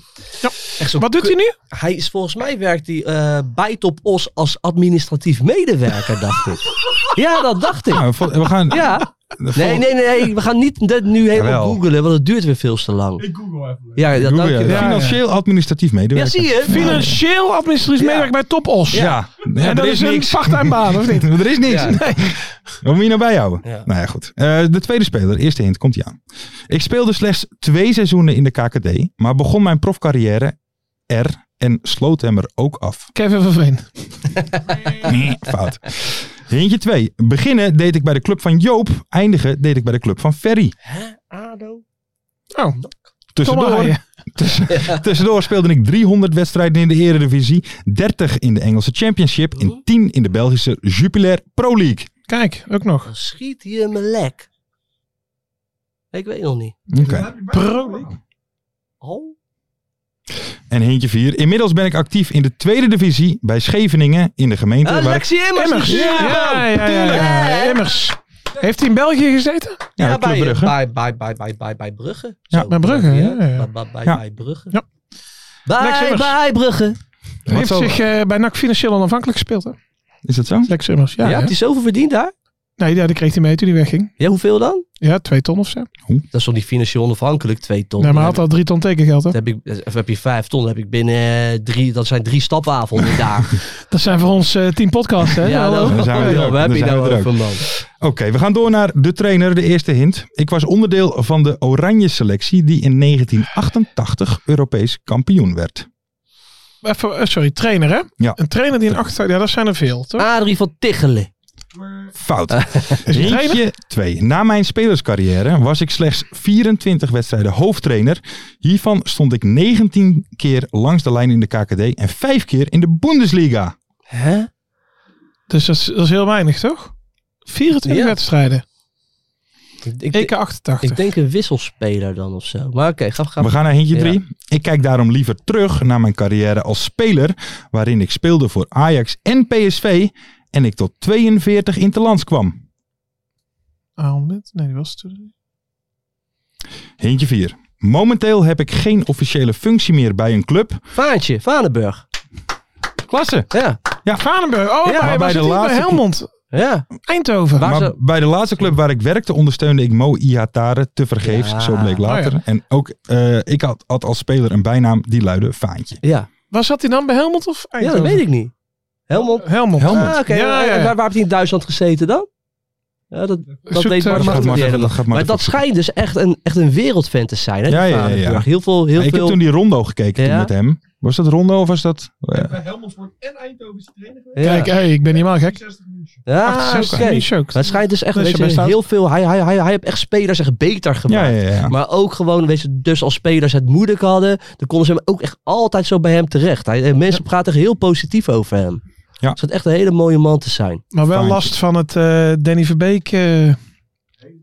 [SPEAKER 1] Echt zo
[SPEAKER 4] Wat doet hij nu?
[SPEAKER 1] Hij is volgens mij werkt hij eh, bij Top Os als administratief medewerker, dacht ik. Ja, dat dacht ik.
[SPEAKER 3] Nou, vol- we gaan...
[SPEAKER 1] Ja.
[SPEAKER 3] vol-
[SPEAKER 1] Nee, nee, nee. We gaan niet dat nu helemaal
[SPEAKER 3] Jawel.
[SPEAKER 1] googlen, want het duurt weer veel te lang.
[SPEAKER 5] Ik google even.
[SPEAKER 1] Ja, dat dank
[SPEAKER 3] Doe
[SPEAKER 1] je
[SPEAKER 3] je.
[SPEAKER 1] wel. Ja,
[SPEAKER 3] Financieel administratief medewerker.
[SPEAKER 1] zie je?
[SPEAKER 4] Financieel administratief
[SPEAKER 1] Ja.
[SPEAKER 4] medewerker bij Top Os.
[SPEAKER 3] Ja, Ja,
[SPEAKER 4] en
[SPEAKER 3] er
[SPEAKER 4] dat
[SPEAKER 3] is
[SPEAKER 4] is een
[SPEAKER 3] niks.
[SPEAKER 4] part-time baan, of niet?
[SPEAKER 3] Er is niks.
[SPEAKER 1] Ja.
[SPEAKER 3] Nee. Wat moet je nou bijhouden?
[SPEAKER 1] Ja.
[SPEAKER 3] Nou ja, goed. Eh, de tweede speler, eerste hint, komt hij aan. Ik speelde slechts twee seizoenen in de KKD, maar begon mijn profcarrière er en sloot hem er ook af.
[SPEAKER 4] Kevin van Veen.
[SPEAKER 3] Nee, Fout. Hintje 2. Beginnen deed ik bij de club van Joop, eindigen deed ik bij de club van Ferry.
[SPEAKER 1] Hè? Ado?
[SPEAKER 4] Oh,
[SPEAKER 3] Tussendoor
[SPEAKER 4] Haaien.
[SPEAKER 3] Tussen- Tussendoor speelde ik 300 wedstrijden in de Eredivisie, 30 in de Engelse Championship en 10 in de Belgische Jupiler Pro League.
[SPEAKER 4] Kijk, ook nog.
[SPEAKER 1] Schiet je me lek. Ik weet nog niet.
[SPEAKER 3] Oké.
[SPEAKER 1] Oh.
[SPEAKER 3] En hintje 4. Inmiddels ben ik actief in de tweede divisie bij Scheveningen in de gemeente.
[SPEAKER 1] Ah,
[SPEAKER 3] waar ik-
[SPEAKER 1] Lexie Immers.
[SPEAKER 4] Immers.
[SPEAKER 1] Ja,
[SPEAKER 4] Ja, ja, ja, ja, ja. Immers. Heeft hij in België gezeten?
[SPEAKER 3] Ja,
[SPEAKER 1] Ja,
[SPEAKER 3] Club
[SPEAKER 1] bij,
[SPEAKER 3] Brugge.
[SPEAKER 1] bij, bij, bij, bij, bij, bij Brugge.
[SPEAKER 4] Ja,
[SPEAKER 1] Zo,
[SPEAKER 4] bij Brugge,
[SPEAKER 1] Bij,
[SPEAKER 4] ja, ja.
[SPEAKER 1] Bij, bij, bij,
[SPEAKER 3] Ja.
[SPEAKER 1] bij Brugge.
[SPEAKER 4] Ja. Lex
[SPEAKER 1] Bij,
[SPEAKER 4] Immers.
[SPEAKER 1] bij Brugge.
[SPEAKER 4] Hij heeft
[SPEAKER 3] zal-
[SPEAKER 4] zich eh, bij NAC financieel onafhankelijk gespeeld. Hè?
[SPEAKER 3] Is dat zo?
[SPEAKER 4] Lex Immers, ja.
[SPEAKER 1] Ja,
[SPEAKER 4] ja.
[SPEAKER 1] Heeft hij zoveel verdiend daar?
[SPEAKER 4] Nee, ja, die kreeg hij mee toen hij wegging.
[SPEAKER 1] Ja, hoeveel dan?
[SPEAKER 4] Ja, twee ton of zo.
[SPEAKER 1] Dat is toch niet financieel onafhankelijk, twee ton.
[SPEAKER 4] Nee, maar hij
[SPEAKER 1] Dan
[SPEAKER 4] had al drie ton tekengeld. Hè?
[SPEAKER 1] heb ik, dan heb ik- of heb je vijf ton, dan heb ik binnen eh, drie, dat zijn drie stapavonden daar.
[SPEAKER 4] Dat zijn voor ons eh, tien podcasts. Hè? oh.
[SPEAKER 1] ja,
[SPEAKER 4] Hallo.
[SPEAKER 1] dan,
[SPEAKER 3] dan zijn we er ook.
[SPEAKER 1] we
[SPEAKER 3] Dan
[SPEAKER 1] hebben je
[SPEAKER 3] zijn we
[SPEAKER 1] nou
[SPEAKER 3] er
[SPEAKER 1] over, man.
[SPEAKER 3] Oké, we gaan door naar de trainer, de eerste hint. Ik was onderdeel van de Oranje selectie die in 1988 Europees kampioen werd.
[SPEAKER 4] Even, eh, sorry, trainer hè?
[SPEAKER 3] Ja.
[SPEAKER 4] Een trainer die in acht... Ja, dat zijn er veel, toch?
[SPEAKER 1] Adrie van Tichelen.
[SPEAKER 3] Fout.
[SPEAKER 4] Is hij trainer?
[SPEAKER 3] Hintje 2. Na mijn spelerscarrière was ik slechts 24 wedstrijden hoofdtrainer. Hiervan stond ik 19 keer langs de lijn in de KKD en 5 keer in de Bundesliga.
[SPEAKER 1] Hè?
[SPEAKER 4] Dus dat is, dat is heel weinig, toch? 24
[SPEAKER 1] Ja.
[SPEAKER 4] wedstrijden. E
[SPEAKER 1] Ik, ik,
[SPEAKER 4] EK 88.
[SPEAKER 1] ik denk een wisselspeler dan of zo. Maar oké, ga, ga
[SPEAKER 3] We gaan naar hintje
[SPEAKER 1] Ja.
[SPEAKER 3] 3. Ik kijk daarom liever terug naar mijn carrière als speler, waarin ik speelde voor Ajax en PSV en ik tot 42 interlands kwam.
[SPEAKER 4] Ahmed? Nee, die was het toen.
[SPEAKER 3] Hintje 4. Momenteel heb ik geen officiële functie meer bij een club.
[SPEAKER 1] Vaantje, Vanenburg.
[SPEAKER 3] Klasse.
[SPEAKER 1] Ja,
[SPEAKER 4] Vanenburg. Oh,
[SPEAKER 1] Ja,
[SPEAKER 4] maar
[SPEAKER 3] bij
[SPEAKER 4] hij was
[SPEAKER 3] de
[SPEAKER 4] niet bij
[SPEAKER 3] laatste-
[SPEAKER 4] Helmond.
[SPEAKER 1] ja.
[SPEAKER 4] Eindhoven.
[SPEAKER 1] Waar
[SPEAKER 3] Maar
[SPEAKER 1] ze-
[SPEAKER 3] bij de laatste club waar ik werkte ondersteunde ik Mo Ihatare te vergeefs,
[SPEAKER 1] Ja.
[SPEAKER 3] zo bleek later.
[SPEAKER 4] Oh
[SPEAKER 3] En ook eh, ik had, had als speler een bijnaam die luidde Faantje.
[SPEAKER 1] Ja.
[SPEAKER 4] Waar zat hij dan? Bij Helmond of
[SPEAKER 1] ja,
[SPEAKER 4] Eindhoven?
[SPEAKER 1] dat weet ik niet. Helmond.
[SPEAKER 4] Helmond.
[SPEAKER 3] Helmond.
[SPEAKER 1] Ah, oké.
[SPEAKER 4] Ja,
[SPEAKER 1] En
[SPEAKER 4] ja,
[SPEAKER 1] Waar,
[SPEAKER 4] ja.
[SPEAKER 1] waar heeft hij in Duitsland gezeten dan? Ja, dat, dat
[SPEAKER 4] Zoekt,
[SPEAKER 1] weet
[SPEAKER 4] eh,
[SPEAKER 1] Bart
[SPEAKER 4] dat
[SPEAKER 1] Maarten
[SPEAKER 3] gaat
[SPEAKER 1] niet
[SPEAKER 3] maar even-
[SPEAKER 1] helemaal.
[SPEAKER 3] dat gaat maar
[SPEAKER 1] Maar
[SPEAKER 3] even
[SPEAKER 1] dat schijnt dus echt een, echt een wereldfan te zijn. Hè,
[SPEAKER 3] Ja,
[SPEAKER 1] die
[SPEAKER 3] ja, ja, ja.
[SPEAKER 1] Vanenburg. Heel veel... Heel
[SPEAKER 3] ik
[SPEAKER 1] veel...
[SPEAKER 3] heb toen die rondo gekeken toen
[SPEAKER 1] Ja.
[SPEAKER 3] met hem. Was dat rondo of was dat... eh,
[SPEAKER 5] Bij Helmond wordt en Eindhoven is hij trainer geweest.
[SPEAKER 1] Ja.
[SPEAKER 4] Kijk, hey, ik ben helemaal gek.
[SPEAKER 5] 60 minuten.
[SPEAKER 1] Ja,
[SPEAKER 4] 68
[SPEAKER 1] oké.
[SPEAKER 4] okay.
[SPEAKER 1] Maar het schijnt dus echt,
[SPEAKER 4] Dat is
[SPEAKER 1] weet
[SPEAKER 4] je
[SPEAKER 1] je,
[SPEAKER 4] best oud.
[SPEAKER 1] heel veel. Hij, hij, hij, hij heeft echt spelers echt beter
[SPEAKER 3] ja,
[SPEAKER 1] gemaakt.
[SPEAKER 3] ja, ja.
[SPEAKER 1] Maar ook gewoon, weet je, dus als spelers het moeilijk hadden, dan konden ze hem ook echt altijd zo bij hem terecht. Hij, eh, mensen praten er heel positief over hem. Dus
[SPEAKER 3] Ja.
[SPEAKER 1] Het schijnt echt een hele mooie man te zijn.
[SPEAKER 4] Maar wel
[SPEAKER 3] Fijn.
[SPEAKER 4] last van het eh, Danny Verbeek eh,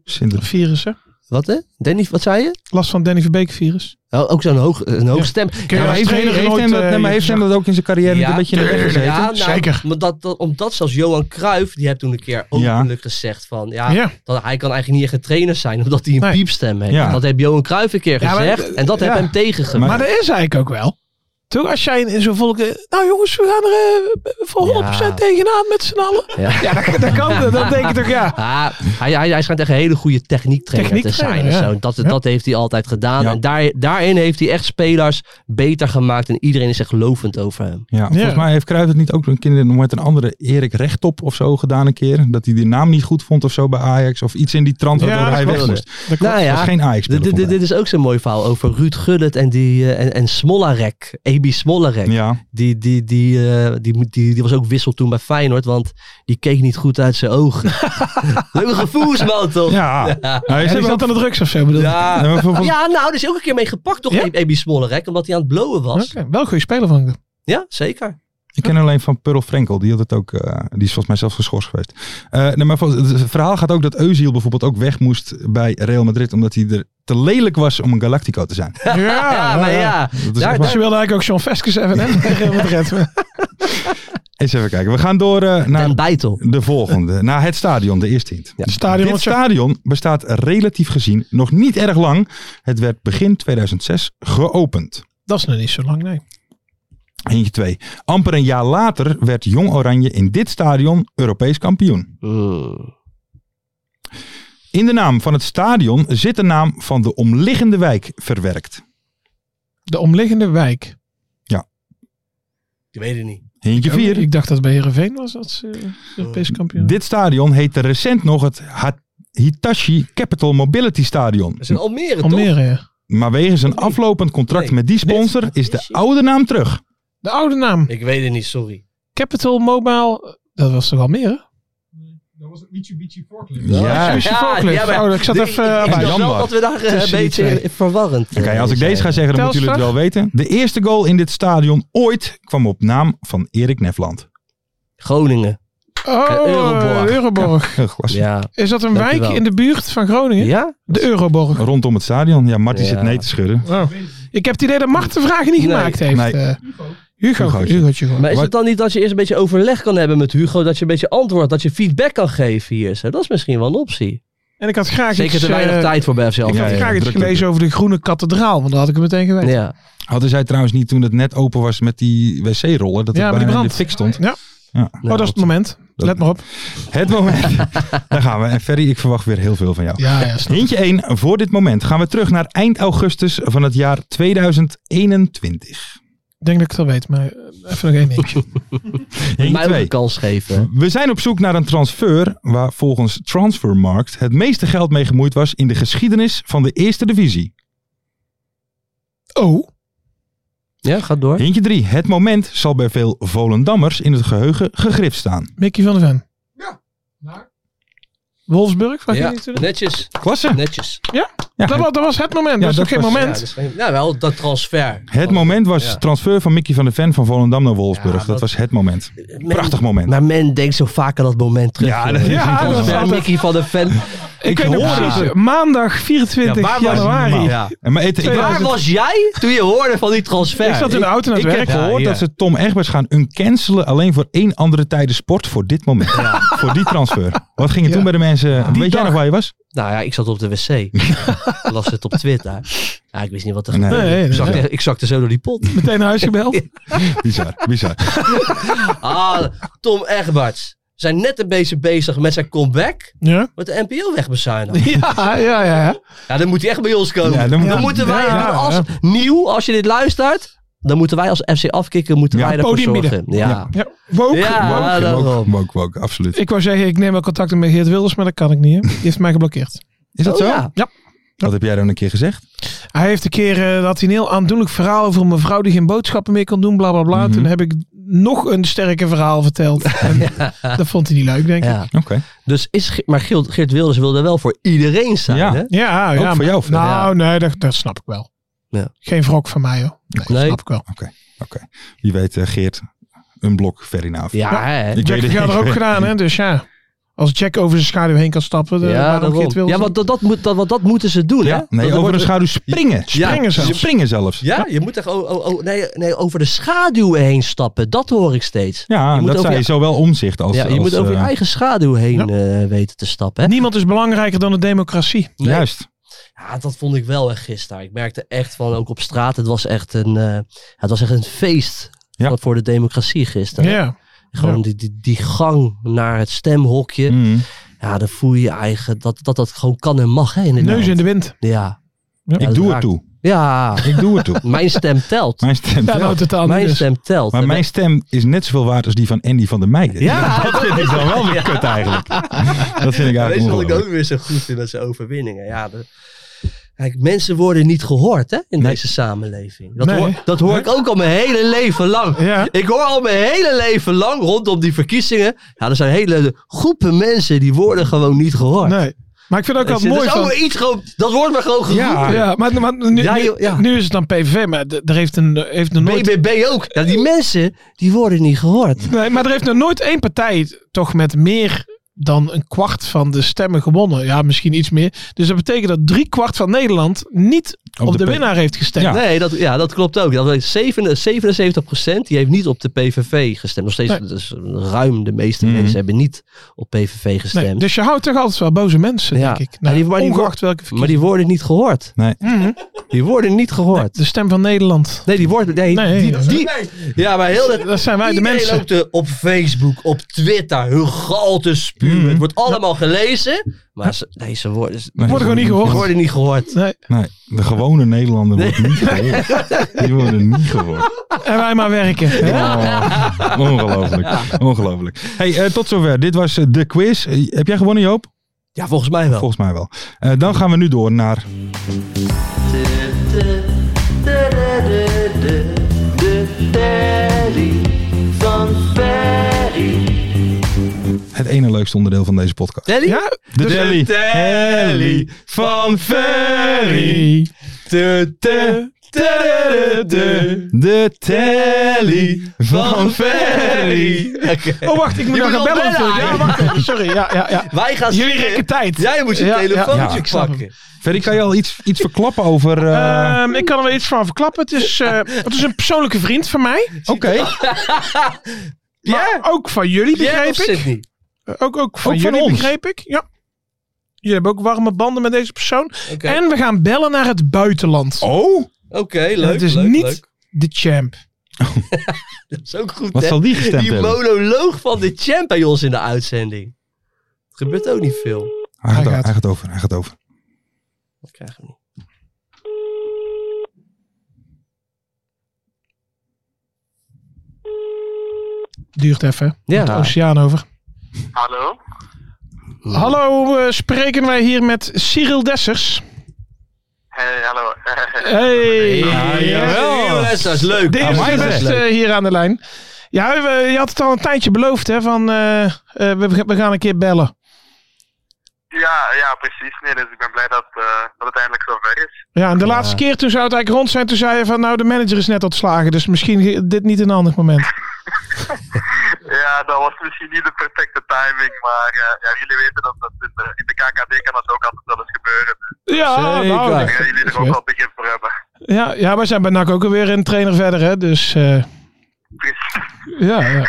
[SPEAKER 3] Zinder-
[SPEAKER 4] virus, hè?
[SPEAKER 1] Wat hè? Danny, wat zei je?
[SPEAKER 4] Last van Danny Verbeek virus.
[SPEAKER 1] Oh, ook zo'n hoog, een hoog
[SPEAKER 4] Ja.
[SPEAKER 1] stem.
[SPEAKER 4] Kun je
[SPEAKER 1] Ja,
[SPEAKER 4] als
[SPEAKER 3] heeft,
[SPEAKER 4] trainer
[SPEAKER 3] heeft
[SPEAKER 4] nooit,
[SPEAKER 3] hem dat,
[SPEAKER 4] eh,
[SPEAKER 3] nee, maar heeft hem dat ook in zijn carrière
[SPEAKER 1] Ja,
[SPEAKER 3] een beetje in de weg gezeten?
[SPEAKER 1] Ja, nou,
[SPEAKER 4] Zeker.
[SPEAKER 1] Maar dat, dat- omdat zelfs Johan Cruijff, die heeft toen een keer openlijk gezegd van, ja,
[SPEAKER 4] Ja.
[SPEAKER 1] Dat, hij kan eigenlijk niet echt een trainer zijn, omdat hij een
[SPEAKER 4] Nee.
[SPEAKER 1] piepstem heeft.
[SPEAKER 3] Ja.
[SPEAKER 1] Dat heeft Johan Cruijff een keer
[SPEAKER 4] Ja, maar-
[SPEAKER 1] gezegd en dat heeft
[SPEAKER 4] ja.
[SPEAKER 1] hem tegengewerkt.
[SPEAKER 4] Maar, dat is eigenlijk ook wel. Toch, als jij in- in zo'n volk... eh, Nou jongens, we gaan er eh, voor 100%
[SPEAKER 1] Ja.
[SPEAKER 4] tegenaan met z'n allen.
[SPEAKER 1] Ja.
[SPEAKER 4] Ja, dat, dat kan. Dat denk ik toch, ja.
[SPEAKER 1] Ah, hij, hij, hij schijnt echt een hele goede techniektrainer te zijn.
[SPEAKER 4] Techniektrainer,
[SPEAKER 1] en
[SPEAKER 4] ja.
[SPEAKER 1] Zo. Dat,
[SPEAKER 4] Ja.
[SPEAKER 1] dat heeft hij altijd gedaan.
[SPEAKER 3] Ja.
[SPEAKER 1] En daar, daarin heeft hij echt spelers beter gemaakt. En iedereen is echt lovend over hem.
[SPEAKER 3] Ja, volgens mij heeft Cruijff het niet ook een keer met een andere Erik Rechtop of zo gedaan een keer. Dat hij die naam niet goed vond of zo bij Ajax. Of iets in die trant
[SPEAKER 4] Ja,
[SPEAKER 3] waardoor
[SPEAKER 4] dat
[SPEAKER 3] hij
[SPEAKER 4] klopt.
[SPEAKER 3] weg moest.
[SPEAKER 4] Dat klopt.
[SPEAKER 1] Nou
[SPEAKER 3] Dat was
[SPEAKER 1] ja,
[SPEAKER 3] geen ajax
[SPEAKER 1] dit, dit- dit, dit is ook zo'n mooi verhaal over Ruud Gullit en, die, eh, en, en Smolarek. Ebi Smolarek.
[SPEAKER 3] Ja,
[SPEAKER 1] Die, die, die, eh, die, moet- die, die was ook wissel toen bij Feyenoord. Want die keek niet goed uit zijn ogen. Leuke gevoelsman toch?
[SPEAKER 3] ja. Nou, ze
[SPEAKER 4] Ja, die
[SPEAKER 3] hebben
[SPEAKER 4] zat aan de drugs of zo, bedoel ik.
[SPEAKER 1] Ja.
[SPEAKER 3] Nee, maar volgens-
[SPEAKER 1] Ja, nou, daar is hij ook een keer mee gepakt toch
[SPEAKER 4] Ja?
[SPEAKER 1] Ebi Smolarek. Omdat hij aan het blowen was.
[SPEAKER 4] Oké, Wel een goede speler van hem.
[SPEAKER 1] Ja, zeker.
[SPEAKER 3] Ik ken alleen van Pearl Frenkel. Die had het ook. eh, die is volgens mij zelfs geschorst geweest. Eh, nee, maar volgens- het verhaal gaat ook dat Eusiel bijvoorbeeld ook weg moest bij Real Madrid. Omdat hij er te lelijk was om een Galactico te zijn.
[SPEAKER 4] Ja,
[SPEAKER 1] Ja, maar ja.
[SPEAKER 3] Dat is
[SPEAKER 1] Daar-
[SPEAKER 3] echt
[SPEAKER 4] Dus
[SPEAKER 3] waar.
[SPEAKER 4] je wilde eigenlijk ook John Veskes even hebben.
[SPEAKER 3] Eens even kijken. We gaan door eh, naar
[SPEAKER 1] Den Beitel.
[SPEAKER 3] de volgende. Naar het stadion, de eerste hint.
[SPEAKER 4] Stadion.
[SPEAKER 3] Dit stadion bestaat relatief gezien nog niet erg lang. Het werd begin 2006 geopend.
[SPEAKER 4] Dat is nog niet zo lang, nee.
[SPEAKER 3] Eentje twee. Amper een jaar later werd Jong Oranje in dit stadion Europees kampioen. In de naam van het stadion zit de naam van de omliggende wijk verwerkt.
[SPEAKER 4] De omliggende wijk.
[SPEAKER 1] Ik weet het niet.
[SPEAKER 3] Hintje
[SPEAKER 4] Ik,
[SPEAKER 3] 4.
[SPEAKER 4] dacht dat het bij Heerenveen was dat ze
[SPEAKER 1] Oh,
[SPEAKER 4] eh, Europees kampioen.
[SPEAKER 3] Dit stadion heette recent nog het Ha- Hitachi Capital Mobility Stadion.
[SPEAKER 1] Dat is in Almere, toch?
[SPEAKER 4] Almere, ja.
[SPEAKER 3] Maar wegens een aflopend contract
[SPEAKER 1] Nee.
[SPEAKER 3] met die sponsor is de oude naam terug.
[SPEAKER 4] De oude naam.
[SPEAKER 1] Ik weet het niet, sorry.
[SPEAKER 4] Capital Mobile. Dat was toch Almere?
[SPEAKER 5] Dan was het Mitsubishi Forklift.
[SPEAKER 3] Juist.
[SPEAKER 4] Mitsubishi Forklift. Oh, ik zat even, eh, bij.
[SPEAKER 1] dacht wel
[SPEAKER 3] Jambar.
[SPEAKER 1] dat we daar eh, een
[SPEAKER 4] Tussen die
[SPEAKER 1] beetje
[SPEAKER 4] twee.
[SPEAKER 1] verwarrend.
[SPEAKER 3] Oké,
[SPEAKER 1] eh,
[SPEAKER 3] als ik
[SPEAKER 1] zijn.
[SPEAKER 3] deze ga zeggen, dan moeten jullie het wel weten. De eerste goal in dit stadion ooit kwam op naam van Erik Nefland.
[SPEAKER 1] Groningen.
[SPEAKER 4] Oh,
[SPEAKER 1] Euroborg.
[SPEAKER 4] Euroborg.
[SPEAKER 3] Glas.
[SPEAKER 1] Ja.
[SPEAKER 4] Is dat een
[SPEAKER 1] Dankjewel.
[SPEAKER 4] wijk in de buurt van Groningen?
[SPEAKER 1] Ja?
[SPEAKER 4] De Euroborg.
[SPEAKER 3] Rondom het stadion. Ja, Marty
[SPEAKER 1] Ja.
[SPEAKER 3] zit nee te schudden.
[SPEAKER 4] Oh. Ik heb het idee dat Mart de vragen niet
[SPEAKER 1] Nee.
[SPEAKER 4] gemaakt heeft.
[SPEAKER 3] Nee.
[SPEAKER 4] eh. Hugo.
[SPEAKER 3] Hugootje.
[SPEAKER 4] Hugootje. gewoon.
[SPEAKER 1] Maar is
[SPEAKER 3] Wat-
[SPEAKER 1] het dan niet dat je eerst een beetje overleg kan hebben met Hugo? Dat je een beetje antwoord, dat je feedback kan geven hier? Zo, Dat is misschien wel een optie.
[SPEAKER 4] En ik had graag
[SPEAKER 1] Zeker
[SPEAKER 4] iets,
[SPEAKER 1] te weinig
[SPEAKER 4] eh,
[SPEAKER 1] tijd voor bij
[SPEAKER 4] Ik
[SPEAKER 1] zichzelf.
[SPEAKER 3] Ja,
[SPEAKER 4] had
[SPEAKER 3] ja,
[SPEAKER 4] graag iets
[SPEAKER 3] druk op.
[SPEAKER 4] gelezen over de groene kathedraal, want dan had ik het meteen geweten.
[SPEAKER 1] Ja.
[SPEAKER 3] Hadden zij trouwens niet toen het net open was met die wc-rollen, dat
[SPEAKER 4] Ja,
[SPEAKER 3] het
[SPEAKER 4] maar die
[SPEAKER 3] bijna in de
[SPEAKER 4] brandt.
[SPEAKER 3] fik stond?
[SPEAKER 4] Ja.
[SPEAKER 3] Ja.
[SPEAKER 4] Oh, dat is het moment.
[SPEAKER 3] Dat-
[SPEAKER 4] Let maar op.
[SPEAKER 3] Het moment. Daar gaan we. En Ferry, ik verwacht weer heel veel van jou.
[SPEAKER 4] Ja, ja. snap ik.
[SPEAKER 3] Hintje 1. Voor dit moment gaan we terug naar eind augustus van het jaar 2021.
[SPEAKER 4] Ik denk dat ik het al weet, maar eh, even nog één ding.
[SPEAKER 1] Mij
[SPEAKER 3] Hintje
[SPEAKER 1] ook een
[SPEAKER 3] 2.
[SPEAKER 1] kans geven.
[SPEAKER 3] We zijn op zoek naar een transfer waar volgens Transfermarkt het meeste geld mee gemoeid was in de geschiedenis van de Eerste Divisie.
[SPEAKER 4] Oh,
[SPEAKER 1] Ja, ga door.
[SPEAKER 3] Hintje 3. Het moment zal bij veel Volendammers in het geheugen gegrift staan.
[SPEAKER 4] Mickey van der Ven.
[SPEAKER 5] Ja, maar-
[SPEAKER 4] Wolfsburg, was
[SPEAKER 1] Ja,
[SPEAKER 4] je niet toen?
[SPEAKER 1] netjes.
[SPEAKER 3] Klasse.
[SPEAKER 1] Netjes.
[SPEAKER 3] Ja,
[SPEAKER 4] Dat,
[SPEAKER 3] het,
[SPEAKER 4] was, dat was het moment.
[SPEAKER 3] Ja,
[SPEAKER 4] dat is
[SPEAKER 3] dat
[SPEAKER 4] nog geen
[SPEAKER 3] was-
[SPEAKER 4] moment.
[SPEAKER 1] Ja, dus geen- nou, wel dat transfer.
[SPEAKER 3] het moment was
[SPEAKER 1] Ja.
[SPEAKER 3] transfer van Mickey van de Ven van Volendam naar Wolfsburg.
[SPEAKER 1] Ja,
[SPEAKER 3] dat,
[SPEAKER 1] dat-
[SPEAKER 3] was het moment.
[SPEAKER 1] Men-
[SPEAKER 3] Prachtig moment.
[SPEAKER 1] Maar men denkt zo vaak aan dat moment terug.
[SPEAKER 3] Ja,
[SPEAKER 1] joh.
[SPEAKER 3] dat-
[SPEAKER 4] ja,
[SPEAKER 1] Die
[SPEAKER 4] dat
[SPEAKER 1] transfer,
[SPEAKER 4] is altijd-
[SPEAKER 1] Mickey van de fan.
[SPEAKER 4] Ik, weet nog
[SPEAKER 3] hoor
[SPEAKER 4] precies. eh,
[SPEAKER 3] het.
[SPEAKER 4] Maandag 24
[SPEAKER 1] Ja, waar was-
[SPEAKER 4] januari.
[SPEAKER 3] Normaal.
[SPEAKER 1] Ja.
[SPEAKER 3] En maar het- ik,
[SPEAKER 1] Waar was jij toen je hoorde van die transfer?
[SPEAKER 4] Ik zat in de auto naar
[SPEAKER 3] ik
[SPEAKER 4] het
[SPEAKER 3] heb
[SPEAKER 4] werk.
[SPEAKER 3] gehoord
[SPEAKER 1] ja.
[SPEAKER 3] dat ze Tom Egberts gaan uncancelen alleen voor één andere tijden sport voor dit moment. Voor die transfer. Wat ging er
[SPEAKER 4] Ja.
[SPEAKER 3] toen bij de mensen? eh, Weet jij
[SPEAKER 4] dag.
[SPEAKER 3] nog waar je was?
[SPEAKER 1] Nou ja, ik zat op de wc. las het op Twitter. Ja, ik wist niet wat er
[SPEAKER 3] Nee.
[SPEAKER 1] gebeurde.
[SPEAKER 4] Nee, nee,
[SPEAKER 1] ik, zakte,
[SPEAKER 4] nee.
[SPEAKER 1] ik zakte zo door die pot.
[SPEAKER 4] Meteen naar huis gebeld.
[SPEAKER 3] Bizar, bizar.
[SPEAKER 1] Ah, Tom Egberts. We zijn net een beetje bezig met zijn comeback.
[SPEAKER 4] Ja.
[SPEAKER 1] Wordt de NPO wegbezuinigd.
[SPEAKER 4] Ja, ja, ja.
[SPEAKER 1] Ja, dan moet hij echt bij ons komen.
[SPEAKER 3] Ja, dan
[SPEAKER 1] dan,
[SPEAKER 3] moet-
[SPEAKER 1] moeten wij
[SPEAKER 4] Ja,
[SPEAKER 1] er
[SPEAKER 4] ja.
[SPEAKER 1] als nieuw, als je dit luistert, dan moeten wij als FC afkikken, moeten
[SPEAKER 3] Ja,
[SPEAKER 1] wij ervoor
[SPEAKER 4] podium bieden.
[SPEAKER 1] zorgen. Ja.
[SPEAKER 4] ja. Woke.
[SPEAKER 1] Ja.
[SPEAKER 4] Woke.
[SPEAKER 3] Woke,
[SPEAKER 1] daarom.
[SPEAKER 3] woke, woke, woke, absoluut.
[SPEAKER 4] Ik wou zeggen, ik neem wel contact op met Geert Wilders, maar dat kan ik niet. hè. Die heeft mij geblokkeerd.
[SPEAKER 3] Is dat
[SPEAKER 1] Oh,
[SPEAKER 3] zo?
[SPEAKER 1] ja.
[SPEAKER 3] Dat heb jij dan een keer gezegd.
[SPEAKER 4] Hij heeft een keer eh, dat hij een heel aandoenlijk verhaal over een mevrouw die geen boodschappen meer kon doen, bla bla bla.
[SPEAKER 3] Mhm.
[SPEAKER 4] Toen heb ik nog een sterker verhaal verteld. En Dat vond hij niet leuk, denk ik. Ja,
[SPEAKER 1] Ja.
[SPEAKER 3] Oké.
[SPEAKER 1] Dus is, Ge- maar Geert, Geert Wilders wilde wel voor iedereen zijn.
[SPEAKER 3] Ja.
[SPEAKER 1] Hè?
[SPEAKER 4] ja.
[SPEAKER 3] Ook
[SPEAKER 4] maar-
[SPEAKER 3] voor jou, Fred.
[SPEAKER 4] Nou, nee, dat, dat snap ik wel.
[SPEAKER 1] Ja.
[SPEAKER 4] Geen wrok van mij, hoor. Nee, dat
[SPEAKER 1] Nee.
[SPEAKER 4] snap ik wel.
[SPEAKER 3] Je weet, eh, Geert, een blok ver in af.
[SPEAKER 1] Ja, hè?
[SPEAKER 3] Ik
[SPEAKER 4] Jack
[SPEAKER 3] weet het
[SPEAKER 4] had er
[SPEAKER 3] niet.
[SPEAKER 4] ook gedaan, hè? Dus ja. Als Jack over zijn schaduw heen kan stappen, eh, dan
[SPEAKER 1] Ja,
[SPEAKER 4] waarom
[SPEAKER 1] daarom.
[SPEAKER 4] Geert Wilders?
[SPEAKER 1] ja want dat, dat, moet, dat, want dat moeten ze doen. Hè?
[SPEAKER 3] Ja? Nee,
[SPEAKER 1] Dat- dat
[SPEAKER 3] over
[SPEAKER 1] wordt-
[SPEAKER 3] een schaduw springen.
[SPEAKER 4] Springen zelfs.
[SPEAKER 3] Springen zelfs.
[SPEAKER 1] Ja, je moet echt o- o- o- nee, nee, over de schaduw heen stappen. Dat hoor ik steeds.
[SPEAKER 3] Ja,
[SPEAKER 1] moet
[SPEAKER 3] dat
[SPEAKER 1] over
[SPEAKER 3] zei
[SPEAKER 1] je-
[SPEAKER 3] zowel omzicht als...
[SPEAKER 1] ja, je
[SPEAKER 3] als,
[SPEAKER 1] moet over je
[SPEAKER 3] eh,
[SPEAKER 1] eigen schaduw heen eh, weten te stappen. Hè?
[SPEAKER 4] Niemand is belangrijker dan de democratie.
[SPEAKER 1] Nee.
[SPEAKER 3] Juist.
[SPEAKER 1] Ja, dat vond ik wel echt gisteren. Ik merkte echt van, ook op straat, het was echt een, eh, het was echt een feest
[SPEAKER 3] Ja.
[SPEAKER 1] van- voor de democratie
[SPEAKER 4] Ja.
[SPEAKER 1] gisteren. Gewoon Die, die, die gang naar het stemhokje.
[SPEAKER 3] Mhm.
[SPEAKER 1] Ja, dan voel je je eigen dat, dat dat gewoon kan en mag. Hè, inderdaad.
[SPEAKER 4] Neus in de wind.
[SPEAKER 1] Ja.
[SPEAKER 4] Ja,
[SPEAKER 3] Ik
[SPEAKER 1] dat
[SPEAKER 3] doe het
[SPEAKER 1] raakt.
[SPEAKER 3] toe.
[SPEAKER 1] ja,
[SPEAKER 3] Ik doe het toe.
[SPEAKER 1] mijn stem telt.
[SPEAKER 3] Mijn stem
[SPEAKER 4] Ja, nou,
[SPEAKER 3] telt.
[SPEAKER 4] totaal niet.
[SPEAKER 1] Mijn
[SPEAKER 4] dus.
[SPEAKER 1] stem telt.
[SPEAKER 3] Maar
[SPEAKER 1] En
[SPEAKER 3] mijn stem is net zoveel waard als die van Andy van der Meijden.
[SPEAKER 1] Ja.
[SPEAKER 3] Dat vind ik dan wel weer kut eigenlijk. Dat vind ik
[SPEAKER 1] Weet
[SPEAKER 3] eigenlijk
[SPEAKER 1] je wat ik
[SPEAKER 3] ongelooflijk.
[SPEAKER 1] ook weer zo goed vind met zijn overwinningen? Ja, de- Kijk, mensen worden niet gehoord hè, in
[SPEAKER 3] Nee.
[SPEAKER 1] deze samenleving. Dat,
[SPEAKER 4] Nee.
[SPEAKER 1] hoor, dat hoor ik ook al mijn hele leven lang.
[SPEAKER 4] Ja.
[SPEAKER 1] Ik hoor al mijn hele leven lang rondom die verkiezingen. Ja, er zijn hele groepen mensen die worden gewoon niet gehoord.
[SPEAKER 4] Nee. Maar ik vind ook
[SPEAKER 1] Dat
[SPEAKER 4] wel
[SPEAKER 1] is- dat
[SPEAKER 4] mooi
[SPEAKER 1] is
[SPEAKER 4] van...
[SPEAKER 1] ook iets gewoon, dat wordt maar gewoon geroepen.
[SPEAKER 4] Ja, ja maar, maar nu,
[SPEAKER 1] Ja,
[SPEAKER 4] nu-
[SPEAKER 1] joh, ja.
[SPEAKER 4] nu is het dan PVV, maar d- er heeft, een, heeft nog nooit...
[SPEAKER 1] BBB ook. Ja, die mensen, die worden niet gehoord.
[SPEAKER 4] Nee, maar er heeft nog nooit één partij toch met meer dan een kwart van de stemmen gewonnen. Ja, misschien iets meer. Dus dat betekent dat drie kwart van Nederland niet op,
[SPEAKER 3] de
[SPEAKER 4] de,
[SPEAKER 3] P-
[SPEAKER 4] winnaar heeft gestemd.
[SPEAKER 3] Ja.
[SPEAKER 1] Nee, dat, ja, dat klopt ook. Dat weet ik, 77 77% die heeft niet op de PVV gestemd. Nog steeds
[SPEAKER 4] Nee.
[SPEAKER 1] dus ruim de meeste
[SPEAKER 3] Mhm.
[SPEAKER 1] mensen hebben niet op PVV gestemd.
[SPEAKER 4] Nee, dus je houdt toch altijd wel boze mensen,
[SPEAKER 1] Ja.
[SPEAKER 4] denk ik.
[SPEAKER 1] Maar
[SPEAKER 4] Nou,
[SPEAKER 1] die- maar die
[SPEAKER 4] ongeacht welke
[SPEAKER 1] Maar
[SPEAKER 4] verkiezing.
[SPEAKER 1] die worden niet gehoord.
[SPEAKER 4] Mhm.
[SPEAKER 1] Die worden niet gehoord.
[SPEAKER 4] De stem van Nederland.
[SPEAKER 1] Nee, die worden... Nee,
[SPEAKER 4] dus- Nee,
[SPEAKER 1] die,
[SPEAKER 4] dat-
[SPEAKER 1] die- ja, maar heel dat...
[SPEAKER 4] Dat zijn wij de
[SPEAKER 1] iedereen
[SPEAKER 4] mensen.
[SPEAKER 1] loopt er op Facebook, op Twitter, hun gal te spuwen.
[SPEAKER 3] Mhm.
[SPEAKER 1] Het wordt allemaal gelezen, maar ze, nee, ze worden, ze
[SPEAKER 3] Nee,
[SPEAKER 4] Wordt gewoon niet
[SPEAKER 1] ze
[SPEAKER 4] gehoord.
[SPEAKER 1] worden niet gehoord.
[SPEAKER 4] Nee.
[SPEAKER 3] Nee, de gewone Nederlander wordt niet gehoord. Die worden niet gehoord.
[SPEAKER 4] En wij maar werken. hè?
[SPEAKER 3] Oh, ongelooflijk. Ongelooflijk. Hey, eh, tot zover. Dit was eh, de quiz. Eh, heb jij gewonnen, Joop?
[SPEAKER 1] Ja, volgens mij wel.
[SPEAKER 3] Volgens mij wel. Eh, dan gaan we nu door naar... het ene leukste onderdeel van deze podcast.
[SPEAKER 1] Telly?
[SPEAKER 4] Ja, Dus-
[SPEAKER 3] De telly.
[SPEAKER 4] telly
[SPEAKER 3] van Ferry.
[SPEAKER 4] De
[SPEAKER 3] De telly van Ferry.
[SPEAKER 4] Oh, wacht, ik moet
[SPEAKER 1] Je
[SPEAKER 4] nog
[SPEAKER 1] moet
[SPEAKER 4] gaan
[SPEAKER 1] al
[SPEAKER 4] bellen.
[SPEAKER 1] bellen,
[SPEAKER 4] natuurlijk. Ja,
[SPEAKER 1] Arjen.
[SPEAKER 4] wacht even. Sorry, ja, ja, ja.
[SPEAKER 1] Wij gaan
[SPEAKER 4] Jullie
[SPEAKER 1] zitten.
[SPEAKER 4] rekken tijd.
[SPEAKER 1] Jij moet je
[SPEAKER 4] Ja, ja,
[SPEAKER 1] telefoontje
[SPEAKER 4] ja, ik snap
[SPEAKER 1] pakken.
[SPEAKER 3] Ferry, kan je al iets, iets verklappen over... eh,
[SPEAKER 4] Ehm, ik kan er wel iets van verklappen. Het is, eh, het is een persoonlijke vriend van mij.
[SPEAKER 3] Oké,
[SPEAKER 4] Maar ook van jullie,
[SPEAKER 1] Jij
[SPEAKER 4] begreep
[SPEAKER 1] of
[SPEAKER 4] ik.
[SPEAKER 1] Sydney?
[SPEAKER 4] Ook, ook van
[SPEAKER 3] Ook van
[SPEAKER 4] jullie,
[SPEAKER 3] ons.
[SPEAKER 4] begreep ik. Ja. Jullie hebben ook warme banden met deze persoon.
[SPEAKER 1] Oké.
[SPEAKER 4] En we gaan bellen naar het buitenland.
[SPEAKER 3] Oh,
[SPEAKER 1] Oké, leuk.
[SPEAKER 4] het is
[SPEAKER 1] leuk,
[SPEAKER 4] niet
[SPEAKER 1] leuk.
[SPEAKER 4] de champ.
[SPEAKER 1] Dat is ook goed,
[SPEAKER 3] wat
[SPEAKER 1] hè?
[SPEAKER 3] zal die gestemd
[SPEAKER 1] Die
[SPEAKER 3] hebben?
[SPEAKER 1] monoloog van de champ bij ons in de uitzending. Het gebeurt ook niet veel.
[SPEAKER 3] Hij gaat,
[SPEAKER 4] Hij gaat.
[SPEAKER 3] hij gaat over, hij gaat over.
[SPEAKER 1] Dat krijgen we niet.
[SPEAKER 4] Duurt even.
[SPEAKER 1] Ja.
[SPEAKER 4] Ja. De oceaan over.
[SPEAKER 7] Hallo?
[SPEAKER 4] Hallo, eh, spreken wij hier met Cyril Dessers.
[SPEAKER 7] Hey, hallo.
[SPEAKER 4] Hey.
[SPEAKER 1] Ah,
[SPEAKER 4] Ah,
[SPEAKER 1] Heel les, dat is leuk.
[SPEAKER 4] De
[SPEAKER 1] Ah,
[SPEAKER 4] eerste
[SPEAKER 1] maar
[SPEAKER 4] de
[SPEAKER 1] dat is
[SPEAKER 4] beste eh,
[SPEAKER 1] leuk.
[SPEAKER 4] hier aan de lijn. Ja, we- je had het al een tijdje beloofd, hè? Van eh, eh, we, we gaan een keer bellen.
[SPEAKER 7] ja, ja, precies. Nee, dus ik ben blij dat, eh, dat het eindelijk zover is.
[SPEAKER 4] Ja, en de laatste keer toen zou het eigenlijk rond zijn, toen zei je van nou, de manager is net ontslagen, dus misschien ge- dit niet een handig moment.
[SPEAKER 7] Ja, dat was misschien niet de perfecte timing, maar eh, ja, jullie weten dat, dat in, de, in de KKD kan dat ook altijd wel eens gebeuren. Dus
[SPEAKER 4] Ja,
[SPEAKER 1] Zeker.
[SPEAKER 4] nou,
[SPEAKER 7] ik denk dat jullie er ook
[SPEAKER 4] Ja.
[SPEAKER 7] wel begrip voor hebben.
[SPEAKER 4] ja, ja, we zijn bij NAC ook alweer een trainer verder, hè? Dus eh,
[SPEAKER 7] Precies.
[SPEAKER 4] ja, ja.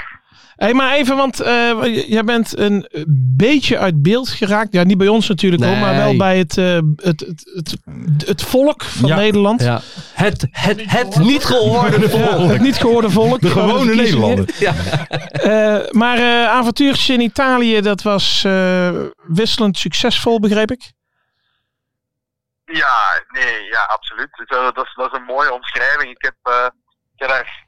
[SPEAKER 4] hey, maar even, want eh, j- jij bent een beetje uit beeld geraakt. Ja, niet bij ons natuurlijk, hoor, maar wel
[SPEAKER 1] Nee.
[SPEAKER 4] bij het, eh, het, het, het, het volk van
[SPEAKER 3] Ja.
[SPEAKER 4] Nederland.
[SPEAKER 1] Ja. Het, het, het niet gehoorde volk.
[SPEAKER 4] Het niet gehoorde volk.
[SPEAKER 3] De gewone
[SPEAKER 4] verkiezingen.
[SPEAKER 3] Nederlander.
[SPEAKER 4] Eh, maar eh avontuurtje in Italië, dat was eh, wisselend succesvol, begreep ik.
[SPEAKER 7] Ja, nee, ja, absoluut. Dus, eh, dat, is, dat is een mooie omschrijving. Ik heb, eh, ik heb daar,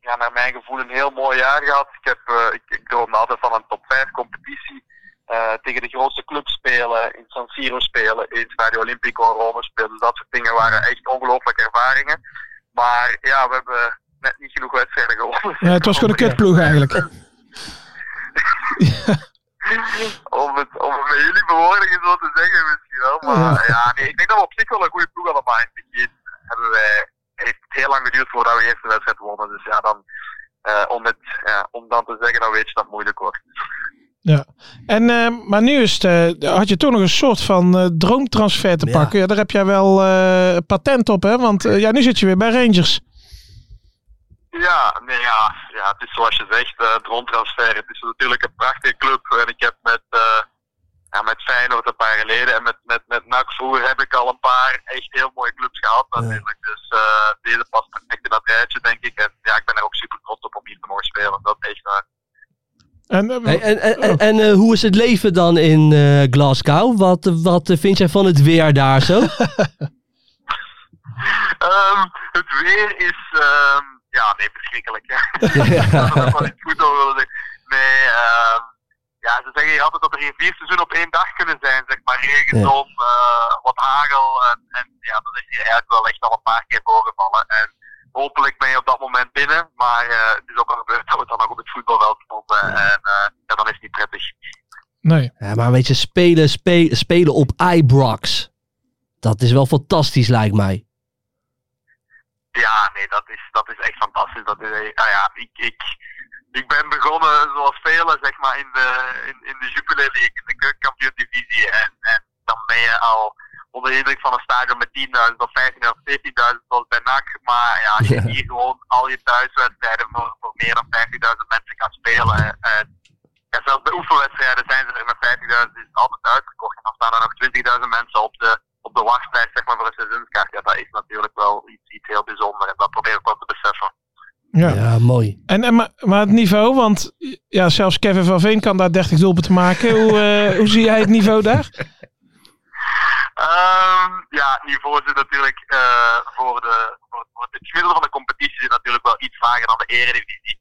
[SPEAKER 7] ja, naar mijn gevoel een heel mooi jaar gehad. Ik, heb, eh, ik, ik droomde altijd van een top 5 competitie. eh, tegen de grootste clubs spelen, in San Siro spelen, in Stadio Olimpico in Rome spelen. Dus dat soort dingen waren echt ongelooflijke ervaringen. Maar ja, we hebben net niet genoeg wedstrijden gewonnen.
[SPEAKER 4] Eh, het was
[SPEAKER 1] Oh,
[SPEAKER 4] gewoon een kutploeg eigenlijk.
[SPEAKER 7] om, het, om het met jullie bewoordingen zo te zeggen misschien wel. Maar ja, nee, ik denk dat we op zich wel een goede ploeg hadden. Maar in het begin hebben wij, heeft het heel lang geduurd voordat we de eerste wedstrijd wonnen. Dus ja, dan, eh, om, het, ja, om dan te zeggen, dan weet je dat het moeilijk wordt.
[SPEAKER 4] Ja. En, eh, maar nu is het, eh, had je toch nog een soort van eh, droomtransfer te
[SPEAKER 1] Ja.
[SPEAKER 4] pakken. Ja, daar heb jij wel eh, patent op, hè? Want eh, ja, nu zit je weer bij Rangers.
[SPEAKER 7] Ja, nee, ja, ja, het is zoals je zegt, eh droomtransfer. Het is natuurlijk een prachtige club. En ik heb met, eh, ja, met Feyenoord een paar geleden en met, met, met NAC vroeger heb ik al een paar echt heel mooie clubs gehad natuurlijk. Dus eh, deze past perfect in dat rijtje, denk ik. En ja, ik ben er ook super trots op om hier te mogen spelen. Dat is echt waar.
[SPEAKER 4] En, eh,
[SPEAKER 1] Hey, en en, en, en, eh, hoe is het leven dan in eh, Glasgow? Wat, eh, wat eh, vind jij van het weer daar zo?
[SPEAKER 7] Ehm, het weer is, ehm, ja, nee, verschrikkelijk. Hè. dat is wat ik goed over wil zeggen. Nee, ehm, ja, ze zeggen hier altijd dat er hier vier seizoenen op één dag kunnen zijn, zeg maar. Regen,
[SPEAKER 1] Ja.
[SPEAKER 7] zon, eh, wat hagel. En, en ja, dat is hier eigenlijk wel echt al een paar keer voorgevallen. En hopelijk ben je op dat moment binnen, maar eh, het is ook al gebeurd dat we dan ook op het voetbalveld stonden. En eh, ja, dan is het niet prettig.
[SPEAKER 4] nee.
[SPEAKER 1] ja, maar weet je, spelen, spe- spelen op Ibrox. Dat is wel fantastisch, lijkt mij.
[SPEAKER 7] Ja, nee, dat is, dat is echt fantastisch. Dat is, eh, nou ja, ik, ik, ik ben begonnen zoals velen, zeg maar, in de, in, in de Jupiler League, in de keukenkampioen divisie. En, en dan ben je al onder de indruk van een stadion met 10.000 of 15.000 of 17.000 zoals bij NAC. Maar ja, als je hier gewoon al je thuiswedstrijden voor, voor meer dan 50.000 mensen kan spelen. eh, En, ja, zelfs bij oefenwedstrijden zijn ze er met 50.000 is het altijd uitgekocht. En dan staan er nog 20.000 mensen op de, op de wachtlijst zeg maar, voor een seizoenskaart. Ja, dat is natuurlijk wel iets, iets heel bijzonders. En dat probeer ik wel te beseffen.
[SPEAKER 4] Ja.
[SPEAKER 1] Ja, mooi.
[SPEAKER 4] En, en, maar, maar het niveau, want ja, zelfs Kevin van Veen kan daar 30 doelpunten maken. Hoe, eh, hoe zie jij het niveau daar?
[SPEAKER 7] Ehm, ja, niveau zit natuurlijk eh, voor, de, voor, voor het gemiddelde van de competitie zit natuurlijk wel iets lager dan de eredivisie.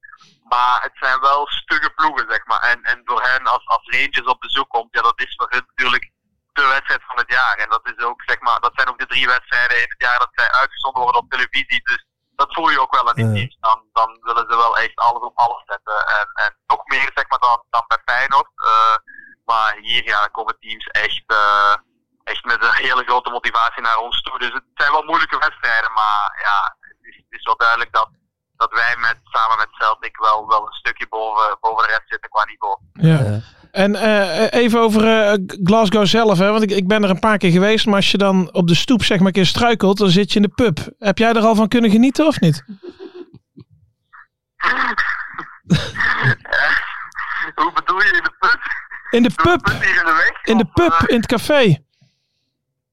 [SPEAKER 7] Maar het zijn wel stugge ploegen, zeg maar. En, en door hen, als, als Rangers op bezoek komt, ja, dat is voor hen natuurlijk de wedstrijd van het jaar. En dat, is ook, zeg maar, dat zijn ook de drie wedstrijden in het jaar dat zij uitgezonden worden op televisie. Dus dat voel je ook wel aan die
[SPEAKER 3] Ja.
[SPEAKER 7] teams. Dan, dan willen ze wel echt alles op alles zetten. En, en nog meer zeg maar, dan, dan bij Feyenoord. Eh, maar hier ja, dan komen teams echt, eh, echt met een hele grote motivatie naar ons toe. Dus het zijn wel moeilijke wedstrijden. Maar ja, het is, het is wel duidelijk dat, dat wij met, samen met Celtic wel, wel een stukje boven, boven de rest zitten qua niveau.
[SPEAKER 4] Ja. En eh, even over eh, Glasgow zelf, hè? want ik, ik ben er een paar keer geweest. Maar als je dan op de stoep zeg maar een keer struikelt, dan zit je in de pub. Heb jij er al van kunnen genieten of niet?
[SPEAKER 7] Eh, Hoe bedoel je in de pub?
[SPEAKER 4] In de pub.
[SPEAKER 7] Hier in de weg?
[SPEAKER 4] In de pub, in het café.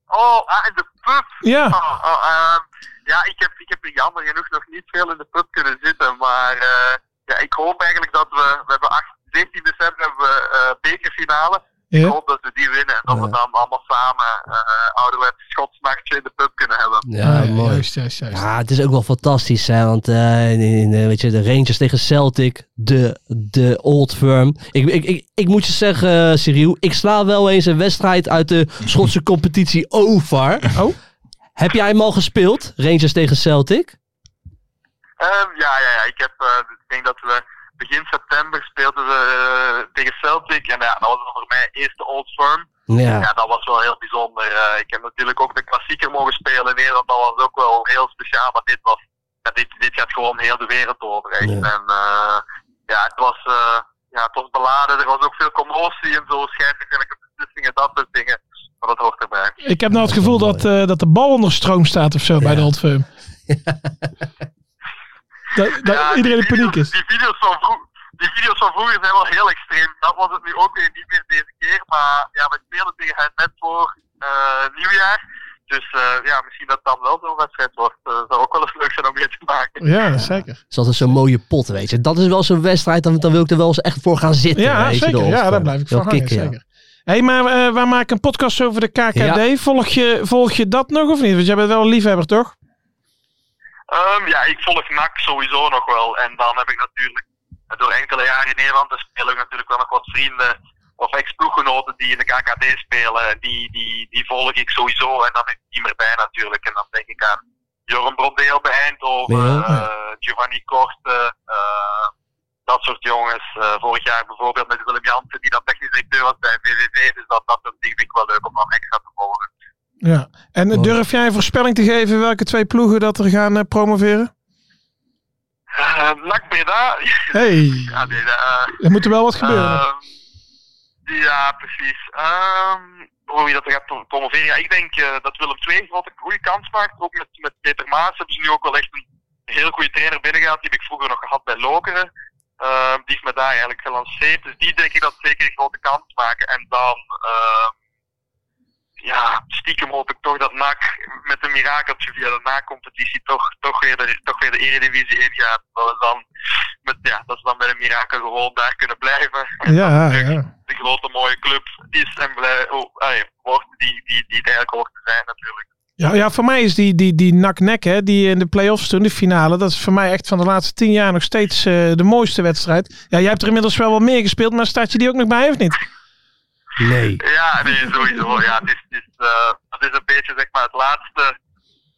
[SPEAKER 7] Oh, ah, in de pub.
[SPEAKER 4] Ja.
[SPEAKER 7] Oh, oh, ehm, ja, ik heb, ik heb er jammer genoeg nog niet veel in de pub kunnen zitten. Maar eh, ja, ik hoop eigenlijk dat we. We hebben 8, 17 december hebben we, eh, bekerfinale.
[SPEAKER 4] Ja.
[SPEAKER 7] Ik hoop dat we die winnen. En dat we dan allemaal samen eh ouderwets schotsnachtje in de pub kunnen hebben.
[SPEAKER 1] Ah, Ja, mooi. Ja, het is ook wel fantastisch, hè? Want eh, in, in, eh, weet je, de Rangers tegen Celtic, de, de Old Firm. Ik, ik, ik, ik moet je zeggen, eh, Cyril, ik sla wel eens een wedstrijd uit de Schotse competitie over.
[SPEAKER 4] Oh?
[SPEAKER 1] Heb jij hem al gespeeld, Rangers tegen Celtic?
[SPEAKER 7] Ehm, ja, ja, ja. Ik, heb, eh, ik denk dat we begin september speelden we eh, tegen Celtic. En ja, dat was voor mij eerst de Old Firm.
[SPEAKER 1] Ja.
[SPEAKER 7] dat was wel heel bijzonder. Eh, ik heb natuurlijk ook de klassieker mogen spelen in Nederland. Dat was ook wel heel speciaal. Maar dit, was, ja, dit, dit gaat gewoon heel de wereld over. echt. En eh, ja, het was, eh, ja, het was beladen. Er was ook veel commotie en zo. Scheidsrechtelijke beslissingen, dat soort dingen. Maar dat hoort erbij.
[SPEAKER 4] Ik heb nou het gevoel dat, eh, dat de bal onder stroom staat of zo bij de Old Firm. dat dat iedereen in paniek is.
[SPEAKER 7] Die video's, van vroeg, die video's van vroeger zijn wel heel extreem. Dat was het nu ook weer niet meer deze keer. Maar ja, we spelen tegen hen net voor eh, nieuwjaar. Dus eh, ja, misschien dat dan wel zo'n wedstrijd wordt. Eh, Dat zou ook wel eens leuk zijn om mee te maken.
[SPEAKER 4] Ja, zeker.
[SPEAKER 1] Dat is altijd zo'n mooie pot, weet je. Dat is wel zo'n wedstrijd, dan, dan wil ik er wel eens echt voor gaan zitten.
[SPEAKER 4] Ja,
[SPEAKER 1] weet je, de
[SPEAKER 4] zeker.
[SPEAKER 1] Old
[SPEAKER 4] Ja, daar
[SPEAKER 1] Firm.
[SPEAKER 4] blijf ik
[SPEAKER 1] Wel
[SPEAKER 4] van hangen,
[SPEAKER 1] kicken, ja.
[SPEAKER 4] zeker. Hé, hey, maar eh, wij maken een podcast over de KKD.
[SPEAKER 1] Ja.
[SPEAKER 4] Volg, je, volg je dat nog of niet? Want jij bent wel een liefhebber, toch?
[SPEAKER 7] Ehm, ja, ik volg NAC sowieso nog wel. En dan heb ik natuurlijk eh, door enkele jaren in Nederland te spelen ook natuurlijk wel nog wat vrienden of ex-ploeggenoten die in de KKD spelen. Die, die, die volg ik sowieso en dan heb ik die meer bij natuurlijk. En dan denk ik aan Joram Brondeel bij Eindhoven,
[SPEAKER 8] Ja.
[SPEAKER 7] eh, Giovanni Korte, eh, dat soort jongens. Eh, vorig jaar bijvoorbeeld met Willem Jansen die dan technisch directeur was bij VVV. Dus dat, dat soort dingen vind ik wel leuk om dan extra te volgen.
[SPEAKER 4] Ja. En eh, durf jij een voorspelling te geven welke twee ploegen dat er gaan eh, promoveren?
[SPEAKER 7] Eh, NAC Breda.
[SPEAKER 4] Hey. Eh.
[SPEAKER 7] Ja, nee, eh,
[SPEAKER 4] Er moet er wel wat gebeuren.
[SPEAKER 7] Ehm, ja, precies. Ehm hoe je dat er gaat pro- promoveren. Ja, ik denk eh, dat Willem II wat een goede kans maakt. Ook met, met Peter Maas hebben ze nu ook wel echt een heel goede trainer binnengehaald. Die heb ik vroeger nog gehad bij Lokeren. Ehm, die heeft me daar eigenlijk gelanceerd. Dus die denk ik dat zeker een grote kans maken. En dan, ehm, ja, stiekem hoop ik toch dat NAC met een mirakeltje via de na-competitie toch, toch, weer de, toch weer de Eredivisie ingaat. Dat, we dan met, ja, dat ze dan met een mirakel gewoon daar kunnen blijven
[SPEAKER 4] Ja, ja.
[SPEAKER 7] de grote mooie club is en blij, oh, ai, wordt die, die, die het eigenlijk hoort te zijn natuurlijk.
[SPEAKER 4] Ja, ja, voor mij is die, die, die nak-nek, hè, die in de play-offs toen, de finale, dat is voor mij echt van de laatste tien jaar nog steeds eh, de mooiste wedstrijd. Ja, jij hebt er inmiddels wel wat meer gespeeld, maar staat je die ook nog bij of niet?
[SPEAKER 1] Nee.
[SPEAKER 7] Ja, nee, sowieso. Ja, het is, het is, eh, het is een beetje zeg maar, het laatste,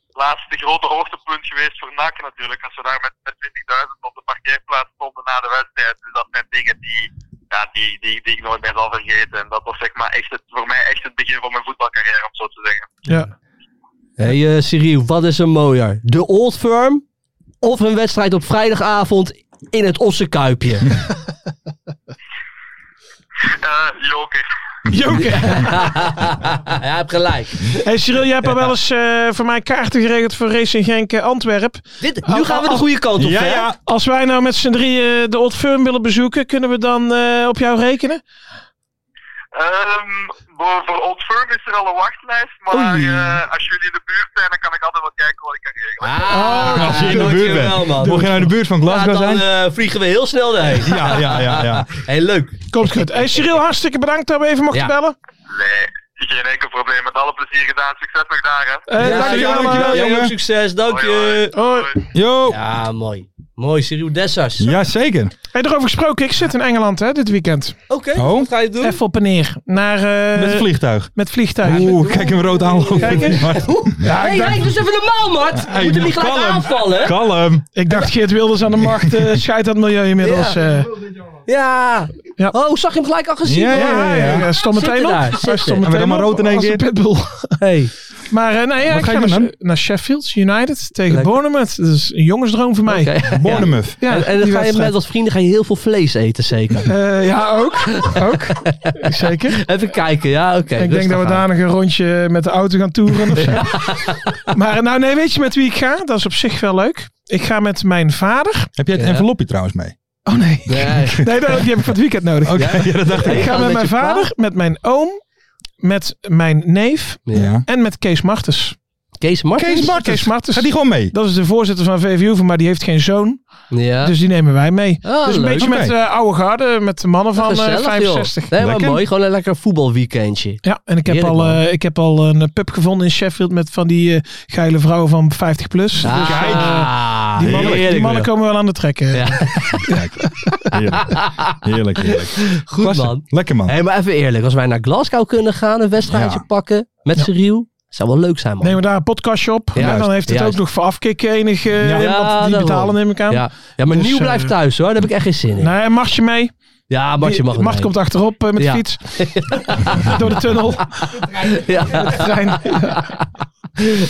[SPEAKER 7] laatste grote hoogtepunt geweest voor NAC natuurlijk. Als we daar met, met 20.000 op de parkeerplaats stonden na de wedstrijd. Dus dat zijn dingen die, ja, die, die, die ik nooit meer zal vergeten. En dat was zeg maar, echt het, voor mij echt het begin van mijn voetbalcarrière, om zo te zeggen.
[SPEAKER 4] Ja.
[SPEAKER 1] Hé hey, Cyril, wat is er mooier? De Old Firm of een wedstrijd op vrijdagavond in het Ossenkuipje?
[SPEAKER 7] Eh, joker.
[SPEAKER 4] Joker.
[SPEAKER 1] ja, je hebt gelijk.
[SPEAKER 4] Hey Cyril, jij hebt al wel eens eh, voor mij kaarten geregeld voor Racing Genk eh, Antwerp.
[SPEAKER 1] Dit,
[SPEAKER 3] Oh,
[SPEAKER 1] nu gaan we de goede kant op,
[SPEAKER 4] Ja,
[SPEAKER 1] hè?
[SPEAKER 4] ja. Als wij nou met z'n drieën de Old Firm willen bezoeken, kunnen we dan eh, op jou rekenen?
[SPEAKER 7] Ehm, voor, voor Old Firm is er al een wachtlijst, maar
[SPEAKER 4] Oei.
[SPEAKER 7] eh, als jullie in de buurt zijn, dan kan ik altijd wat kijken wat ik kan regelen.
[SPEAKER 1] Ah,
[SPEAKER 3] Oh, als je in de
[SPEAKER 1] dankjewel,
[SPEAKER 3] buurt bent.
[SPEAKER 1] man.
[SPEAKER 3] Mocht je nou in de buurt van Glasgow
[SPEAKER 1] ja, dan
[SPEAKER 3] zijn?
[SPEAKER 1] eh, vliegen we heel snel erheen.
[SPEAKER 3] Ja, ja, ja, ja.
[SPEAKER 1] Hey, leuk.
[SPEAKER 4] Komt goed. Hey Cyril, hartstikke bedankt dat we even mochten
[SPEAKER 1] Ja.
[SPEAKER 4] bellen.
[SPEAKER 7] Nee, geen enkel probleem. Met alle plezier gedaan. Succes nog daar, hè.
[SPEAKER 4] Eh, dankjewel,
[SPEAKER 1] ja,
[SPEAKER 4] allemaal.
[SPEAKER 1] Jij ook succes, dank je.
[SPEAKER 4] Hoi.
[SPEAKER 1] Ja, mooi. Mooi, Cyril Dessers.
[SPEAKER 3] Jazeker.
[SPEAKER 4] Hey, erover gesproken, ik zit in Engeland hè, dit weekend.
[SPEAKER 1] Oké,
[SPEAKER 3] Oh. wat
[SPEAKER 1] ga je doen?
[SPEAKER 4] Even op en neer. Naar, eh,
[SPEAKER 3] Met het vliegtuig.
[SPEAKER 4] Met vliegtuig.
[SPEAKER 3] Oeh, kijk hem rood aanlopen.
[SPEAKER 4] Kijk eens.
[SPEAKER 3] Ja,
[SPEAKER 1] hey,
[SPEAKER 3] ik dacht,
[SPEAKER 1] hey, dus even normaal, Mart.
[SPEAKER 3] Hey,
[SPEAKER 1] je moet hem niet
[SPEAKER 3] kalm.
[SPEAKER 1] gelijk aanvallen.
[SPEAKER 3] kalm.
[SPEAKER 4] Ik dacht Geert Wilders aan de macht eh scheidt aan het milieu inmiddels.
[SPEAKER 1] Ja.
[SPEAKER 4] eh.
[SPEAKER 1] Ja.
[SPEAKER 4] Ja.
[SPEAKER 1] Oh, zag je hem gelijk al gezien?
[SPEAKER 3] Ja, ja,
[SPEAKER 4] Ja, ja, ja, stond
[SPEAKER 1] Zit
[SPEAKER 4] meteen
[SPEAKER 1] er
[SPEAKER 4] op.
[SPEAKER 1] daar,
[SPEAKER 4] Hij
[SPEAKER 1] zit
[SPEAKER 4] stond
[SPEAKER 1] er.
[SPEAKER 3] En we dan
[SPEAKER 4] meteen
[SPEAKER 3] maar
[SPEAKER 4] op
[SPEAKER 3] rood in één
[SPEAKER 4] als een
[SPEAKER 3] keer.
[SPEAKER 4] pitbull.
[SPEAKER 1] Hey.
[SPEAKER 4] Maar eh, nee, ja,
[SPEAKER 3] Wat
[SPEAKER 4] ik
[SPEAKER 3] ga
[SPEAKER 4] ga
[SPEAKER 3] je doen
[SPEAKER 4] naar,
[SPEAKER 3] dan?
[SPEAKER 4] naar Sheffield United tegen
[SPEAKER 1] Lekker.
[SPEAKER 4] Bournemouth. Dat is een jongensdroom voor mij.
[SPEAKER 1] Oké.
[SPEAKER 3] Bournemouth.
[SPEAKER 4] Ja,
[SPEAKER 1] en en dan
[SPEAKER 4] die
[SPEAKER 1] ga je met
[SPEAKER 4] wedstrijd.
[SPEAKER 1] wat vrienden ga je heel veel vlees eten, zeker.
[SPEAKER 4] Eh, ja, ook. ook. Zeker.
[SPEAKER 1] Even kijken, ja, oké.
[SPEAKER 4] ik denk dat we daar nog een rondje met de auto gaan toeren of zo. Maar eh, nou, nee, weet je met wie ik ga? Dat is op zich wel leuk. Ik ga met mijn vader.
[SPEAKER 3] Heb jij het
[SPEAKER 1] Ja.
[SPEAKER 3] envelopje trouwens mee?
[SPEAKER 4] Oh nee.
[SPEAKER 1] Nee.
[SPEAKER 4] Nee, dat- die heb ik voor het weekend nodig.
[SPEAKER 3] Oké, ja, dat dacht ik.
[SPEAKER 4] Ik ga
[SPEAKER 1] Gaat
[SPEAKER 4] met
[SPEAKER 1] met
[SPEAKER 4] mijn
[SPEAKER 1] je
[SPEAKER 4] vader, met mijn oom, met mijn neef
[SPEAKER 1] Ja.
[SPEAKER 3] Ja.
[SPEAKER 4] en met Kees Martens.
[SPEAKER 1] Kees Martens?
[SPEAKER 4] Kees Martens. Kees Martens.
[SPEAKER 3] Gaat die gewoon mee?
[SPEAKER 4] Dat is de voorzitter van VVU, maar die heeft geen zoon.
[SPEAKER 1] Ja.
[SPEAKER 4] Dus die nemen wij mee.
[SPEAKER 1] Oh,
[SPEAKER 4] dus een
[SPEAKER 1] Ah. leuk.
[SPEAKER 4] beetje met
[SPEAKER 3] Oké.
[SPEAKER 4] eh, oude garde, met de mannen van eh,
[SPEAKER 1] Gezellig, joh.
[SPEAKER 4] 65.
[SPEAKER 1] Nee, maar
[SPEAKER 3] Lekker.
[SPEAKER 1] mooi. Gewoon een lekker voetbalweekendje.
[SPEAKER 4] Ja, en ik heb,
[SPEAKER 1] Heerlijk,
[SPEAKER 4] al,
[SPEAKER 1] man.
[SPEAKER 4] eh, ik heb al een eh, pub gevonden in Sheffield met van die eh, geile vrouwen van 50 plus. Dus, eh,
[SPEAKER 1] Ah,
[SPEAKER 4] die, mannen, die
[SPEAKER 1] heerlijk,
[SPEAKER 4] mannen
[SPEAKER 1] joh.
[SPEAKER 4] komen wel aan de trekken.
[SPEAKER 1] Ja.
[SPEAKER 3] Kijk. Heerlijk. Heerlijk, heerlijk.
[SPEAKER 1] Goed,
[SPEAKER 3] Klasse.
[SPEAKER 1] man.
[SPEAKER 3] Lekker man.
[SPEAKER 1] Hé, maar even eerlijk. Als wij naar Glasgow kunnen gaan, een wedstrijdje
[SPEAKER 3] Ja.
[SPEAKER 1] pakken met Cyril, zou wel leuk zijn, man.
[SPEAKER 4] Nemen we daar een podcastje op.
[SPEAKER 1] Ja,
[SPEAKER 4] en dan
[SPEAKER 1] juist,
[SPEAKER 4] heeft het
[SPEAKER 1] juist.
[SPEAKER 4] ook nog voor afkik enig. eh,
[SPEAKER 1] Ja,
[SPEAKER 4] want
[SPEAKER 1] daarom.
[SPEAKER 4] die betalen neem ik aan.
[SPEAKER 1] ja. ja, maar
[SPEAKER 4] Dus,
[SPEAKER 1] Nieuw
[SPEAKER 4] eh,
[SPEAKER 1] blijft thuis, hoor. Daar heb ik echt geen zin in.
[SPEAKER 4] Nee, Martje mee.
[SPEAKER 1] ja, Martje
[SPEAKER 4] Die-
[SPEAKER 1] mag
[SPEAKER 4] Mart
[SPEAKER 1] mee.
[SPEAKER 4] komt achterop eh, met
[SPEAKER 1] Ja.
[SPEAKER 4] de fiets. Door de tunnel.
[SPEAKER 1] Ja.
[SPEAKER 4] Trein.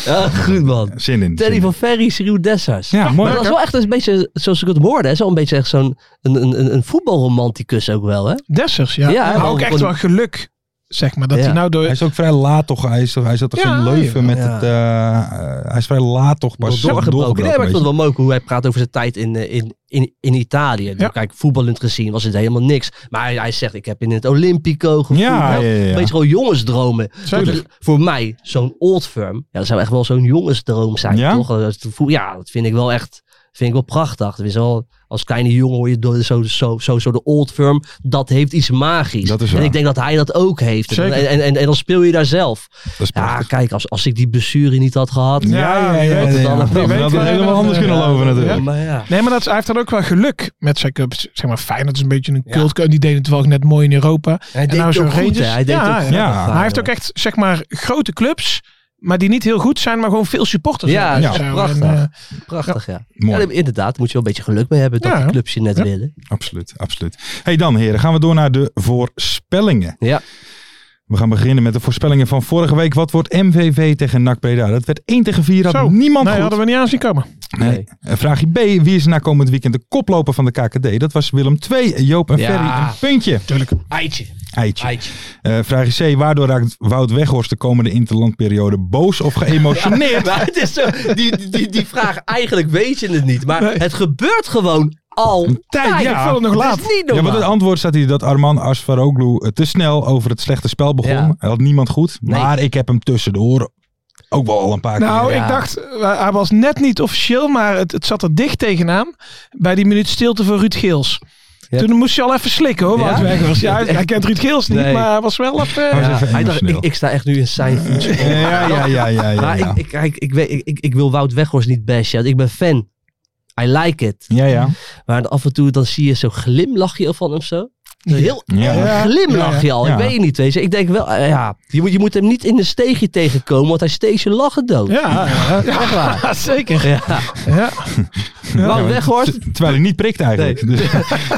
[SPEAKER 1] Ja, goed, man.
[SPEAKER 3] Zin in.
[SPEAKER 1] Teddy
[SPEAKER 3] zin in.
[SPEAKER 1] van Ferry, Cyril Dessers.
[SPEAKER 3] Ja,
[SPEAKER 1] Maar
[SPEAKER 3] mooi.
[SPEAKER 1] dat is wel echt een beetje, zoals ik het hoorde, hè, zo'n beetje echt zo'n een, een, een- een voetbalromanticus ook wel, hè?
[SPEAKER 4] Dessers, ja.
[SPEAKER 1] Ja,
[SPEAKER 4] ja
[SPEAKER 1] wel
[SPEAKER 4] ook echt
[SPEAKER 1] gewoon-
[SPEAKER 4] wel geluk. Zeg maar, dat
[SPEAKER 1] Ja.
[SPEAKER 4] hij nou door...
[SPEAKER 3] Hij is ook vrij laat toch. Hij, is, toch- hij zat toch
[SPEAKER 4] Ja,
[SPEAKER 3] in Leuven met
[SPEAKER 1] ja.
[SPEAKER 3] het... eh, eh, hij is vrij laat toch pas
[SPEAKER 1] Wel doorgebroken. Nee, maar ik
[SPEAKER 3] weet
[SPEAKER 1] vond
[SPEAKER 3] je.
[SPEAKER 1] het wel mooi hoe hij praat over zijn tijd in, eh, in, in, in Italië. Ik bedoel, Kijk, voetballend gezien was het helemaal niks. Maar hij, hij zegt, ik heb in het Olympico gevoetbald.
[SPEAKER 3] Ja, ja, ja, ja.
[SPEAKER 1] Een beetje gewoon jongensdromen.
[SPEAKER 4] Zeker.
[SPEAKER 1] Dus voor mij, zo'n old firm, ja, dat zou echt wel zo'n jongensdroom zijn,
[SPEAKER 3] Ja?
[SPEAKER 1] toch? Dat gevoel- Ja, dat vind ik wel echt, vind ik wel prachtig. Dus wel, als kleine jongen hoor je door, zo, zo, zo, zo de old firm, dat heeft iets magisch.
[SPEAKER 3] Dat is
[SPEAKER 1] en
[SPEAKER 3] waar.
[SPEAKER 1] ik denk dat hij dat ook heeft. En,
[SPEAKER 4] Zeker.
[SPEAKER 1] en, en, en dan speel je daar zelf.
[SPEAKER 3] Dat is
[SPEAKER 1] Ja,
[SPEAKER 3] prachtig.
[SPEAKER 1] kijk, als, als ik die blessure niet had gehad,
[SPEAKER 4] Ja, ja, ja,
[SPEAKER 1] had het
[SPEAKER 3] ja.
[SPEAKER 1] allemaal
[SPEAKER 3] Dat
[SPEAKER 4] weet
[SPEAKER 3] had
[SPEAKER 4] wel,
[SPEAKER 3] het helemaal
[SPEAKER 4] eh,
[SPEAKER 3] anders kunnen
[SPEAKER 4] ja,
[SPEAKER 3] lopen natuurlijk.
[SPEAKER 1] maar ja.
[SPEAKER 4] Nee, maar dat, hij heeft dan ook wel geluk met zijn club. Zeg maar, Feyenoord is een beetje een cult. En die deed het wel net mooi in Europa.
[SPEAKER 1] Hij deed
[SPEAKER 4] nou
[SPEAKER 1] het
[SPEAKER 4] zo'n
[SPEAKER 1] ook goed,
[SPEAKER 4] Rangers.
[SPEAKER 1] hè? Hij deed
[SPEAKER 4] Ja,
[SPEAKER 1] het ook
[SPEAKER 4] ja.
[SPEAKER 1] goed.
[SPEAKER 3] Ja.
[SPEAKER 1] Vader.
[SPEAKER 4] Maar hij heeft ook echt, zeg maar, grote clubs. Maar die niet heel goed zijn, maar gewoon veel supporters
[SPEAKER 1] Ja,
[SPEAKER 4] hebben.
[SPEAKER 1] ja,
[SPEAKER 4] Zo,
[SPEAKER 1] prachtig.
[SPEAKER 4] en, eh,
[SPEAKER 1] Prachtig, ja.
[SPEAKER 3] Mooi.
[SPEAKER 1] Ja, inderdaad, daar moet je wel een beetje geluk mee hebben dat
[SPEAKER 4] Ja.
[SPEAKER 1] die clubs je net
[SPEAKER 4] Ja.
[SPEAKER 1] willen.
[SPEAKER 3] Absoluut, absoluut. hey dan heren, gaan we door naar de voorspellingen.
[SPEAKER 1] Ja.
[SPEAKER 3] We gaan beginnen met de voorspellingen van vorige week. Wat wordt MVV tegen NAC Breda? Dat werd 1 tegen 4, had
[SPEAKER 4] zo.
[SPEAKER 3] niemand
[SPEAKER 4] nee,
[SPEAKER 3] goed.
[SPEAKER 4] hadden we niet aan zien komen.
[SPEAKER 3] Nee.
[SPEAKER 1] Nee.
[SPEAKER 3] En Vraagje B, wie is na komend weekend de koploper van de KKD? Dat was Willem 2, Joop en
[SPEAKER 1] Ja.
[SPEAKER 3] Ferry een puntje.
[SPEAKER 4] Tuurlijk.
[SPEAKER 1] Eitje,
[SPEAKER 3] Eitje.
[SPEAKER 1] eitje.
[SPEAKER 3] Eh, vraagje C, waardoor raakt Wout Weghorst de komende interlandperiode boos of geëmotioneerd?
[SPEAKER 1] Maar het is zo, die, die- die, die vraag, eigenlijk weet je het niet, maar het gebeurt gewoon altijd.
[SPEAKER 3] Tijd, ja. Ik vond het nog
[SPEAKER 1] is
[SPEAKER 3] laat.
[SPEAKER 1] niet
[SPEAKER 3] Ja,
[SPEAKER 1] normaal.
[SPEAKER 3] want het antwoord staat hier dat Arman Asfaroglu eh, te snel over het slechte spel begon.
[SPEAKER 1] Ja.
[SPEAKER 3] Hij had niemand goed.
[SPEAKER 1] Nee.
[SPEAKER 3] Maar ik heb hem tussendoor ook wel al een paar
[SPEAKER 4] Nou,
[SPEAKER 3] keer.
[SPEAKER 1] Ja.
[SPEAKER 4] ik dacht, eh, hij was net niet officieel, maar het, het zat er dicht tegenaan. Bij die minuut stilte voor Ruud Geels.
[SPEAKER 1] Ja.
[SPEAKER 4] Toen moest hij al even slikken hoor,
[SPEAKER 1] Ja?
[SPEAKER 4] Wout Weghorst. Ja, hij, hij kent Ruud Geels niet,
[SPEAKER 1] Nee.
[SPEAKER 4] maar hij was wel even...
[SPEAKER 3] Hij was
[SPEAKER 1] Ja,
[SPEAKER 3] even
[SPEAKER 1] hij dacht,
[SPEAKER 3] emotioneel.
[SPEAKER 1] ik, ik sta echt nu in zijn voetspoor.
[SPEAKER 3] Ja, ja, ja, ja. ja,
[SPEAKER 1] Maar
[SPEAKER 3] ja.
[SPEAKER 1] ik, ik, kijk, ik, weet- ik, ik, ik wil Wout Weghorst niet bashen. want Ik ben fan. I like it.
[SPEAKER 3] ja, ja.
[SPEAKER 1] Maar af en toe dan zie je zo'n glimlachje van hem zo. Zo heel
[SPEAKER 3] Ja.
[SPEAKER 1] erg glimlachje al.
[SPEAKER 3] Ja.
[SPEAKER 1] Ik weet niet, weet je. Ik denk wel, eh, ja, je moet, je moet hem niet in een steegje tegenkomen, want hij steekt je lachen dood.
[SPEAKER 4] Ja, ja, ja.
[SPEAKER 1] Echt waar.
[SPEAKER 4] zeker.
[SPEAKER 1] Ja.
[SPEAKER 4] Ja.
[SPEAKER 1] Wout
[SPEAKER 3] Ja,
[SPEAKER 1] Weghorst,
[SPEAKER 3] t- Terwijl hij niet prikt eigenlijk. Dus,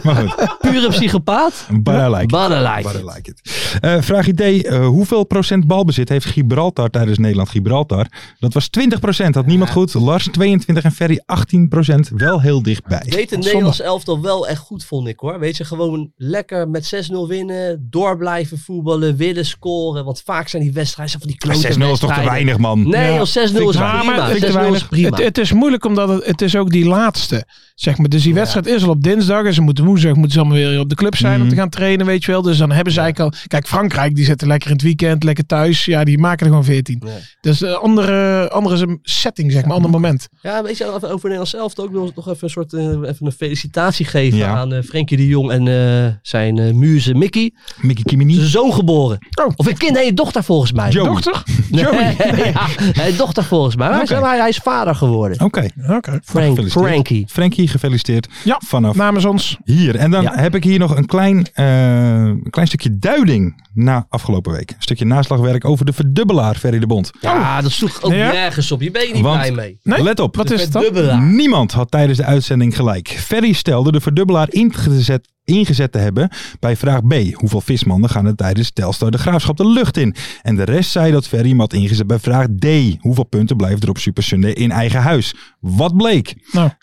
[SPEAKER 3] maar goed,
[SPEAKER 1] pure psychopaat.
[SPEAKER 3] but I like it.
[SPEAKER 1] But I like
[SPEAKER 3] But I
[SPEAKER 1] it.
[SPEAKER 3] like it. Eh, vraag idee, eh, hoeveel procent balbezit heeft Gibraltar tijdens Nederland-Gibraltar? Dat was 20 procent, had niemand goed. Lars 22 en Ferry 18 procent, wel heel dichtbij.
[SPEAKER 1] Weet het Nederlands elftal wel echt goed, vond ik hoor. Weet je, gewoon lekker met 6-0 winnen, door blijven voetballen, willen scoren. Want vaak zijn die wedstrijden van die
[SPEAKER 3] Maar 6-0
[SPEAKER 1] klote
[SPEAKER 3] is toch te
[SPEAKER 1] wedstrijden.
[SPEAKER 3] weinig man?
[SPEAKER 1] Nee,
[SPEAKER 4] Ja.
[SPEAKER 1] joh, 6-0 is
[SPEAKER 4] Ja, maar
[SPEAKER 1] prima.
[SPEAKER 4] vind ik
[SPEAKER 1] 6-0
[SPEAKER 4] te
[SPEAKER 1] is
[SPEAKER 4] weinig.
[SPEAKER 1] prima.
[SPEAKER 4] Het, het is moeilijk omdat het, het is ook die laatste. Zeg maar. Dus die wedstrijd is al op dinsdag. En ze moeten woensdag moeten ze allemaal weer op de club zijn om te gaan trainen, weet je wel. Dus dan hebben ze eigenlijk al. Kijk, Frankrijk die zitten lekker in het weekend, lekker thuis. Ja, die maken er gewoon 14.
[SPEAKER 1] Ja.
[SPEAKER 4] Dus een andere, andere setting, zeg maar, ander moment.
[SPEAKER 1] Ja, weet je, even over Nederlands elftal. Ik wil nog even een soort eh, even een felicitatie geven
[SPEAKER 3] Ja.
[SPEAKER 1] aan eh Frenkie de Jong en eh, zijn eh, muze Mickey.
[SPEAKER 3] Mickey Kimini.
[SPEAKER 1] Zijn zoon geboren.
[SPEAKER 4] Oh.
[SPEAKER 1] Of een kind, nee, een dochter volgens mij.
[SPEAKER 3] Joey.
[SPEAKER 4] Dochter?
[SPEAKER 1] Nee, ja, een dochter volgens mij. Maar hij is-
[SPEAKER 3] Oké. Oh.
[SPEAKER 1] hij, hij is vader geworden.
[SPEAKER 3] Oké.
[SPEAKER 4] Oké.
[SPEAKER 1] Frank,
[SPEAKER 3] Gefeliciteerd.
[SPEAKER 1] Frankie.
[SPEAKER 3] Frankie, gefeliciteerd.
[SPEAKER 4] Ja,
[SPEAKER 3] vanaf
[SPEAKER 4] namens ons.
[SPEAKER 3] Hier. En dan heb ik hier nog een klein, eh, een klein stukje duiding na afgelopen week. Een stukje naslagwerk over de verdubbelaar, Ferry de Bond.
[SPEAKER 1] Ja, dat sloeg ook nergens op. Je bent niet
[SPEAKER 3] Want-
[SPEAKER 1] blij mee.
[SPEAKER 3] Let op.
[SPEAKER 1] De verdubbelaar.
[SPEAKER 3] Niemand had tijdens de uitzending gelijk. Ferry stelde de verdubbelaar ingezet, ingezet te hebben bij vraag B. Hoeveel vismanden gaan er tijdens Telstar de Graafschap de lucht in? En de rest zei dat Ferry hem had ingezet bij vraag D. Hoeveel punten blijft er op Super Sunday in eigen huis? Wat bleek?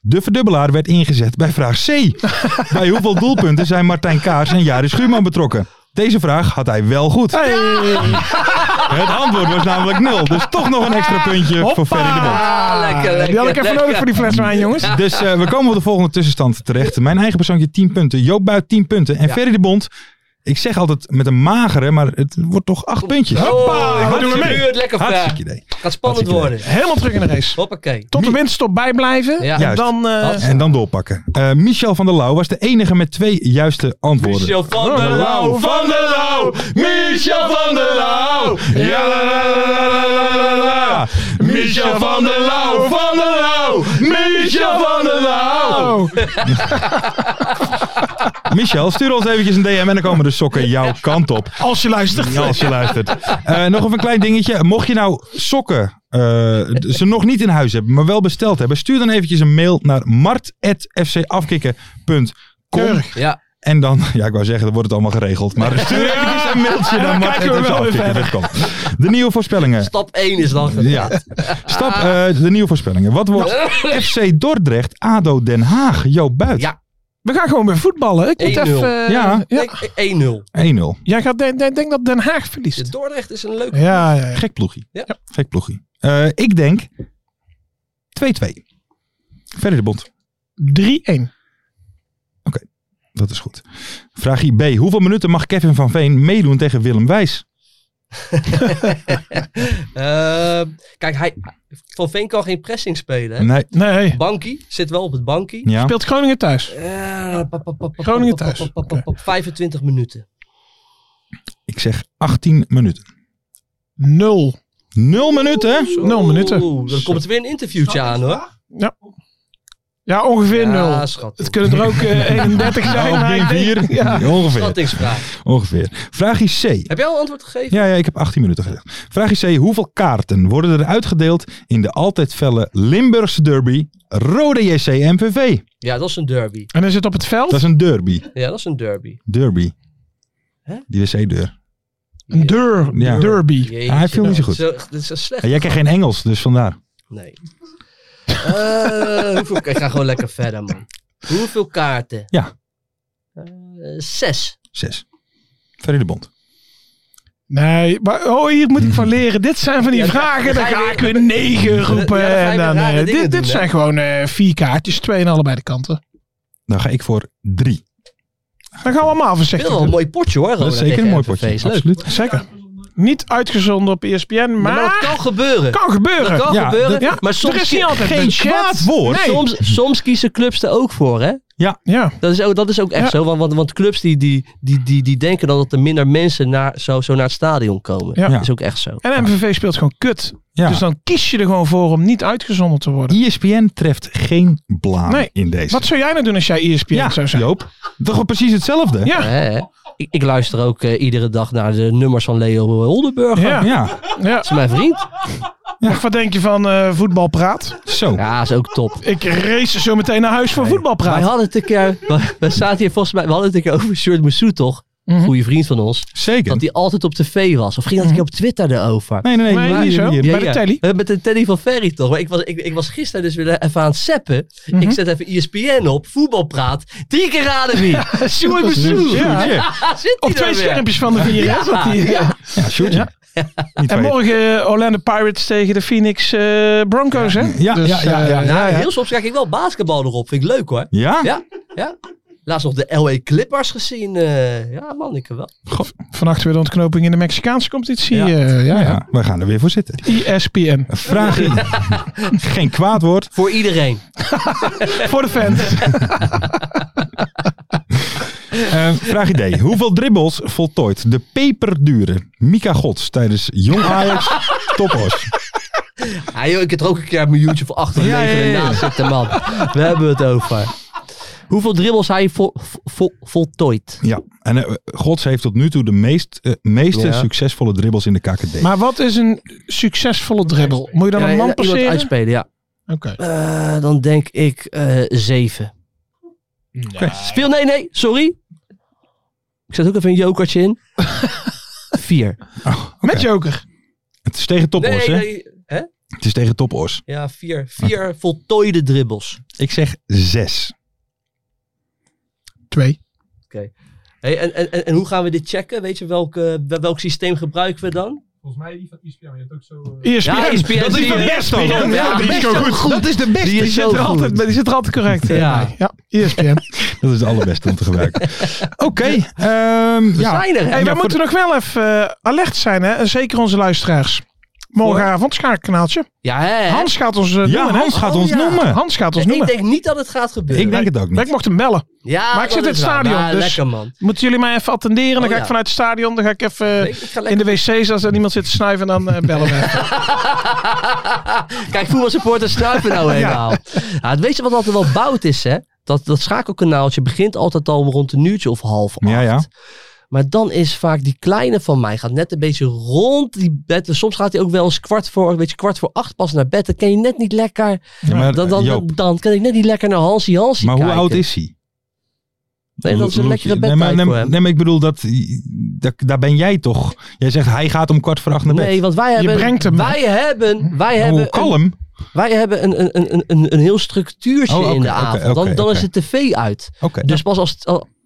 [SPEAKER 3] De verdubbelaar werd ingezet bij vraag C. bij hoeveel doelpunten zijn Martijn Kaars en Jari Schuurman betrokken? Deze vraag had hij wel goed. Het antwoord was namelijk nul. Dus toch nog een extra puntje voor Ferry de Bond.
[SPEAKER 4] lekker, Die had ik even nodig voor die fles wijn, jongens.
[SPEAKER 3] Dus eh, we komen op de volgende tussenstand terecht. Mijn eigen persoontje 10 punten. Joop Buit 10 punten. En Ferry de Bond. Ik zeg altijd met een magere, maar het wordt toch 8 puntjes.
[SPEAKER 1] Oh,
[SPEAKER 3] Wat
[SPEAKER 1] wat
[SPEAKER 3] doen we mee?
[SPEAKER 1] gebeurt lekker ver.
[SPEAKER 3] Hartstikke idee.
[SPEAKER 1] Gaat spannend worden.
[SPEAKER 4] Helemaal terug in de race.
[SPEAKER 1] Hoppakee.
[SPEAKER 4] Tot de winst op bijblijven.
[SPEAKER 1] Ja.
[SPEAKER 4] En
[SPEAKER 3] Juist.
[SPEAKER 4] dan... eh,
[SPEAKER 3] En dan doorpakken. Eh, Michel van der Lauw was de enige met twee juiste antwoorden.
[SPEAKER 1] Michel
[SPEAKER 3] Oh,
[SPEAKER 1] van
[SPEAKER 3] nou,
[SPEAKER 1] der Lauw, van der Lauw, Michel van der Lauw.
[SPEAKER 3] Ja, la, la, la, la, la, la, la, la.
[SPEAKER 9] Michel van der Lauw, van der Lauw, Michel van der Lauw.
[SPEAKER 3] Michel, stuur ons eventjes een DM en dan komen de sokken jouw kant op.
[SPEAKER 4] Als je luistert.
[SPEAKER 3] Ja, als je luistert. Eh, nog even een klein dingetje. Mocht je nou sokken eh, d- ze nog niet in huis hebben, maar wel besteld hebben, stuur dan eventjes een mail naar mart.fcafkikken.com.
[SPEAKER 1] Ja.
[SPEAKER 3] En dan, ja, ik wou zeggen, dan wordt het allemaal geregeld. Maar stuur eventjes een mailtje naar mart.fcafkikken.com. De nieuwe voorspellingen.
[SPEAKER 1] Stap 1 is dan
[SPEAKER 3] Ja.
[SPEAKER 1] gedaan.
[SPEAKER 3] Stap,
[SPEAKER 1] Ah.
[SPEAKER 3] eh, de nieuwe voorspellingen. Wat wordt FC Dordrecht, ADO Den Haag, Joop Buit?
[SPEAKER 1] Ja.
[SPEAKER 4] We gaan gewoon weer voetballen. Ik moet
[SPEAKER 1] 1-0.
[SPEAKER 4] even... eh,
[SPEAKER 3] Ja.
[SPEAKER 4] ja.
[SPEAKER 1] Ik- ik- 1-0.
[SPEAKER 3] 1-0.
[SPEAKER 4] Jij gaat, denk, denk- denk dat Den Haag verliest.
[SPEAKER 1] Dordrecht is een leuke.
[SPEAKER 4] Ja, ja, ja.
[SPEAKER 3] Gek ploegie.
[SPEAKER 1] Ja.
[SPEAKER 3] Gek ploegie. Eh, ik denk 2-2. Verder de bond.
[SPEAKER 4] 3-1.
[SPEAKER 3] Dat is goed. Vraag B. Hoeveel minuten mag Kevin van Veen meedoen tegen Willem Wijs?
[SPEAKER 1] Ehm, kijk, hij, Van Veen kan geen pressing spelen. Hè?
[SPEAKER 3] Nee.
[SPEAKER 4] Nee.
[SPEAKER 1] Bankie zit wel op het bankie.
[SPEAKER 3] Ja.
[SPEAKER 4] Speelt Groningen thuis.
[SPEAKER 1] Eh, pap, pap, pap, pap,
[SPEAKER 4] Groningen
[SPEAKER 1] pap,
[SPEAKER 4] thuis.
[SPEAKER 1] pap, pap, pap, pap, 25 minuten.
[SPEAKER 3] Ik zeg 18 minuten.
[SPEAKER 4] 0.
[SPEAKER 3] 0 minuten?
[SPEAKER 1] Zo,
[SPEAKER 4] 0 minuten.
[SPEAKER 1] Dan komt er weer een interviewtje aan hoor.
[SPEAKER 4] Ja. Ja, ongeveer
[SPEAKER 1] Ja,
[SPEAKER 4] 0.
[SPEAKER 1] schat.
[SPEAKER 4] Het kunnen er ook eh, 31 zijn.
[SPEAKER 3] Nou,
[SPEAKER 4] maar ik
[SPEAKER 3] ik
[SPEAKER 4] denk-
[SPEAKER 3] denk 4.
[SPEAKER 4] Ja.
[SPEAKER 3] Ongeveer.
[SPEAKER 1] Schattingsvraag.
[SPEAKER 3] Ongeveer. Vraag C.
[SPEAKER 1] Heb jij al antwoord gegeven?
[SPEAKER 3] Ja, ja, ik heb 18 minuten gezegd. Vraag C. Hoeveel kaarten worden er uitgedeeld in de altijd felle Limburgse derby Rode JC MVV?
[SPEAKER 1] Ja, dat is een derby.
[SPEAKER 4] En is het op het veld?
[SPEAKER 3] Dat is een derby.
[SPEAKER 1] Ja, dat is een derby.
[SPEAKER 3] Derby.
[SPEAKER 1] Hè?
[SPEAKER 3] Die wc-deur.
[SPEAKER 4] Een deur,
[SPEAKER 3] Ja.
[SPEAKER 4] derby.
[SPEAKER 1] Jeetje,
[SPEAKER 3] hij viel niet zo goed.
[SPEAKER 1] Dat is, dat is een slecht.
[SPEAKER 3] Ja, jij kent geen Engels, dus vandaar.
[SPEAKER 1] Nee. Eh, hoeveel, ik ga gewoon lekker verder, man. Hoeveel kaarten?
[SPEAKER 3] Ja.
[SPEAKER 1] Eh, zes.
[SPEAKER 3] Zes. Ferry de Bond.
[SPEAKER 4] Nee, maar oh, hier moet ik van leren. Dit zijn van die
[SPEAKER 1] Ja, dan-
[SPEAKER 4] vragen.
[SPEAKER 1] dan
[SPEAKER 4] Dan
[SPEAKER 1] ga je
[SPEAKER 4] ga
[SPEAKER 1] weer-
[SPEAKER 4] ik weer 9 roepen.
[SPEAKER 1] Ja, dan ga je
[SPEAKER 4] en
[SPEAKER 1] weer
[SPEAKER 4] dan,
[SPEAKER 1] rare
[SPEAKER 4] eh,
[SPEAKER 1] dingen
[SPEAKER 4] dit
[SPEAKER 1] doen,
[SPEAKER 4] dit
[SPEAKER 1] hè?
[SPEAKER 4] zijn gewoon eh, vier kaartjes. Twee aan allebei de kanten.
[SPEAKER 3] Dan ga ik voor drie.
[SPEAKER 4] Dan gaan we allemaal
[SPEAKER 1] Heel
[SPEAKER 4] voorzichtig
[SPEAKER 1] wel een
[SPEAKER 4] doen.
[SPEAKER 1] mooi potje hoor.
[SPEAKER 3] Dat is zeker een mooi potje. Absoluut.
[SPEAKER 4] Zeker. Niet uitgezonden op E ESPN,
[SPEAKER 1] Maar, dat
[SPEAKER 4] maar
[SPEAKER 1] kan gebeuren.
[SPEAKER 4] kan gebeuren.
[SPEAKER 1] Dat kan
[SPEAKER 3] Ja,
[SPEAKER 1] gebeuren.
[SPEAKER 3] dat-
[SPEAKER 4] Ja,
[SPEAKER 1] maar soms,
[SPEAKER 4] er is niet altijd
[SPEAKER 3] Geen
[SPEAKER 4] budget.
[SPEAKER 3] kwaad woord.
[SPEAKER 4] Nee.
[SPEAKER 1] soms, soms kiezen clubs er ook voor, hè?
[SPEAKER 4] Ja.
[SPEAKER 1] Dat is ook, dat is ook echt
[SPEAKER 4] Ja.
[SPEAKER 1] zo. Want, want, want clubs die, die, die, die, die denken dan dat er minder mensen naar, zo, zo naar het stadion komen.
[SPEAKER 4] Ja.
[SPEAKER 1] Dat is ook echt zo.
[SPEAKER 4] En MVV speelt gewoon kut.
[SPEAKER 3] Ja.
[SPEAKER 4] Dus dan kies je er gewoon voor om niet uitgezonden te worden.
[SPEAKER 3] ESPN treft geen blaam
[SPEAKER 4] Nee.
[SPEAKER 3] in deze.
[SPEAKER 4] Wat zou jij nou doen als jij ESPN
[SPEAKER 3] ja,
[SPEAKER 4] zou zijn?
[SPEAKER 3] Joop. Toch wel precies hetzelfde?
[SPEAKER 4] Ja.
[SPEAKER 1] Hè, hè? Ik, ik luister ook eh, iedere dag naar de nummers van Leo Holdenburg.
[SPEAKER 4] Ja.
[SPEAKER 1] Dat
[SPEAKER 3] Ja,
[SPEAKER 4] Ja.
[SPEAKER 1] is mijn vriend.
[SPEAKER 4] Of wat denk je van eh, voetbalpraat?
[SPEAKER 3] zo.
[SPEAKER 1] Ja, is ook top.
[SPEAKER 4] Ik race zo meteen naar huis voor
[SPEAKER 1] Wij
[SPEAKER 4] voetbalpraat.
[SPEAKER 1] hadden het een keer, we- we zaten hier volgens mij, we hadden het een keer over Sjoerd Moussou toch?
[SPEAKER 4] Mhm.
[SPEAKER 1] Goeie vriend van ons.
[SPEAKER 3] Zeker.
[SPEAKER 1] Dat hij altijd op tv was. Of ging dat een keer op Twitter erover?
[SPEAKER 3] Nee, nee, nee.
[SPEAKER 4] Nee,
[SPEAKER 3] hier,
[SPEAKER 4] niet zo.
[SPEAKER 3] hier.
[SPEAKER 4] bij de telly?
[SPEAKER 1] Eh, Met de telly van Ferry toch? Maar ik was, ik, ik was gisteren dus weer even aan het seppen.
[SPEAKER 4] Mhm.
[SPEAKER 1] Ik zet even E ESPN op, voetbalpraat. Drie keer raden wie. Sjoerd
[SPEAKER 3] Dat is
[SPEAKER 1] Moussou.
[SPEAKER 3] een
[SPEAKER 4] Ja.
[SPEAKER 3] shootje.
[SPEAKER 1] Ah, zit
[SPEAKER 4] Op
[SPEAKER 1] hij daar
[SPEAKER 4] twee
[SPEAKER 1] weer? Ah,
[SPEAKER 4] schermpjes van de vier. hè, zat die, eh.
[SPEAKER 3] Ja, shootje. Niet
[SPEAKER 4] En
[SPEAKER 3] weten.
[SPEAKER 4] morgen eh, Orlando Pirates tegen de Phoenix eh, Broncos, hè?
[SPEAKER 3] Ja, ja,
[SPEAKER 4] eh,
[SPEAKER 3] ja, ja,
[SPEAKER 1] Ja, heel soms kijk ik wel basketbal erop. Vind ik leuk hoor.
[SPEAKER 3] Ja?
[SPEAKER 1] Ja, ja. Laatst nog de LA Clippers gezien. eh, ja man, ik wel.
[SPEAKER 4] Vannacht weer de ontknoping in de Mexicaanse competitie.
[SPEAKER 1] Ja.
[SPEAKER 4] Ja. ja, ja.
[SPEAKER 3] Ja, we gaan er weer voor zitten.
[SPEAKER 4] ESPN.
[SPEAKER 3] Vraag I. Geen kwaad woord.
[SPEAKER 1] Voor iedereen.
[SPEAKER 4] Voor de fans.
[SPEAKER 3] Eh, vraag idee. Hoeveel dribbles voltooid de peperdure Mika Gods tijdens Jong Ajax Topos?
[SPEAKER 1] Ah, joh, ik heb er ook een keer op mijn YouTube achter
[SPEAKER 4] Ja,
[SPEAKER 1] ja,
[SPEAKER 4] ja, ja, ja.
[SPEAKER 1] naast zitten, man. We hebben het over. Hoeveel dribbles hij vol, vol, voltooid?
[SPEAKER 3] Ja, en eh, Gods heeft tot nu toe de meest, eh, meeste
[SPEAKER 1] Ja.
[SPEAKER 3] succesvolle dribbles in de KKD.
[SPEAKER 4] Maar wat is een succesvolle dribbel? Moet je dan
[SPEAKER 1] Ja,
[SPEAKER 4] een man
[SPEAKER 1] iemand
[SPEAKER 4] passeren?
[SPEAKER 1] uitspelen, ja.
[SPEAKER 4] Oké.
[SPEAKER 1] Eh, dan denk ik eh, zeven. Speel, nee, nee, sorry. Ik zet ook even een jokertje in. Vier.
[SPEAKER 4] Met joker.
[SPEAKER 3] Het is tegen topos, hè?
[SPEAKER 1] Hè?
[SPEAKER 3] Het is tegen topos.
[SPEAKER 1] Ja, vier. Vier Ah. voltooide dribbels.
[SPEAKER 3] Ik zeg zes.
[SPEAKER 4] Twee.
[SPEAKER 1] Oké. Hey, en, en, en- en hoe gaan we dit checken? Weet je welk, eh, wel- welk systeem gebruiken we dan?
[SPEAKER 5] Volgens mij E die van ESPN, maar je hebt ook zo... eh,
[SPEAKER 4] ESPN.
[SPEAKER 1] Ja, E ESPN.
[SPEAKER 4] Dat is de beste.
[SPEAKER 1] ESPN.
[SPEAKER 4] Ja,
[SPEAKER 1] Ja,
[SPEAKER 4] die
[SPEAKER 1] die
[SPEAKER 4] is
[SPEAKER 1] is
[SPEAKER 4] zo
[SPEAKER 1] ook
[SPEAKER 4] goed.
[SPEAKER 1] goed.
[SPEAKER 4] Dat is de beste.
[SPEAKER 1] Die is
[SPEAKER 4] zit
[SPEAKER 1] zo
[SPEAKER 4] er altijd,
[SPEAKER 1] goed.
[SPEAKER 4] bij. die zit er altijd correct eh,
[SPEAKER 1] Ja.
[SPEAKER 4] bij. Ja, ESPN.
[SPEAKER 3] Dat is het allerbeste om te gebruiken. Oké. ehm, ja.
[SPEAKER 1] zijn er, hè?
[SPEAKER 4] Hey,
[SPEAKER 3] Ja,
[SPEAKER 4] wij
[SPEAKER 3] voor
[SPEAKER 4] moeten nog wel even eh, alert zijn, hè? En zeker onze luisteraars. Morgenavond schaakkanaaltje.
[SPEAKER 1] Ja, hè?
[SPEAKER 4] Hans gaat ons eh,
[SPEAKER 3] Ja,
[SPEAKER 4] noemen, hè?
[SPEAKER 3] Hans gaat
[SPEAKER 1] Oh,
[SPEAKER 3] ons
[SPEAKER 1] ja.
[SPEAKER 3] noemen.
[SPEAKER 4] Hans gaat ons
[SPEAKER 1] Ja, ik
[SPEAKER 4] noemen.
[SPEAKER 1] denk niet dat het gaat gebeuren.
[SPEAKER 3] Ik denk het ook
[SPEAKER 4] Maar ik
[SPEAKER 3] niet.
[SPEAKER 4] mocht hem bellen.
[SPEAKER 1] ja,
[SPEAKER 4] maar ik
[SPEAKER 1] dat
[SPEAKER 4] zit in
[SPEAKER 1] is
[SPEAKER 4] het
[SPEAKER 1] waar.
[SPEAKER 4] stadion,
[SPEAKER 1] Maar
[SPEAKER 4] dus-
[SPEAKER 1] Lekker, man.
[SPEAKER 4] Moeten jullie mij even attenderen? Dan
[SPEAKER 1] Oh,
[SPEAKER 4] ga ik
[SPEAKER 1] ja.
[SPEAKER 4] vanuit het stadion. Dan ga ik even eh,
[SPEAKER 1] Nee, ik ga
[SPEAKER 4] in
[SPEAKER 1] lekker...
[SPEAKER 4] de wc's als er niemand zit te snuiven. Dan eh, bellen we. even.
[SPEAKER 1] Kijk, voetbalsupporters snuiven nou helemaal. ja. het weet je wat altijd wel bout is, hè? Dat, dat schakelkanaaltje begint altijd al rond een uurtje of half acht.
[SPEAKER 3] Ja, ja.
[SPEAKER 1] Maar dan is vaak die kleine van mij gaat net een beetje rond die bed. Dus Soms gaat hij ook wel eens kwart voor, een beetje kwart voor acht pas naar bed. Dan kan je net niet lekker.
[SPEAKER 3] Ja, maar,
[SPEAKER 1] Dan,
[SPEAKER 3] eh,
[SPEAKER 1] dan, dan,
[SPEAKER 3] Joop,
[SPEAKER 1] dan kan ik net niet lekker naar Hansie Hansie
[SPEAKER 3] maar hoe
[SPEAKER 1] kijken.
[SPEAKER 3] oud is hij?
[SPEAKER 1] Nee, dat is een
[SPEAKER 3] Loek-
[SPEAKER 1] lekkere
[SPEAKER 3] nee,
[SPEAKER 1] bedtijd
[SPEAKER 3] maar, nee,
[SPEAKER 1] voor hem.
[SPEAKER 3] nee, maar ik bedoel, dat, dat, daar ben jij toch? Jij zegt, hij gaat om kwart voor acht naar bed.
[SPEAKER 1] Nee, want wij hebben,
[SPEAKER 4] brengt hem.
[SPEAKER 1] wij hebben, wij
[SPEAKER 3] Oh,
[SPEAKER 1] hebben, een,
[SPEAKER 3] kalm.
[SPEAKER 1] wij hebben een, een, een, een, een heel structuurtje
[SPEAKER 3] Oh, oké,
[SPEAKER 1] in de
[SPEAKER 3] oké,
[SPEAKER 1] avond.
[SPEAKER 3] oké,
[SPEAKER 1] dan dan
[SPEAKER 3] oké.
[SPEAKER 1] is de tv uit.
[SPEAKER 3] Oké.
[SPEAKER 1] Dus pas als,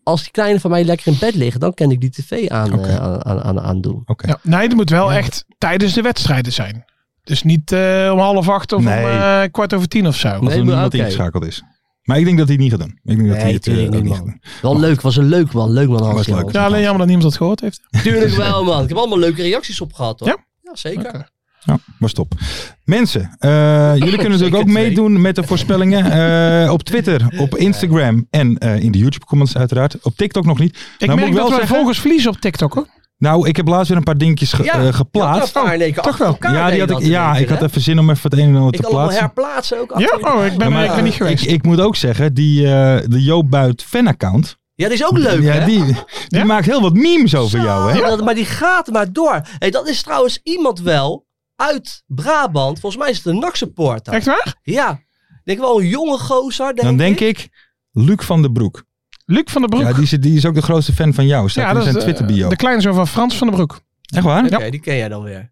[SPEAKER 1] als die kleine van mij lekker in bed liggen, dan kan ik die tv aan,
[SPEAKER 3] Oké.
[SPEAKER 1] eh, aan, aan, aan, aan doen.
[SPEAKER 3] Oké.
[SPEAKER 4] Ja, nee, het moet wel echt tijdens de wedstrijden zijn. Dus niet eh, om half acht of
[SPEAKER 3] Nee.
[SPEAKER 4] om eh, kwart over tien of zo.
[SPEAKER 3] Als
[SPEAKER 1] Nee,
[SPEAKER 3] er
[SPEAKER 1] maar
[SPEAKER 3] niemand
[SPEAKER 1] oké.
[SPEAKER 3] ingeschakeld is. Maar ik denk dat hij het niet gaat doen. Ik denk dat
[SPEAKER 1] Nee,
[SPEAKER 3] hij het eh,
[SPEAKER 1] tuurlijk
[SPEAKER 3] ook
[SPEAKER 1] niet,
[SPEAKER 3] niet
[SPEAKER 1] man.
[SPEAKER 3] gaat doen.
[SPEAKER 1] Wel leuk, was een leuk man. Leuk man, Hansie.
[SPEAKER 3] leuk.
[SPEAKER 1] Hansie.
[SPEAKER 4] Ja, alleen jammer dat niemand dat gehoord heeft.
[SPEAKER 1] Tuurlijk wel, man. Ik heb allemaal leuke reacties op gehad, hoor.
[SPEAKER 4] Ja?
[SPEAKER 1] zeker.
[SPEAKER 4] Oké.
[SPEAKER 3] Ja, was top. Mensen, eh, jullie kunnen natuurlijk
[SPEAKER 1] Zeker
[SPEAKER 3] ook
[SPEAKER 1] twee.
[SPEAKER 3] meedoen met de voorspellingen. eh, op Twitter, op Instagram en eh, in de YouTube-comments uiteraard. Op TikTok nog niet.
[SPEAKER 4] Ik
[SPEAKER 3] Nou, moet
[SPEAKER 4] merk dat wij
[SPEAKER 3] zeggen-
[SPEAKER 4] volgens verliezen op TikTok, hoor.
[SPEAKER 3] Nou, ik heb laatst weer een paar dingetjes ge- eh, geplaatst. Oh,
[SPEAKER 1] Ja, toch wel.
[SPEAKER 3] Ja, die had ik, ja ik had even zin om even het een en ander
[SPEAKER 1] Ik
[SPEAKER 3] te
[SPEAKER 1] kan allemaal
[SPEAKER 3] plaatsen.
[SPEAKER 1] herplaatsen ook.
[SPEAKER 4] Ja,
[SPEAKER 1] achter elkaar.
[SPEAKER 4] oh, ik ben,
[SPEAKER 3] Ja, maar
[SPEAKER 4] ik ben niet geweest.
[SPEAKER 3] Ik, ik moet ook zeggen, die, eh, de Joop Buit fan-account.
[SPEAKER 1] Ja, die is ook leuk,
[SPEAKER 3] Ja,
[SPEAKER 1] hè?
[SPEAKER 3] die, die
[SPEAKER 4] Ja?
[SPEAKER 3] maakt heel wat memes over jou, hè?
[SPEAKER 1] Ja, dat- maar die gaat maar door. Hey, dat is trouwens iemand wel uit Brabant. Volgens mij is het een NAC-supporter.
[SPEAKER 4] Echt waar?
[SPEAKER 1] Ja. Ik Denk wel een jonge gozer, denk
[SPEAKER 3] Dan denk
[SPEAKER 1] ik.
[SPEAKER 3] ik, Luc van den Broek.
[SPEAKER 4] Luc van den Broek.
[SPEAKER 3] Ja, die, is, die is ook de grootste fan van jou. Staat in zijn
[SPEAKER 4] de-
[SPEAKER 3] Twitter-bio.
[SPEAKER 4] eh, De kleinzoon van Frans van den Broek.
[SPEAKER 3] Echt waar?
[SPEAKER 1] Oké, die ken jij dan weer.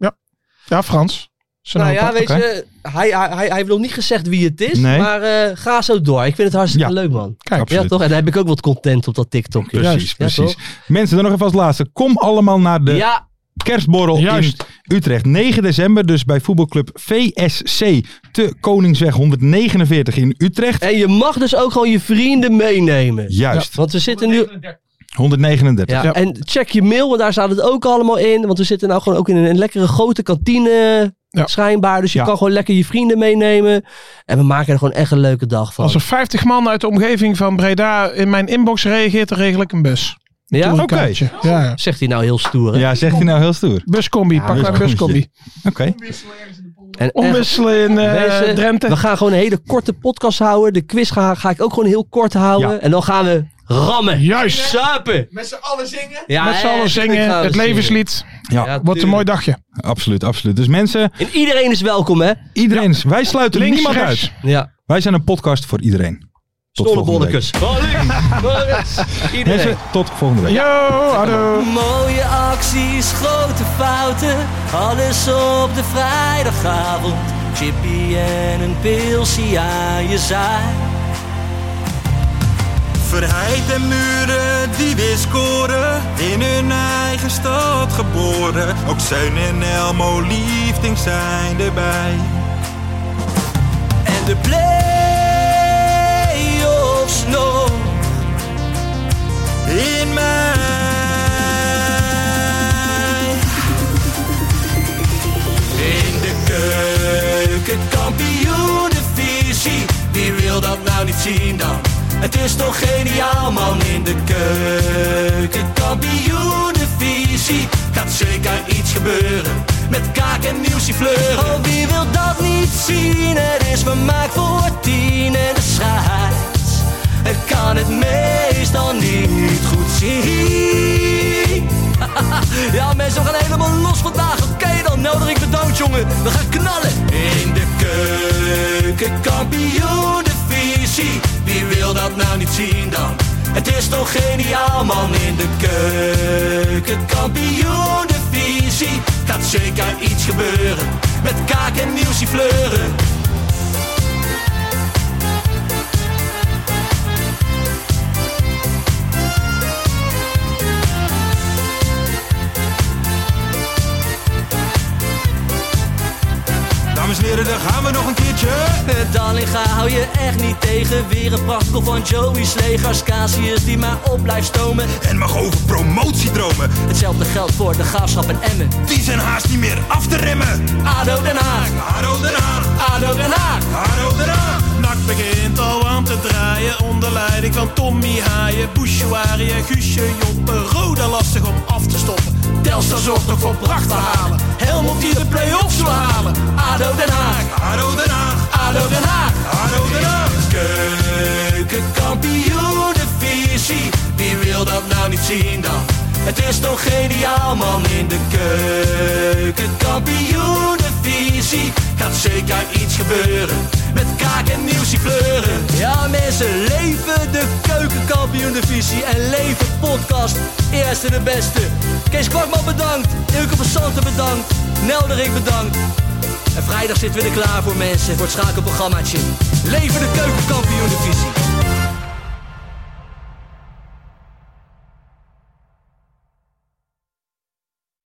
[SPEAKER 4] Ja, Frans. Zijn
[SPEAKER 1] nou
[SPEAKER 4] opa.
[SPEAKER 1] ja, weet
[SPEAKER 4] Oké.
[SPEAKER 1] je, hij, hij, hij, hij heeft nog niet gezegd wie het is.
[SPEAKER 3] Nee.
[SPEAKER 1] Maar eh, ga zo door. Ik vind het hartstikke
[SPEAKER 3] Ja.
[SPEAKER 1] leuk, man.
[SPEAKER 4] Kijk,
[SPEAKER 3] Absoluut.
[SPEAKER 1] Ja, toch? En daar heb ik ook wat content op dat TikTok.
[SPEAKER 3] Precies,
[SPEAKER 1] Ja,
[SPEAKER 3] precies.
[SPEAKER 1] toch?
[SPEAKER 3] Mensen, dan nog even als laatste. Kom allemaal naar de
[SPEAKER 1] ja,
[SPEAKER 3] kerstborrel
[SPEAKER 4] Juist.
[SPEAKER 3] in Utrecht. 9 december dus bij voetbalclub VSC te Koningsweg 149 in Utrecht.
[SPEAKER 1] en je mag dus ook gewoon je vrienden meenemen.
[SPEAKER 3] Juist,
[SPEAKER 1] Want we zitten nu...
[SPEAKER 3] 139.
[SPEAKER 1] Ja,
[SPEAKER 4] Ja.
[SPEAKER 1] En check je mail, want daar staat het ook allemaal in. Want we zitten nou gewoon ook in een, een lekkere grote kantine
[SPEAKER 4] Ja.
[SPEAKER 1] schijnbaar. Dus je
[SPEAKER 3] Ja.
[SPEAKER 1] kan gewoon lekker je vrienden meenemen. En we maken er gewoon echt een leuke dag van.
[SPEAKER 4] Als er 50 man uit de omgeving van Breda in mijn inbox reageert, dan regel ik een bus.
[SPEAKER 1] ja?
[SPEAKER 4] Doe een
[SPEAKER 3] Oké.
[SPEAKER 4] kaartje. Ja, ja.
[SPEAKER 1] Zegt hij nou heel stoer. hè?
[SPEAKER 3] Ja, zegt hij nou heel stoer.
[SPEAKER 4] Buscombi, pak maar een buscombi.
[SPEAKER 3] Oké.
[SPEAKER 1] En echt,
[SPEAKER 4] Omwisselen in eh,
[SPEAKER 1] wezen,
[SPEAKER 4] Drenthe.
[SPEAKER 1] we gaan gewoon een hele korte podcast houden. De quiz ga, ga ik ook gewoon heel kort houden.
[SPEAKER 3] Ja.
[SPEAKER 1] En dan gaan we rammen.
[SPEAKER 4] Juist.
[SPEAKER 1] Suipen.
[SPEAKER 5] Met z'n allen zingen.
[SPEAKER 1] Ja,
[SPEAKER 4] Met z'n
[SPEAKER 1] hè,
[SPEAKER 4] allen
[SPEAKER 1] tuurlijk gaan
[SPEAKER 4] zingen,
[SPEAKER 1] we
[SPEAKER 4] het
[SPEAKER 1] zingen.
[SPEAKER 4] levenslied.
[SPEAKER 3] Ja,
[SPEAKER 1] Ja,
[SPEAKER 4] Wordt een mooi
[SPEAKER 1] tuurlijk.
[SPEAKER 4] dagje.
[SPEAKER 3] absoluut, absoluut. Dus mensen,
[SPEAKER 1] En iedereen is welkom, hè?
[SPEAKER 3] iedereen, wij sluiten
[SPEAKER 4] Links,
[SPEAKER 3] niemand
[SPEAKER 4] rechts.
[SPEAKER 3] uit.
[SPEAKER 1] Ja.
[SPEAKER 3] Wij zijn een podcast voor iedereen. Tot volgende week.
[SPEAKER 1] Stollebonnekes. Iedereen.
[SPEAKER 3] Mensen, tot volgende week.
[SPEAKER 4] Yo, hallo.
[SPEAKER 9] Mooie acties, grote fouten, alles op de vrijdagavond. Chippy en een pilsie aan je zaai.
[SPEAKER 2] Verheid en muren die weer scoren, in hun eigen stad geboren. Ook Zijn en Elmo liefding zijn erbij.
[SPEAKER 9] En de play-offs nog.
[SPEAKER 2] In mij.
[SPEAKER 9] In de keuken, kampioenenvisie. Wie wil dat nou niet zien dan? Het is toch geniaal man in de keuken, kampioenenvisie. Gaat zeker iets gebeuren met kaak en nieuwsie fleuren. Oh, wie wil
[SPEAKER 1] wil dat niet zien. Het is vermaakt voor tien en de scheids. Ik kan het meestal niet goed zien. Ja, mensen, we gaan helemaal los vandaag. Oké, dan nodig ik de dood, jongen. We gaan knallen. In de keuken, kampioen, de visie. Wie wil dat nou niet zien dan? Het is toch geniaal, man. In de keuken, kampioen, de visie. Gaat zeker iets gebeuren. Met kaak en nieuwsie fleuren.
[SPEAKER 10] Dames en heren, daar gaan we nog een keertje.
[SPEAKER 1] Eh, Dallinga hou je echt niet tegen. Weer een prachtkel van Joey's legers. Casius die maar op blijft stomen. En mag over promotie dromen. Hetzelfde geldt voor de graafschap en Emmen. Die zijn haast niet meer af te remmen. ADO Den Haag. ADO Den Haag. ADO Den Haag.
[SPEAKER 3] ADO Den Haag. Nak begint al aan te draaien onder leiding van Tommy Haaien, Bouchouari en Guusje Joppen. Roda lastig om af te stoppen. Telstar zorgt nog voor pracht te halen. Helmond die de play-offs wil halen. ADO Den Haag. ADO Den Haag.
[SPEAKER 1] ADO Den Haag. ADO Den Haag. Keukenkampioenenvisie. Wie wil dat nou niet zien dan? Het is toch geniaal man in de keukenkampioenenvisie. Gaat zeker iets gebeuren. Met kaak en nieuwsie kleuren. Ja mensen, leven de keukenkampioenenvisie. En leven podcast. Eerste de beste. Kees Kwakman bedankt. Ilke van Santen bedankt. Nelderik bedankt. En vrijdag zitten we er klaar voor mensen, voor het schakelprogrammaatje. Leven de keukenkampioen divisie.